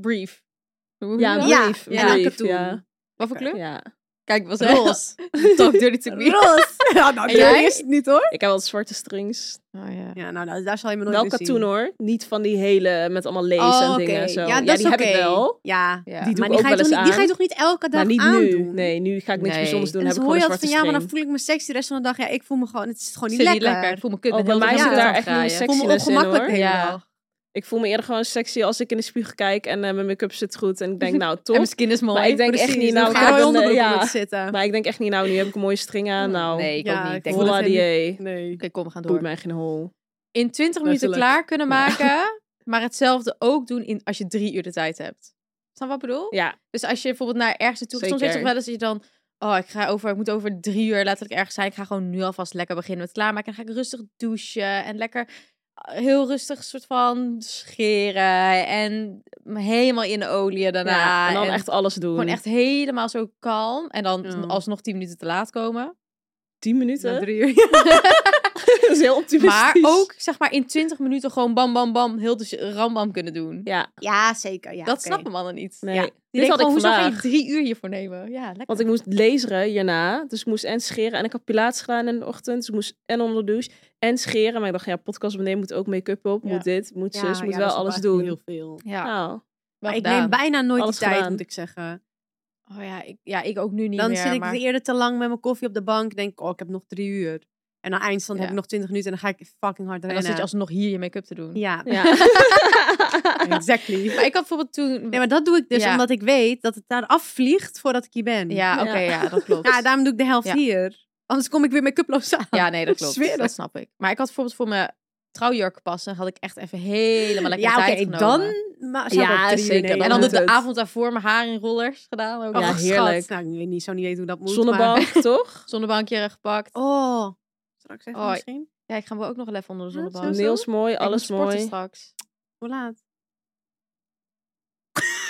Speaker 3: brief. Hoe noem je
Speaker 2: Ja,
Speaker 3: dat?
Speaker 2: een
Speaker 5: Ja,
Speaker 2: brief. een
Speaker 5: ja,
Speaker 2: brief,
Speaker 5: katoen.
Speaker 2: ja.
Speaker 3: Wat voor kleur?
Speaker 2: Ja.
Speaker 3: Kijk, was roze. Talk dirty to me.
Speaker 5: Roos! ja, nou,
Speaker 3: En jij?
Speaker 5: dat is het niet hoor.
Speaker 2: Ik heb wel zwarte strings.
Speaker 3: Oh, ja.
Speaker 5: Ja, nou, nou, daar zal je me nooit
Speaker 2: Wel
Speaker 5: meer zien.
Speaker 2: katoen hoor. Niet van die hele met allemaal lezen
Speaker 5: Oh,
Speaker 2: en
Speaker 5: oké.
Speaker 2: dingen en zo.
Speaker 5: Ja, dat is
Speaker 2: die heb ik
Speaker 5: oké.
Speaker 2: wel.
Speaker 5: Ja.
Speaker 3: Ja.
Speaker 2: Die doe
Speaker 5: maar
Speaker 2: ik
Speaker 5: die
Speaker 2: ook
Speaker 5: ga, je
Speaker 2: wel
Speaker 5: toch
Speaker 2: eens
Speaker 5: niet,
Speaker 2: aan.
Speaker 5: die ga je toch niet elke dag
Speaker 2: Maar niet
Speaker 5: aandoen?
Speaker 2: nu. Nee, nu ga ik niks
Speaker 3: Nee.
Speaker 2: bijzonders doen.
Speaker 5: En
Speaker 2: Heb
Speaker 5: dan
Speaker 2: ik gewoon
Speaker 5: hoor
Speaker 2: een
Speaker 5: je dat
Speaker 2: zwarte
Speaker 5: van ja, maar dan
Speaker 2: string.
Speaker 5: voel ik me sexy de rest van de dag. Ja, ik voel me gewoon, het is gewoon niet
Speaker 3: Zit
Speaker 5: lekker.
Speaker 3: niet Ik voel me kut.
Speaker 2: Oh,
Speaker 3: met
Speaker 2: bij
Speaker 3: heel
Speaker 2: mij
Speaker 3: veel
Speaker 2: zit
Speaker 3: mensen
Speaker 2: daar
Speaker 3: aan
Speaker 2: echt
Speaker 3: het
Speaker 2: niet
Speaker 3: graaien.
Speaker 2: sexy.
Speaker 5: Ik voel me
Speaker 2: Sexiness in,
Speaker 5: ongemakkelijk
Speaker 2: hoor.
Speaker 5: de hele
Speaker 3: Ja.
Speaker 5: dag.
Speaker 2: Ik voel me eerder gewoon sexy als ik in de spiegel kijk en eh, mijn make-up zit goed. En ik denk nou top.
Speaker 3: En mijn skin is mooi.
Speaker 2: Maar ik denk echt
Speaker 5: Precies,
Speaker 2: niet
Speaker 5: dan
Speaker 2: nou. Ik
Speaker 5: ga je
Speaker 2: heb
Speaker 5: wel
Speaker 2: een, eh,
Speaker 5: onderbroek
Speaker 2: ja.
Speaker 5: op moeten zitten.
Speaker 2: Maar ik denk echt niet nou. Nu heb ik een mooie string aan. Nou,
Speaker 3: Nee, ik
Speaker 5: Ja,
Speaker 3: ook niet.
Speaker 5: ik
Speaker 3: Denk
Speaker 5: voel
Speaker 3: wel-
Speaker 2: voilà
Speaker 5: het
Speaker 2: die. eh,
Speaker 5: Nee.
Speaker 3: Oké, kom, we gaan
Speaker 2: Boeit
Speaker 3: door.
Speaker 2: mij geen hol.
Speaker 3: In 20 minuten
Speaker 2: Letterlijk.
Speaker 3: klaar kunnen maken, maar hetzelfde ook doen in, als je drie uur de tijd hebt. Snap je wat ik bedoel?
Speaker 2: Ja,
Speaker 3: Dus als je bijvoorbeeld naar ergens naartoe gaat, soms weet je toch
Speaker 2: Zeker.
Speaker 3: wel eens dat je dan, oh, ik ga over, ik moet over drie uur letterlijk ergens zijn. Ik ga gewoon nu alvast lekker beginnen met klaarmaken. Dan ga ik rustig douchen en lekker eh, heel rustig soort van scheren en me helemaal in de olie daarna.
Speaker 2: ja. En dan echt alles doen.
Speaker 3: gewoon echt helemaal zo kalm en dan
Speaker 5: Ja.
Speaker 3: alsnog tien minuten te laat komen.
Speaker 2: 10 minuten.
Speaker 5: Na
Speaker 2: Dat
Speaker 5: drie uur. Ja.
Speaker 2: is heel optimistisch.
Speaker 3: Maar ook zeg maar in 20 minuten gewoon bam bam bam heel de rambam kunnen doen.
Speaker 2: Ja,
Speaker 5: Ja, zeker. Ja,
Speaker 3: dat
Speaker 5: oké.
Speaker 3: snappen mannen niet.
Speaker 2: nee.
Speaker 3: Ja. Die
Speaker 2: Dit had
Speaker 3: denken gewoon,
Speaker 2: ik
Speaker 3: hoezo ga je
Speaker 2: vandaag.
Speaker 3: drie uur hiervoor nemen? Ja, lekker.
Speaker 2: Want ik moest laseren hierna. Dus ik moest en scheren. En ik had pilates gedaan in de ochtend. Dus ik moest en onder de douche. En scheren. Maar ik dacht, ja, podcast beneden moet ook make-up op.
Speaker 3: Ja.
Speaker 2: Moet dit, moet
Speaker 5: Ja,
Speaker 2: zus.
Speaker 5: ja,
Speaker 2: Moet
Speaker 5: dat
Speaker 2: wel
Speaker 5: is
Speaker 2: alles
Speaker 5: echt
Speaker 2: doen.
Speaker 5: Heel veel.
Speaker 3: ja,
Speaker 2: Nou,
Speaker 3: wel
Speaker 5: Maar ik
Speaker 3: gedaan.
Speaker 5: neem bijna nooit
Speaker 2: Alles
Speaker 5: die tijd,
Speaker 2: gedaan.
Speaker 5: moet ik zeggen.
Speaker 3: Oh ja, ik, ja, ik ook nu niet
Speaker 5: Dan
Speaker 3: meer.
Speaker 5: zit ik
Speaker 3: maar...
Speaker 5: eerder te lang met mijn koffie op de bank. Denk ik, oh, ik heb nog drie uur. En aan eindstand
Speaker 3: Ja.
Speaker 5: heb ik nog twintig minuten. En dan ga ik fucking hard
Speaker 3: En
Speaker 5: rennen.
Speaker 3: dan zit je alsnog hier je make-up te doen.
Speaker 5: Ja,
Speaker 2: ja.
Speaker 5: exactly.
Speaker 3: Maar ik had bijvoorbeeld toen...
Speaker 5: Nee, maar dat doe ik dus
Speaker 3: Ja.
Speaker 5: omdat ik weet dat het daar afvliegt voordat ik hier ben.
Speaker 3: Ja,
Speaker 2: Ja.
Speaker 3: oké, ja, dat klopt.
Speaker 5: Dus- Ja, daarom doe ik de helft
Speaker 3: Ja.
Speaker 5: hier. Anders kom ik weer make-uploos aan.
Speaker 3: Ja, nee, dat klopt.
Speaker 5: Zweer
Speaker 3: dat
Speaker 5: dat.
Speaker 3: snap ik. Maar ik had bijvoorbeeld voor mijn trouwjurk passen, had ik echt even helemaal lekker
Speaker 5: Ja,
Speaker 3: tijd
Speaker 5: oké,
Speaker 3: genomen.
Speaker 5: dan maar, zou ik
Speaker 2: Ja,
Speaker 5: wel drie uur
Speaker 2: zeker,
Speaker 5: nemen.
Speaker 3: En dan
Speaker 2: moet
Speaker 3: de, de
Speaker 2: het.
Speaker 3: avond daarvoor mijn haar in rollers gedaan. Ook.
Speaker 5: Oh,
Speaker 2: Ja,
Speaker 5: schat.
Speaker 2: heerlijk.
Speaker 5: Nou, ik weet niet, zo niet weten hoe dat moet.
Speaker 2: Zonnebank, toch?
Speaker 3: Zonnebankje gepakt.
Speaker 5: maar- Oh. Straks even
Speaker 3: Oh,
Speaker 5: misschien.
Speaker 3: Ja, ik ga me ook nog wel even onder de
Speaker 5: Ja,
Speaker 3: zonnebank.
Speaker 5: sowieso.
Speaker 2: Nails mooi,
Speaker 3: Ik moet
Speaker 2: alles
Speaker 3: sporten
Speaker 2: mooi.
Speaker 3: straks.
Speaker 5: Hoe laat?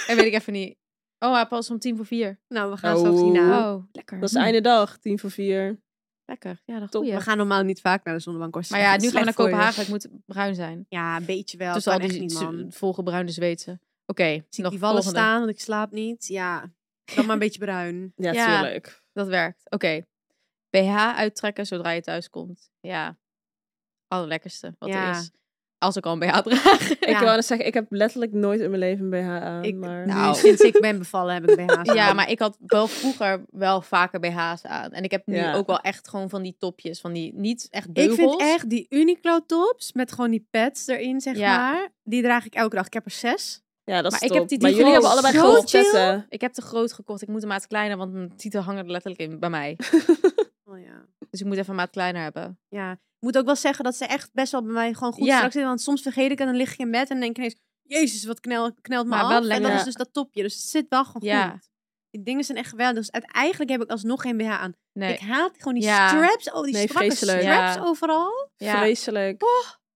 Speaker 3: En weet ik even niet. Oh, hij pas om tien voor vier.
Speaker 5: Nou, we gaan
Speaker 2: Oh.
Speaker 5: straks hierna.
Speaker 3: Oh, lekker.
Speaker 2: Dat is de einde dag, tien voor vier.
Speaker 3: Lekker. Ja, dat
Speaker 2: Top.
Speaker 3: goeie.
Speaker 5: We gaan normaal niet vaak naar de zonnebank. hoor.
Speaker 3: Maar ja, nu gaan we
Speaker 5: Slecht
Speaker 3: naar
Speaker 5: voor je.
Speaker 3: Kopenhagen. Ik moet bruin zijn.
Speaker 5: Ja, een beetje wel.
Speaker 3: Tussen Dus al
Speaker 5: kan echt
Speaker 3: die
Speaker 5: niet, man.
Speaker 3: z- volgebruinde Zweedse. Oké,
Speaker 5: Zie ik
Speaker 3: nog
Speaker 5: die vallen
Speaker 3: volgende.
Speaker 5: staan, want ik slaap niet. Ja, dan maar een beetje bruin.
Speaker 2: Ja,
Speaker 3: Ja.
Speaker 2: tuurlijk.
Speaker 3: Dat werkt. Oké. BH uittrekken zodra je thuis komt. Ja. Allerlekkerste wat er
Speaker 5: Ja.
Speaker 3: is. Als ik al een BH draag.
Speaker 2: Ik wil net zeggen, ik heb letterlijk nooit in mijn leven een BH aan.
Speaker 5: Ik,
Speaker 2: maar...
Speaker 5: nou. Sinds ik ben bevallen heb ik BH's
Speaker 3: ja,
Speaker 5: aan.
Speaker 3: maar ik had wel vroeger wel vaker BH's aan. En ik heb nu
Speaker 2: Ja.
Speaker 3: ook wel echt gewoon van die topjes. Van die niet echt
Speaker 5: Ik
Speaker 3: beugels.
Speaker 5: vind echt die Uniqlo tops met gewoon die pads erin, zeg
Speaker 3: Ja.
Speaker 5: maar. Die draag ik elke dag. Ik heb er zes.
Speaker 2: Ja, dat is
Speaker 3: Maar ik
Speaker 2: top.
Speaker 3: heb die
Speaker 2: maar
Speaker 3: drie
Speaker 2: jullie hebben
Speaker 3: gewoon
Speaker 2: allebei
Speaker 3: zo
Speaker 2: grote
Speaker 3: chill.
Speaker 2: tetten.
Speaker 3: Ik heb te groot gekocht. Ik moet een maat kleiner, want mijn titel hangen er letterlijk in bij mij.
Speaker 5: Oh, ja.
Speaker 3: Dus ik moet even een maat kleiner hebben.
Speaker 5: ja. Ik moet ook wel zeggen dat ze echt best wel bij mij gewoon goed
Speaker 3: Ja.
Speaker 5: straks zitten. Want soms vergeet ik en dan lig ik in bed en denk ik ineens... Jezus, wat knel, knelt me
Speaker 3: Maar
Speaker 5: af.
Speaker 3: wel
Speaker 5: en
Speaker 3: lekker.
Speaker 5: dat is dus dat topje. Dus het zit wel gewoon
Speaker 3: Ja.
Speaker 5: goed. Die dingen zijn echt geweldig. Dus uiteindelijk heb ik alsnog geen BH aan.
Speaker 3: Nee.
Speaker 5: Ik haat gewoon die
Speaker 3: Ja.
Speaker 5: straps. Oh, die
Speaker 2: Nee,
Speaker 5: strakke
Speaker 2: vreselijk.
Speaker 5: straps
Speaker 3: Ja.
Speaker 5: overal.
Speaker 3: ja,
Speaker 2: Vreselijk.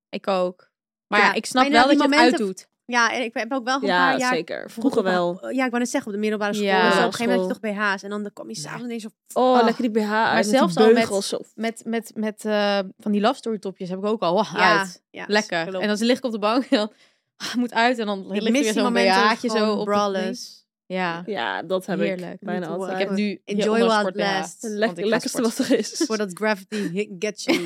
Speaker 3: ik ook. Maar ja,
Speaker 5: Ja,
Speaker 3: ik snap
Speaker 5: bijna
Speaker 3: wel dat
Speaker 5: die
Speaker 3: je het
Speaker 5: momenten-
Speaker 3: uitdoet.
Speaker 5: Ja, en ik heb ook wel gewoon een
Speaker 2: Ja,
Speaker 5: paar jaar...
Speaker 2: zeker. Vroeger wel.
Speaker 5: Ja, ik wou net zeggen, op de middelbare school.
Speaker 3: Ja.
Speaker 5: en zo, op
Speaker 2: Middelbare
Speaker 5: een gegeven moment heb
Speaker 2: school.
Speaker 5: je toch BH's. En dan kom je s'avonds ineens zo...
Speaker 2: Oh,
Speaker 3: Ah.
Speaker 2: lekker die BH uit. met die
Speaker 3: zelfs al met-
Speaker 2: beugels zo.
Speaker 3: Met, met, met eh, van die love story topjes heb ik ook al. Oh,
Speaker 5: Ja,
Speaker 3: uit.
Speaker 5: Ah, ja,
Speaker 3: Lekker.
Speaker 5: klopt.
Speaker 3: En dan lig ik op de bank en dan ah, moet uit en dan ligt er weer zo'n BH'tje zo op de knie. Ja,
Speaker 2: Ja, dat heb
Speaker 3: Heerlijk.
Speaker 2: ik bijna
Speaker 5: Moet
Speaker 2: altijd.
Speaker 3: ik heb nu
Speaker 5: Enjoy
Speaker 3: hieronder
Speaker 5: while
Speaker 3: sport
Speaker 5: it
Speaker 3: BH,
Speaker 5: lasts.
Speaker 2: Het
Speaker 3: want ik
Speaker 2: lekker,
Speaker 3: ga
Speaker 2: lekkerste wat
Speaker 3: sporten. eh,
Speaker 2: er is.
Speaker 5: Voordat gravity hit- gets you.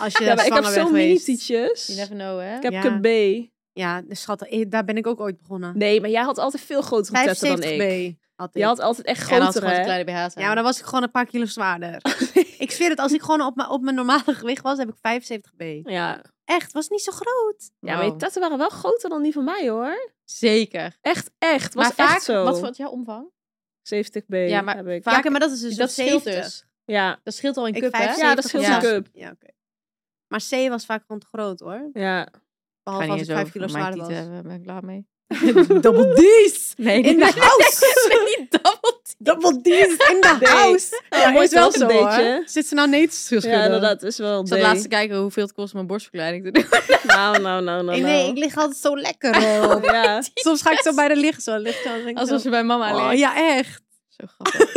Speaker 5: Als je
Speaker 2: Ja, maar ik heb
Speaker 5: zwanger bent
Speaker 2: zo'n
Speaker 5: geweest.
Speaker 2: mini-tietjes.
Speaker 3: You never know, hè?
Speaker 2: Ik heb
Speaker 5: Ja.
Speaker 2: een B.
Speaker 5: Ja, de schat, eh, daar ben ik ook ooit begonnen.
Speaker 2: Nee, maar jij had altijd veel grotere tetten dan
Speaker 5: 75
Speaker 2: ik.
Speaker 5: B had ik.
Speaker 2: Je had altijd echt
Speaker 3: Ja, dan had ze
Speaker 2: grotere.
Speaker 3: gewoon die
Speaker 2: hè?
Speaker 3: kleine BH's aan.
Speaker 5: Ja, maar dan was ik gewoon een paar kilo zwaarder. ik zweer het, als ik gewoon op, mijn- op mijn normale gewicht was, heb ik 75 B.
Speaker 2: ja.
Speaker 5: Echt, was niet zo groot.
Speaker 2: ja, maar je
Speaker 3: Wauw.
Speaker 2: tetten waren wel groter dan die van mij, hoor.
Speaker 3: Zeker.
Speaker 2: Echt, echt. Was
Speaker 3: maar vaak,
Speaker 2: echt zo.
Speaker 3: wat was jouw omvang?
Speaker 2: 70 B
Speaker 3: Ja, maar
Speaker 2: heb ik.
Speaker 3: vaak-
Speaker 5: ja, oké, maar dat is dus
Speaker 3: dat
Speaker 5: op
Speaker 3: scheelt
Speaker 5: 70.
Speaker 3: dus.
Speaker 2: Ja,
Speaker 3: Dat scheelt al in
Speaker 5: Ik
Speaker 3: cup, hè?
Speaker 5: vijf-
Speaker 2: ja dat scheelt een
Speaker 3: Ja.
Speaker 2: cup.
Speaker 5: Ja, oké. Maar C was vaak gewoon te groot hoor.
Speaker 2: Ja.
Speaker 5: Behalve als ik 5 kilo zwaarder was.
Speaker 3: ben ik klaar mee.
Speaker 5: Double D's!
Speaker 3: Nee,
Speaker 5: In the house!
Speaker 3: niet double D.
Speaker 5: Double D's in the
Speaker 2: Nee.
Speaker 5: house!
Speaker 2: Ja,
Speaker 5: mooi
Speaker 2: is wel een beetje.
Speaker 5: Zit ze nou nee te schudden?
Speaker 2: Ja, inderdaad, is wel een
Speaker 3: Ik zat
Speaker 2: D.
Speaker 3: laatst te kijken hoeveel het kost om een borstverkleining te doen.
Speaker 2: Nou, nou, nou, nou.
Speaker 5: Nee,
Speaker 2: nou. Oh,
Speaker 5: ik lig altijd zo lekker op.
Speaker 2: Ja.
Speaker 5: Soms ga ik zo bij de liggen zo. Ligt zo denk ik
Speaker 3: Alsof
Speaker 5: zo,
Speaker 3: ze bij mama
Speaker 5: oh,
Speaker 3: leert.
Speaker 5: Ja, echt.
Speaker 3: Zo grappig.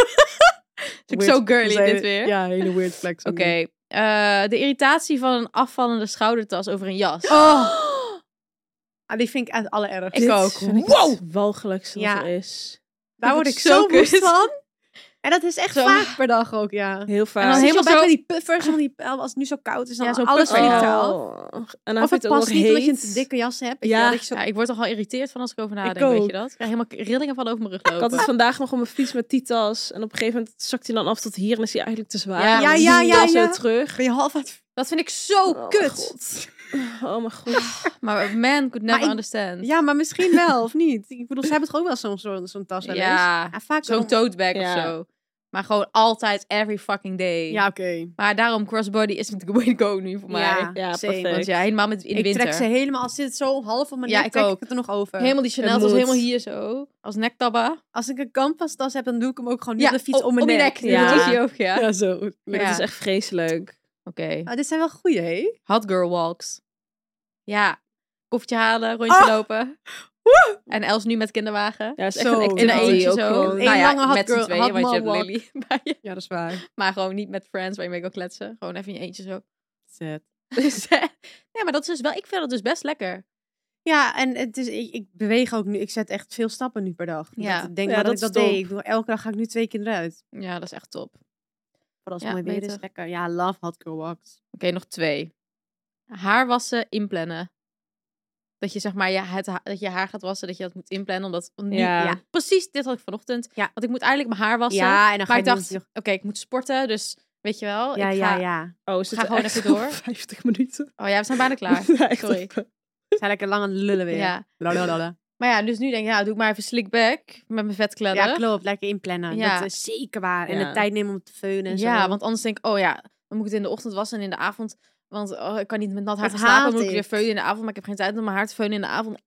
Speaker 3: Is ook zo girly
Speaker 5: Zei-
Speaker 3: dit weer.
Speaker 5: Ja, hele weird flex.
Speaker 3: Oké, eh, de irritatie van een afvallende schoudertas over een jas.
Speaker 5: Oh. Ah, die vind ik het allerergst.
Speaker 3: Ik ook.
Speaker 2: Vind ik
Speaker 3: Wow!
Speaker 2: het walgelijkste wat
Speaker 5: Ja.
Speaker 2: er is.
Speaker 5: Daar
Speaker 3: Vind
Speaker 5: word
Speaker 3: ik
Speaker 5: ik
Speaker 3: zo
Speaker 5: zo woest
Speaker 3: kut.
Speaker 5: van. En dat is echt
Speaker 3: Zo.
Speaker 5: vaak per dag ook, ja.
Speaker 2: Heel vaak.
Speaker 3: dan
Speaker 5: Dan
Speaker 3: helemaal
Speaker 5: helemaal
Speaker 3: zo-
Speaker 5: met die puffers, van die, als het nu zo koud is, dan
Speaker 3: Ja, zo'n
Speaker 5: alles
Speaker 3: puffer.
Speaker 5: vliegt
Speaker 3: Oh.
Speaker 5: eraf.
Speaker 2: En dan vind ik ook
Speaker 5: Of het past
Speaker 2: nog
Speaker 5: niet omdat je
Speaker 2: heet.
Speaker 5: een dikke jas hebt. weet
Speaker 2: Ja.
Speaker 5: je wel, dat je zo-
Speaker 3: Ja, ik word toch al geïrriteerd van als ik over nadenk,
Speaker 2: Ik
Speaker 3: weet
Speaker 2: ook.
Speaker 3: je dat? Ik krijg helemaal rillingen van over mijn rug
Speaker 2: Ik
Speaker 3: lopen.
Speaker 2: had het vandaag nog op mijn fiets met die tas. En op een gegeven moment zakt hij dan af tot hier en is hij eigenlijk te zwaar.
Speaker 3: Ja,
Speaker 2: En dan
Speaker 5: ja,
Speaker 2: zie je
Speaker 5: ja,
Speaker 2: die tas
Speaker 5: ja.
Speaker 2: zo terug.
Speaker 5: ben je half aan het...
Speaker 3: Dat vind ik zo
Speaker 2: Oh,
Speaker 3: kut.
Speaker 2: mijn god. Oh mijn god.
Speaker 3: Maar man could
Speaker 5: Maar
Speaker 3: never
Speaker 5: ik-
Speaker 3: understand.
Speaker 5: Ja, maar misschien wel, of niet? Ik bedoel, ze hebben toch ook wel zo'n zo'n zo'n tas wel eens?
Speaker 3: Ja,
Speaker 5: Ah, vaak
Speaker 3: zo'n
Speaker 5: wel.
Speaker 3: tote bag of
Speaker 2: Ja.
Speaker 3: zo. Maar gewoon altijd, every fucking day.
Speaker 5: Ja, oké.
Speaker 3: Maar daarom crossbody is the way to go nu voor mij.
Speaker 2: Ja,
Speaker 5: same.
Speaker 2: perfect.
Speaker 3: Want ja, helemaal met, in de
Speaker 5: ik
Speaker 3: winter.
Speaker 5: trek ze helemaal, als dit zo half op mijn
Speaker 3: Ja,
Speaker 5: nek,
Speaker 3: ik
Speaker 5: trek
Speaker 3: ook.
Speaker 5: ik het er nog over.
Speaker 3: Helemaal die Chanel
Speaker 2: Het
Speaker 3: was
Speaker 2: moet.
Speaker 3: helemaal hier zo. Als nektabba.
Speaker 5: Als ik een canvas-tas heb, dan doe ik hem ook gewoon niet op de fiets
Speaker 3: op-
Speaker 5: om mijn
Speaker 3: op je
Speaker 5: nek.
Speaker 3: nek.
Speaker 2: Ja.
Speaker 3: Ja, dat is die ook, ja.
Speaker 2: Ja, Dus, eh, zo. Maar
Speaker 3: Ja.
Speaker 2: Dat is echt vreselijk.
Speaker 3: Oké.
Speaker 5: Ah, dit zijn wel goeie, hè?
Speaker 3: Hot girl walks. Ja. Koffietje halen, rondje
Speaker 5: Ah.
Speaker 3: lopen. En Els nu met kinderwagen.
Speaker 2: Ja, het is
Speaker 5: Zo.
Speaker 2: echt een
Speaker 3: In
Speaker 5: In
Speaker 3: een
Speaker 5: een
Speaker 3: eentje
Speaker 2: activiteit.
Speaker 3: zo. Nou
Speaker 5: gewoon. Eén lange hot
Speaker 3: met z'n
Speaker 5: girl-
Speaker 3: tweeën,
Speaker 5: hot
Speaker 3: want je
Speaker 5: mom
Speaker 3: hebt
Speaker 5: walk.
Speaker 3: Lily bij je.
Speaker 5: Ja, dat is waar.
Speaker 3: Maar gewoon niet met friends waar je mee kan kletsen. Gewoon even in je eentje zo.
Speaker 5: Zet.
Speaker 3: Dus, eh, nee, maar dat is dus wel... Ik vind dat dus best lekker.
Speaker 5: Ja, en het is, ik, ik beweeg ook nu. Ik zet echt veel stappen nu per dag.
Speaker 3: Ja.
Speaker 5: Ja. Ik denk
Speaker 2: Ja,
Speaker 5: dat,
Speaker 2: dat
Speaker 5: ik dat
Speaker 2: is top.
Speaker 5: deed. Ik bedoel, elke dag ga ik nu twee keer eruit.
Speaker 3: Ja, dat is echt top. Oké,
Speaker 5: Vooral als
Speaker 3: Ja,
Speaker 5: het mooi weer is.
Speaker 3: beter.
Speaker 5: Lekker. Ja, love hot girl walks.
Speaker 3: nog twee. Haar wassen, inplannen. Dat je zeg maar je, het, ha- dat je haar gaat wassen, dat je dat moet inplannen. Omdat nu,
Speaker 2: Ja.
Speaker 3: ja, precies dit had ik vanochtend.
Speaker 5: Ja.
Speaker 3: Want ik moet eigenlijk mijn haar wassen.
Speaker 5: Ja, en dan ga
Speaker 3: maar
Speaker 5: je
Speaker 3: ik dacht,
Speaker 5: nog-
Speaker 3: oké, ik moet sporten, dus weet je wel.
Speaker 5: Ja,
Speaker 3: ik
Speaker 5: ja,
Speaker 3: ga...
Speaker 5: ja.
Speaker 2: Oh, is het
Speaker 3: Ga gewoon
Speaker 2: echt
Speaker 3: even door.
Speaker 2: 50 minuten.
Speaker 3: Oh ja, we zijn bijna klaar.
Speaker 2: Ja, echt
Speaker 3: Sorry.
Speaker 2: even.
Speaker 5: We zijn lekker lang aan het lullen weer.
Speaker 3: Ja.
Speaker 5: Lalalala.
Speaker 3: Maar ja, dus nu denk ik, nou, doe ik maar even slick back met mijn vetkledder.
Speaker 5: Ja, klopt. Lekker inplannen.
Speaker 3: Ja.
Speaker 5: Dat is zeker waar. En
Speaker 2: Ja.
Speaker 5: de tijd nemen om te feunen en zo.
Speaker 3: Ja, want anders denk ik, oh ja, dan moet ik het in de ochtend wassen en in de avond. Want oh, ik kan niet met nat haar
Speaker 5: Dat
Speaker 3: gaan slapen, dan
Speaker 5: haat
Speaker 3: moet ik weer
Speaker 5: ik.
Speaker 3: veunen in de avond. Maar ik heb geen tijd om mijn haar te veunen in de avond.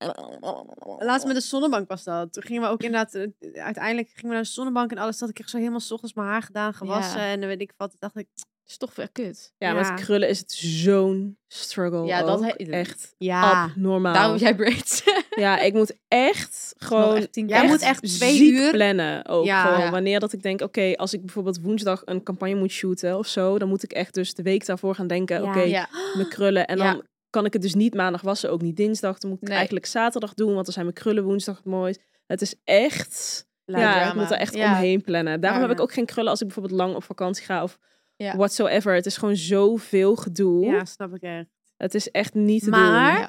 Speaker 5: Laatst met de zonnebank was dat. Toen gingen we ook inderdaad... eh, Uiteindelijk gingen we naar de zonnebank en alles. Dat ik echt zo helemaal 's ochtends mijn haar gedaan, gewassen. En dan weet ik wat. Toen dacht ik...
Speaker 3: is toch weer kut.
Speaker 2: Ja,
Speaker 5: Ja.
Speaker 2: met krullen is het zo'n struggle.
Speaker 3: Ja, dat
Speaker 2: ook.
Speaker 3: he- Ah,
Speaker 2: echt
Speaker 5: Ja.
Speaker 2: abnormaal.
Speaker 3: Daarom
Speaker 5: Oh.
Speaker 3: heb jij braids.
Speaker 2: Ja, ik moet echt gewoon
Speaker 5: Jij
Speaker 3: Echt
Speaker 5: moet echt twee
Speaker 2: ziek
Speaker 5: uur...
Speaker 2: plannen ook
Speaker 5: Ja.
Speaker 2: gewoon.
Speaker 3: Ja.
Speaker 2: Wanneer dat ik denk, oké, als ik bijvoorbeeld woensdag een campagne moet shooten of zo, dan moet ik echt dus de week daarvoor gaan denken,
Speaker 5: Ja.
Speaker 2: oké,
Speaker 3: Ja.
Speaker 2: mijn krullen. En
Speaker 3: Ja.
Speaker 2: dan kan ik het dus niet maandag wassen, ook niet dinsdag. Dan moet ik het
Speaker 3: Nee.
Speaker 2: eigenlijk zaterdag doen, want dan zijn mijn krullen woensdag het mooist. Het is echt, ja, ik
Speaker 3: drama.
Speaker 2: moet er echt
Speaker 3: Ja.
Speaker 2: omheen plannen. Daarom
Speaker 3: Ja.
Speaker 2: heb ik ook geen krullen als ik bijvoorbeeld lang op vakantie ga of
Speaker 3: Ja.
Speaker 2: whatsoever. Het is gewoon zoveel gedoe.
Speaker 5: Ja, snap ik echt.
Speaker 2: Het is echt niet te
Speaker 5: Maar
Speaker 2: doen.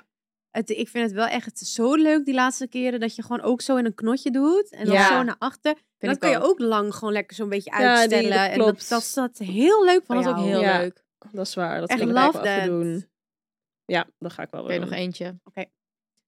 Speaker 5: het, ik vind het wel echt zo leuk die laatste keren dat je gewoon ook zo in een knotje doet en dan
Speaker 3: Ja.
Speaker 5: zo naar achter. En
Speaker 3: Vind
Speaker 5: dan
Speaker 3: ik
Speaker 5: kun je
Speaker 3: ook.
Speaker 5: ook lang gewoon lekker zo'n beetje
Speaker 2: die- dat
Speaker 5: uitstellen. en dat,
Speaker 2: klopt.
Speaker 5: dat is dat heel leuk
Speaker 3: Ik
Speaker 5: van
Speaker 3: vond dat ook
Speaker 5: jou.
Speaker 3: heel
Speaker 2: Ja.
Speaker 3: leuk. Oké,
Speaker 2: Dat is waar. Dat
Speaker 5: Echt
Speaker 2: vind ik ook
Speaker 5: love
Speaker 2: wel even
Speaker 5: that.
Speaker 2: doen. Ja, dat ga ik wel weer
Speaker 3: nog
Speaker 2: doen.
Speaker 3: eentje.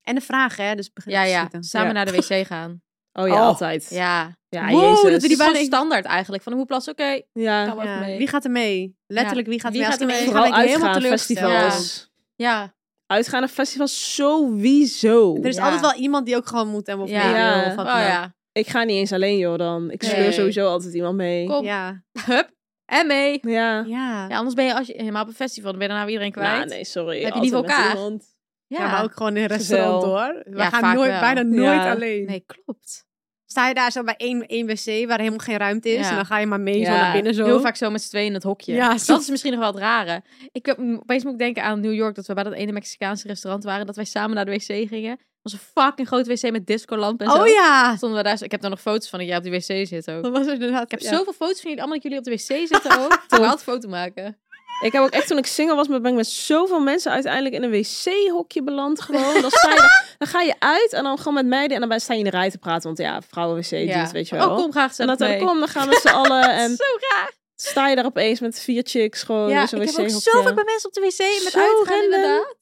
Speaker 5: En de vraag, hè? Dus begin
Speaker 3: Ja,
Speaker 5: te
Speaker 3: ja.
Speaker 5: schieten.
Speaker 3: Samen
Speaker 2: Ja.
Speaker 3: naar de wc gaan.
Speaker 2: Oh ja,
Speaker 5: Oh.
Speaker 2: altijd.
Speaker 3: Ja.
Speaker 2: Ja,
Speaker 5: Wow,
Speaker 2: jezus.
Speaker 5: dat we
Speaker 3: Het is
Speaker 5: die
Speaker 3: gewoon
Speaker 5: bijna-
Speaker 3: standaard eigenlijk. Van hoe plas, oké.
Speaker 2: Ja,
Speaker 3: gaan we even
Speaker 5: Ja.
Speaker 3: mee.
Speaker 5: Wie gaat er mee? Letterlijk, wie gaat er
Speaker 3: Wie
Speaker 5: mee? Als
Speaker 3: gaat
Speaker 5: ik
Speaker 3: er
Speaker 5: mee
Speaker 3: mee?
Speaker 5: ga, ben
Speaker 2: vooral
Speaker 5: ik helemaal
Speaker 2: uitgaan,
Speaker 5: teleurgesteld.
Speaker 2: festivals.
Speaker 3: Ja.
Speaker 2: Uitgaan naar festivals sowieso.
Speaker 5: Er is
Speaker 3: Ja.
Speaker 5: altijd wel iemand die ook gewoon moet en of
Speaker 3: Ja.
Speaker 5: mee wil,
Speaker 2: Ja.
Speaker 5: of wat
Speaker 3: Oh
Speaker 5: dan ook.
Speaker 3: ja.
Speaker 2: Ik ga niet eens alleen, joh, dan. Ik
Speaker 3: Nee.
Speaker 2: sleur sowieso altijd iemand mee.
Speaker 3: Kom.
Speaker 5: ja.
Speaker 3: Hup. En mee.
Speaker 2: Ja.
Speaker 5: Ja.
Speaker 3: Ja, anders ben je als je helemaal op een festival, dan ben je daarna weer iedereen kwijt.
Speaker 2: Nou, nee, sorry.
Speaker 3: Heb je
Speaker 2: Altijd
Speaker 3: die voor
Speaker 2: met
Speaker 3: elkaar?
Speaker 2: iemand.
Speaker 5: Ja, maar ook gewoon in een
Speaker 2: Gezel.
Speaker 5: restaurant hoor. We
Speaker 3: Ja, vaak
Speaker 5: gaan nooit,
Speaker 3: wel.
Speaker 5: bijna nooit
Speaker 2: Ja.
Speaker 5: alleen.
Speaker 3: Nee, klopt.
Speaker 5: Sta je daar zo bij één, één wc waar helemaal geen ruimte is
Speaker 3: Ja.
Speaker 5: en dan ga je maar mee zo
Speaker 2: Ja.
Speaker 5: naar binnen zo.
Speaker 3: Heel vaak zo met z'n tweeën in het hokje.
Speaker 5: Ja,
Speaker 3: Dat is misschien nog wel het rare. Ik heb mm, opeens moet ik denken aan New York, dat we bij dat ene Mexicaanse restaurant waren, dat wij samen naar de wc gingen. Het was een fucking groot wc met discolamp en zo.
Speaker 5: Oh ja.
Speaker 3: Stonden we daar, zo- ik heb daar nog foto's van dat jij op die wc zit ook.
Speaker 5: Dat was er inderdaad.
Speaker 3: Ik heb
Speaker 5: ja.
Speaker 3: zoveel foto's van jullie allemaal dat jullie op de wc zitten ook. Ik wil altijd foto maken.
Speaker 2: Ik heb ook echt, toen ik single was, ben ik met zoveel mensen uiteindelijk in een wc-hokje beland gewoon. Dan, sta je, dan ga je uit en dan gewoon met meiden en dan sta je in de rij te praten. Want ja, vrouwen wc doet, weet je wel.
Speaker 3: Oh, kom graag
Speaker 2: en
Speaker 3: zelf
Speaker 2: dat dan
Speaker 3: mee.
Speaker 2: kom, dan gaan we met z'n allen en
Speaker 3: Zo raar.
Speaker 2: sta je daar opeens met vier chicks gewoon
Speaker 3: Ja,
Speaker 2: in
Speaker 3: ik
Speaker 2: zo'n
Speaker 3: heb ook
Speaker 2: wc-hokje.
Speaker 3: zo vaak bij mensen op de wc met
Speaker 2: Zo
Speaker 3: uitgaan
Speaker 2: random.
Speaker 3: inderdaad.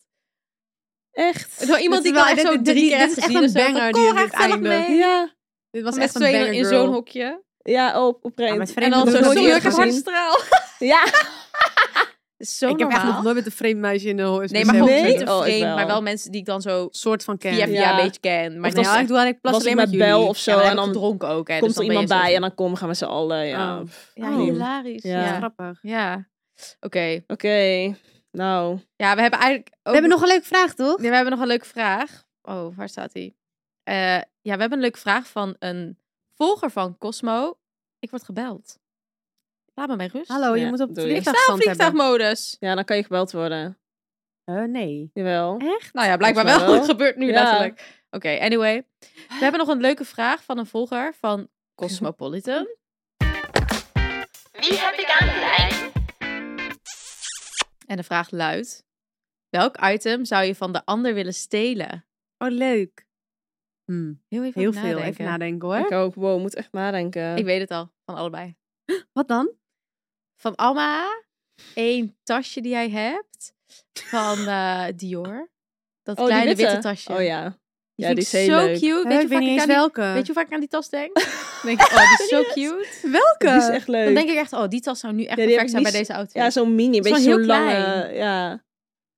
Speaker 2: Echt.
Speaker 3: Door iemand
Speaker 5: Dit
Speaker 3: die
Speaker 5: is
Speaker 3: kan echt
Speaker 5: wel- dit-
Speaker 3: zo
Speaker 5: dit-
Speaker 3: drie
Speaker 5: dit
Speaker 3: keer
Speaker 5: is
Speaker 3: hebben
Speaker 5: echt
Speaker 3: gezien
Speaker 5: een
Speaker 3: of zo. Van,
Speaker 5: banger
Speaker 3: Kom
Speaker 5: die
Speaker 3: graag
Speaker 5: dit
Speaker 3: zelf
Speaker 5: eindigt.
Speaker 3: mee.
Speaker 2: Ja,
Speaker 5: Dit was
Speaker 3: Met
Speaker 5: echt
Speaker 3: z'n
Speaker 5: een
Speaker 3: tweeën
Speaker 5: banger
Speaker 3: in
Speaker 5: girl.
Speaker 3: zo'n hokje.
Speaker 2: ja oh, op, op
Speaker 5: Ja, met
Speaker 2: vreemd.
Speaker 3: Ah,
Speaker 5: vreemden
Speaker 2: En dan
Speaker 5: doe
Speaker 2: zo,
Speaker 5: ik nooit
Speaker 2: sorry,
Speaker 5: eerder
Speaker 2: ik heb
Speaker 5: gezien.
Speaker 2: hartstikke- Ja.
Speaker 3: is zo
Speaker 5: ik heb echt
Speaker 3: normaal. Dus
Speaker 5: nog nooit met een vreemd meisje in de
Speaker 3: Nee, maar gewoon
Speaker 2: Nee?
Speaker 3: niet een
Speaker 2: Oh, ik
Speaker 3: vreemd,
Speaker 2: wel.
Speaker 3: maar wel mensen die ik dan zo
Speaker 5: soort van ken.
Speaker 3: via via
Speaker 2: Ja.
Speaker 3: een beetje ken. Maar
Speaker 2: Of
Speaker 3: nee,
Speaker 2: dat
Speaker 3: ja,
Speaker 2: ze-
Speaker 3: ik doe aan, ik plas
Speaker 2: was het
Speaker 3: alleen
Speaker 2: met
Speaker 3: met jullie.
Speaker 2: Bel of zo
Speaker 3: Ja, maar
Speaker 2: en
Speaker 3: ik heb
Speaker 2: dan
Speaker 3: gedronken ook. Hè,
Speaker 2: Komt
Speaker 3: dus dan
Speaker 2: er
Speaker 3: ben je
Speaker 2: iemand bij
Speaker 3: zo-
Speaker 2: en dan komen gaan met z'n allen. Ja.
Speaker 5: Oh.
Speaker 2: Pff,
Speaker 3: Ja,
Speaker 2: prima. Oké.
Speaker 3: hilarisch.
Speaker 2: Ja.
Speaker 3: Ja. Ja.
Speaker 5: Grappig.
Speaker 3: Oké.
Speaker 2: Nou,
Speaker 3: Ja, we hebben eigenlijk ook...
Speaker 5: We hebben nog een leuke vraag, toch?
Speaker 3: Nee, we hebben nog een leuke vraag. Oh, waar staat die? Eh, ja, we hebben een leuke vraag van een volger van Cosmo. Ik word gebeld. Laat me mijn rust.
Speaker 5: Hallo,
Speaker 2: Ja,
Speaker 5: je moet op
Speaker 2: doei.
Speaker 5: vliegtuigstand hebben.
Speaker 3: Vliegtuigmodus.
Speaker 2: ja, dan kan je gebeld worden.
Speaker 5: Eh, nee.
Speaker 2: Jawel.
Speaker 5: Echt?
Speaker 3: Nou ja, blijkbaar
Speaker 2: Volgens
Speaker 3: wel.
Speaker 2: mij
Speaker 3: Het
Speaker 2: wel.
Speaker 3: gebeurt nu
Speaker 2: Ja.
Speaker 3: letterlijk. Oké, anyway. We hebben nog een leuke vraag van een volger van Cosmopolitan.
Speaker 1: Wie heb ik aan de lijn?
Speaker 3: En de vraag luidt. Welk item zou je van de ander willen stelen?
Speaker 5: Oh, leuk. Hm,
Speaker 3: Heel even
Speaker 5: heel
Speaker 3: over
Speaker 5: veel.
Speaker 3: nadenken.
Speaker 5: Even nadenken hoor.
Speaker 2: Ik ook. Wow, moet echt nadenken.
Speaker 3: Ik weet het al, van allebei.
Speaker 5: Wat dan?
Speaker 3: Van Alma. één tasje die jij hebt. Van eh, Dior. Dat
Speaker 2: oh, die
Speaker 3: kleine witte. tasje.
Speaker 2: Oh ja.
Speaker 3: Die
Speaker 2: ja,
Speaker 3: vind
Speaker 2: die
Speaker 3: ik
Speaker 2: is heel
Speaker 3: zo
Speaker 2: leuk.
Speaker 3: cute.
Speaker 5: Hè,
Speaker 3: Weet je, hoe
Speaker 5: ik weet
Speaker 3: vaak
Speaker 5: niet eens
Speaker 3: ik aan die,
Speaker 5: welke.
Speaker 3: weet je hoe vaak ik aan die tas denk? Dan denk ik, oh, die is zo cute.
Speaker 5: welke?
Speaker 2: Die is echt leuk.
Speaker 3: Dan denk ik echt, oh, die tas zou nu echt
Speaker 2: Ja, die heb
Speaker 3: perfect
Speaker 2: ik
Speaker 3: zijn bij
Speaker 2: niet-
Speaker 3: deze outfit.
Speaker 2: ja, zo'n mini, een
Speaker 3: Zo'n
Speaker 2: beetje
Speaker 3: heel
Speaker 2: zo'n lange.
Speaker 3: klein.
Speaker 2: Ja,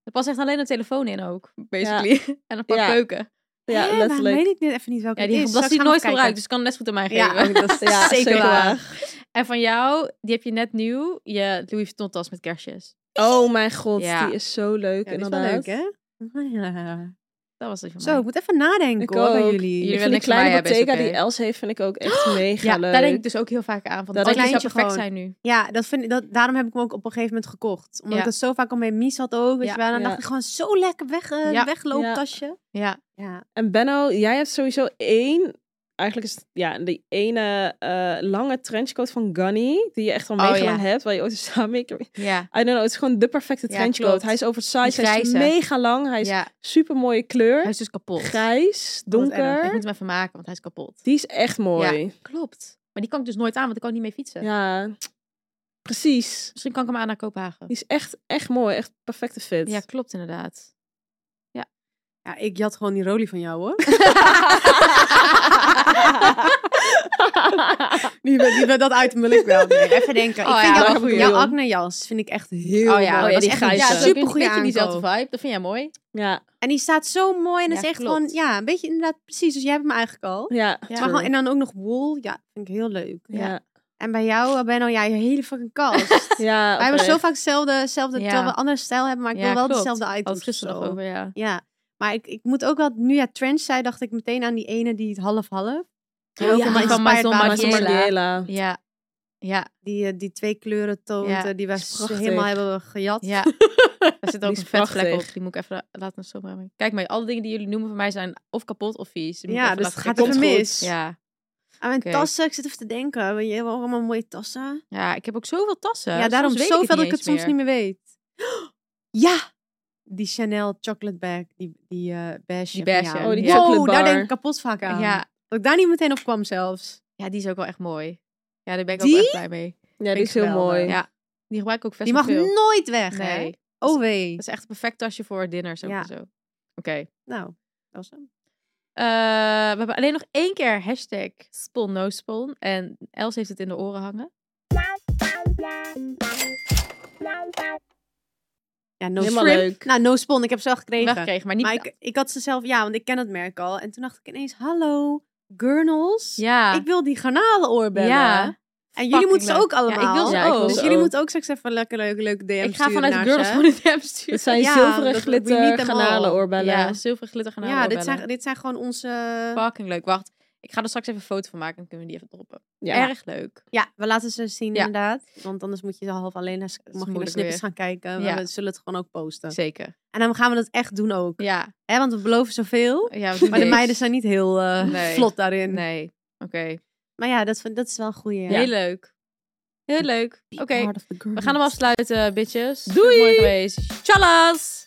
Speaker 3: Er past echt alleen een telefoon in ook, basically. En een pak
Speaker 2: Ja.
Speaker 3: keuken.
Speaker 5: Hè,
Speaker 2: ja
Speaker 5: waarom
Speaker 2: letterlijk.
Speaker 5: weet ik net even niet welke
Speaker 3: Ja,
Speaker 5: het
Speaker 3: die
Speaker 5: is.
Speaker 3: heb ik
Speaker 5: Straks gaan
Speaker 3: nooit
Speaker 5: we
Speaker 3: gebruikt,
Speaker 5: kijken.
Speaker 3: dus ik kan het net zo goed aan mij
Speaker 5: Ja,
Speaker 3: geven.
Speaker 5: ook dat is
Speaker 2: Ja,
Speaker 5: zeker waar.
Speaker 3: En van jou, die heb je net nieuw, je Louis Vuitton tas met kerstjes.
Speaker 2: Oh mijn god,
Speaker 3: Ja.
Speaker 2: die is zo
Speaker 3: dus
Speaker 2: leuk,
Speaker 5: Ja, die is wel
Speaker 2: inderdaad.
Speaker 5: leuk, hè? Ja.
Speaker 3: Dat was het van
Speaker 5: Zo,
Speaker 3: mij.
Speaker 5: ik moet even nadenken
Speaker 2: Ik
Speaker 5: hoor, bij
Speaker 2: ook.
Speaker 5: jullie.
Speaker 3: Jullie
Speaker 2: Ik
Speaker 3: willen
Speaker 2: vind die
Speaker 3: niks van
Speaker 2: kleine
Speaker 3: mij hebben, is
Speaker 2: bottega
Speaker 3: oké.
Speaker 2: die Els heeft, vind ik ook echt mega
Speaker 3: Ja,
Speaker 2: leuk.
Speaker 3: daar denk ik dus ook heel vaak aan. Van,
Speaker 2: Dat
Speaker 3: dat oh, die zou
Speaker 5: kleintje
Speaker 3: perfect
Speaker 5: gewoon.
Speaker 3: zijn nu.
Speaker 5: Ja, dat vind ik, dat, daarom heb ik hem ook op een gegeven moment gekocht. Omdat
Speaker 3: Ja.
Speaker 5: ik het zo vaak al mijn mies had ook. Weet
Speaker 3: Ja.
Speaker 5: je wel. Dan
Speaker 2: Ja.
Speaker 5: dacht ik gewoon zo lekker weg, eh,
Speaker 3: Ja.
Speaker 5: weglooptasje.
Speaker 3: Ja.
Speaker 5: Ja.
Speaker 2: En Benno, jij hebt sowieso één... Eigenlijk is het ja, die ene eh, lange trenchcoat van Gunny, die je echt al
Speaker 3: Oh,
Speaker 2: mega
Speaker 3: ja.
Speaker 2: lang hebt, waar je ooit een samenwerking mee-
Speaker 3: Ja,
Speaker 2: I don't know, het is gewoon de perfecte
Speaker 3: Ja,
Speaker 2: trenchcoat.
Speaker 3: klopt.
Speaker 2: Hij is oversized,
Speaker 3: Die
Speaker 2: hij is
Speaker 3: grijze.
Speaker 2: mega lang, hij is
Speaker 3: ja.
Speaker 2: super mooie kleur.
Speaker 3: Hij is dus kapot.
Speaker 2: Grijs,
Speaker 5: erg.
Speaker 3: Ik
Speaker 2: donker.
Speaker 3: moet hem even maken, want hij is kapot.
Speaker 2: Die is echt mooi.
Speaker 3: Klopt. Maar die kan ik dus nooit aan, want ik kan niet mee fietsen.
Speaker 2: Ja, precies.
Speaker 3: Misschien kan ik hem aan naar Kopenhagen.
Speaker 2: Die is echt, echt mooi. Echt perfecte fit.
Speaker 3: Ja, klopt inderdaad.
Speaker 5: ja, ik jat gewoon die rolie van jou hoor. Nu ben, nu ben dat item wil ik wel. Nee, even denken.
Speaker 3: Oh
Speaker 5: ik
Speaker 3: ja,
Speaker 5: vind
Speaker 2: dat
Speaker 5: jouw,
Speaker 2: heb ik
Speaker 5: jouw
Speaker 2: ook.
Speaker 5: acne jas vind ik echt heel
Speaker 3: oh ja,
Speaker 2: ja,
Speaker 5: mooi. Dat
Speaker 2: die
Speaker 5: is echt een
Speaker 2: grijze.
Speaker 3: Ja,
Speaker 5: supergoeie
Speaker 3: supergoeie beetje diezelfde
Speaker 5: aankoop.
Speaker 3: vibe. Dat vind jij mooi.
Speaker 2: Ja.
Speaker 5: En die staat zo mooi en dat
Speaker 3: Ja,
Speaker 5: is echt
Speaker 3: klopt.
Speaker 5: gewoon, ja, een beetje inderdaad precies. Dus jij hebt hem eigenlijk al.
Speaker 2: Ja.
Speaker 3: Ja.
Speaker 5: Maar gewoon, en dan ook nog wool, ja, vind ik heel leuk.
Speaker 2: Ja.
Speaker 5: En bij jou, eh, Benno, ja, je hele fucking kast.
Speaker 2: Ja.
Speaker 5: Wij hebben zo
Speaker 2: oprecht.
Speaker 5: vaak hetzelfde, hetzelfde
Speaker 3: Ja.
Speaker 5: terwijl we een andere stijl hebben, maar ik
Speaker 3: Ja,
Speaker 5: wil wel
Speaker 3: klopt.
Speaker 5: dezelfde
Speaker 3: Had
Speaker 5: items.
Speaker 3: het gisteren
Speaker 5: of
Speaker 3: nog
Speaker 5: zo.
Speaker 3: over, ja.
Speaker 5: Ja, maar ik, ik moet ook wel, nu ja, trends zei, dacht ik meteen aan die ene die het half-half.
Speaker 3: Oh, ja,
Speaker 5: ook
Speaker 3: die
Speaker 5: een
Speaker 3: van
Speaker 5: inspired
Speaker 3: Maison
Speaker 5: by
Speaker 2: Maar zo'n
Speaker 3: Mariela.
Speaker 2: Mariela.
Speaker 3: Ja. Ja,
Speaker 5: Die, eh, die twee kleuren toont,
Speaker 3: Ja,
Speaker 5: eh, die wij
Speaker 2: is
Speaker 5: zo
Speaker 2: prachtig.
Speaker 5: helemaal hebben gejat.
Speaker 3: ja. Daar zit ook
Speaker 2: is
Speaker 3: een vetvlek op.
Speaker 2: prachtig.
Speaker 3: Die moet ik even laten zomaar. Kijk maar, alle dingen die jullie noemen van mij zijn of kapot of vies. Die moet ik
Speaker 5: Ja,
Speaker 3: even
Speaker 5: dus het
Speaker 3: laten
Speaker 5: gaat
Speaker 3: checken.
Speaker 5: even
Speaker 2: Komt goed.
Speaker 5: mis.
Speaker 3: Ja.
Speaker 5: Aan mijn
Speaker 3: Oké.
Speaker 5: tassen, ik zit even te denken. Weet je, we hebben allemaal mooie tassen.
Speaker 3: ja, ik heb ook zoveel tassen.
Speaker 5: ja, daarom
Speaker 3: Soms weet
Speaker 5: zoveel dat ik
Speaker 3: niet
Speaker 5: het
Speaker 3: eens
Speaker 5: soms niet meer weet. Ja! Die Chanel chocolate bag, die, die eh
Speaker 3: Die
Speaker 5: beige. van
Speaker 3: beige,
Speaker 5: jou.
Speaker 3: oh, die
Speaker 5: wow,
Speaker 2: chocolate
Speaker 5: daar
Speaker 2: bar.
Speaker 5: denk ik kapot vaak aan.
Speaker 3: Ja,
Speaker 5: Dat ik daar niet meteen op kwam zelfs.
Speaker 3: Ja, die is ook wel echt mooi. Ja, daar ben ik
Speaker 5: Die?
Speaker 3: ook echt blij mee.
Speaker 2: Ja, die
Speaker 3: Vind
Speaker 2: is
Speaker 3: ik
Speaker 2: heel mooi.
Speaker 3: Ja. Die gebruik ik ook best
Speaker 5: Die mag
Speaker 3: wel veel.
Speaker 5: nooit weg, hè?
Speaker 3: Nee,
Speaker 5: Oh
Speaker 3: dat is echt een perfect tasje voor dinners ook
Speaker 5: Ja.
Speaker 3: en zo. Oké.
Speaker 5: Nou, dat was hem.
Speaker 3: Eh, we hebben alleen nog één keer hashtag spon no spon. En Els heeft het in de oren hangen.
Speaker 5: Ja, no
Speaker 2: Helemaal
Speaker 5: spon.
Speaker 2: leuk.
Speaker 5: Nou, no spon, ik heb ze wel gekregen.
Speaker 3: Weggekregen, maar niet...
Speaker 5: Maar ik, ik had ze zelf, ja, want ik ken het merk al. En toen dacht ik ineens, hallo, gurnals.
Speaker 3: ja.
Speaker 5: Ik wil die garnalenoorbillen.
Speaker 3: ja.
Speaker 5: En jullie moeten ze
Speaker 3: leuk.
Speaker 5: ook allemaal.
Speaker 3: Ja, ik wil ze
Speaker 2: Ja, ik wil
Speaker 3: ook. Oh.
Speaker 5: Dus
Speaker 2: ze
Speaker 5: jullie
Speaker 2: ook.
Speaker 5: moeten ook straks even lekker leuke, leuke DM
Speaker 3: Ik ga
Speaker 5: sturen
Speaker 3: vanuit
Speaker 5: naar
Speaker 3: de girls
Speaker 5: ze.
Speaker 3: van de DM sturen.
Speaker 2: Het zijn
Speaker 5: Ja,
Speaker 2: zilveren
Speaker 5: dat- we
Speaker 2: glitter
Speaker 5: meet them all.
Speaker 2: granalen oorbellen.
Speaker 3: Oh, Ja, zilver glitter gaan
Speaker 5: Ja, dit zijn, dit zijn gewoon onze...
Speaker 3: fucking leuk. Wacht, ik ga er straks even een foto van maken en dan kunnen we die even droppen.
Speaker 2: Ja.
Speaker 3: Erg leuk.
Speaker 5: Ja, we laten ze zien
Speaker 3: Ja.
Speaker 5: inderdaad. Want anders moet je ze half alleen naar,
Speaker 3: is
Speaker 5: mag je naar
Speaker 3: moeilijk
Speaker 5: snippets
Speaker 3: weer.
Speaker 5: gaan kijken.
Speaker 3: Ja.
Speaker 5: Maar we zullen het gewoon ook posten.
Speaker 3: Zeker.
Speaker 5: En dan gaan we dat echt doen ook.
Speaker 3: Ja.
Speaker 5: Hè, want we beloven zoveel.
Speaker 3: ja we doen
Speaker 5: Maar de
Speaker 3: niks.
Speaker 5: meiden zijn niet heel eh,
Speaker 3: Nee.
Speaker 5: vlot daarin.
Speaker 3: Nee. Oké.
Speaker 5: Maar ja, dat, vind- dat is wel een goede.
Speaker 3: Heel leuk. Heel leuk. Oké,
Speaker 5: Part of the
Speaker 3: we
Speaker 5: girls.
Speaker 3: gaan hem afsluiten, bitches.
Speaker 2: Doei!
Speaker 3: Mooi geweest. Tjallas!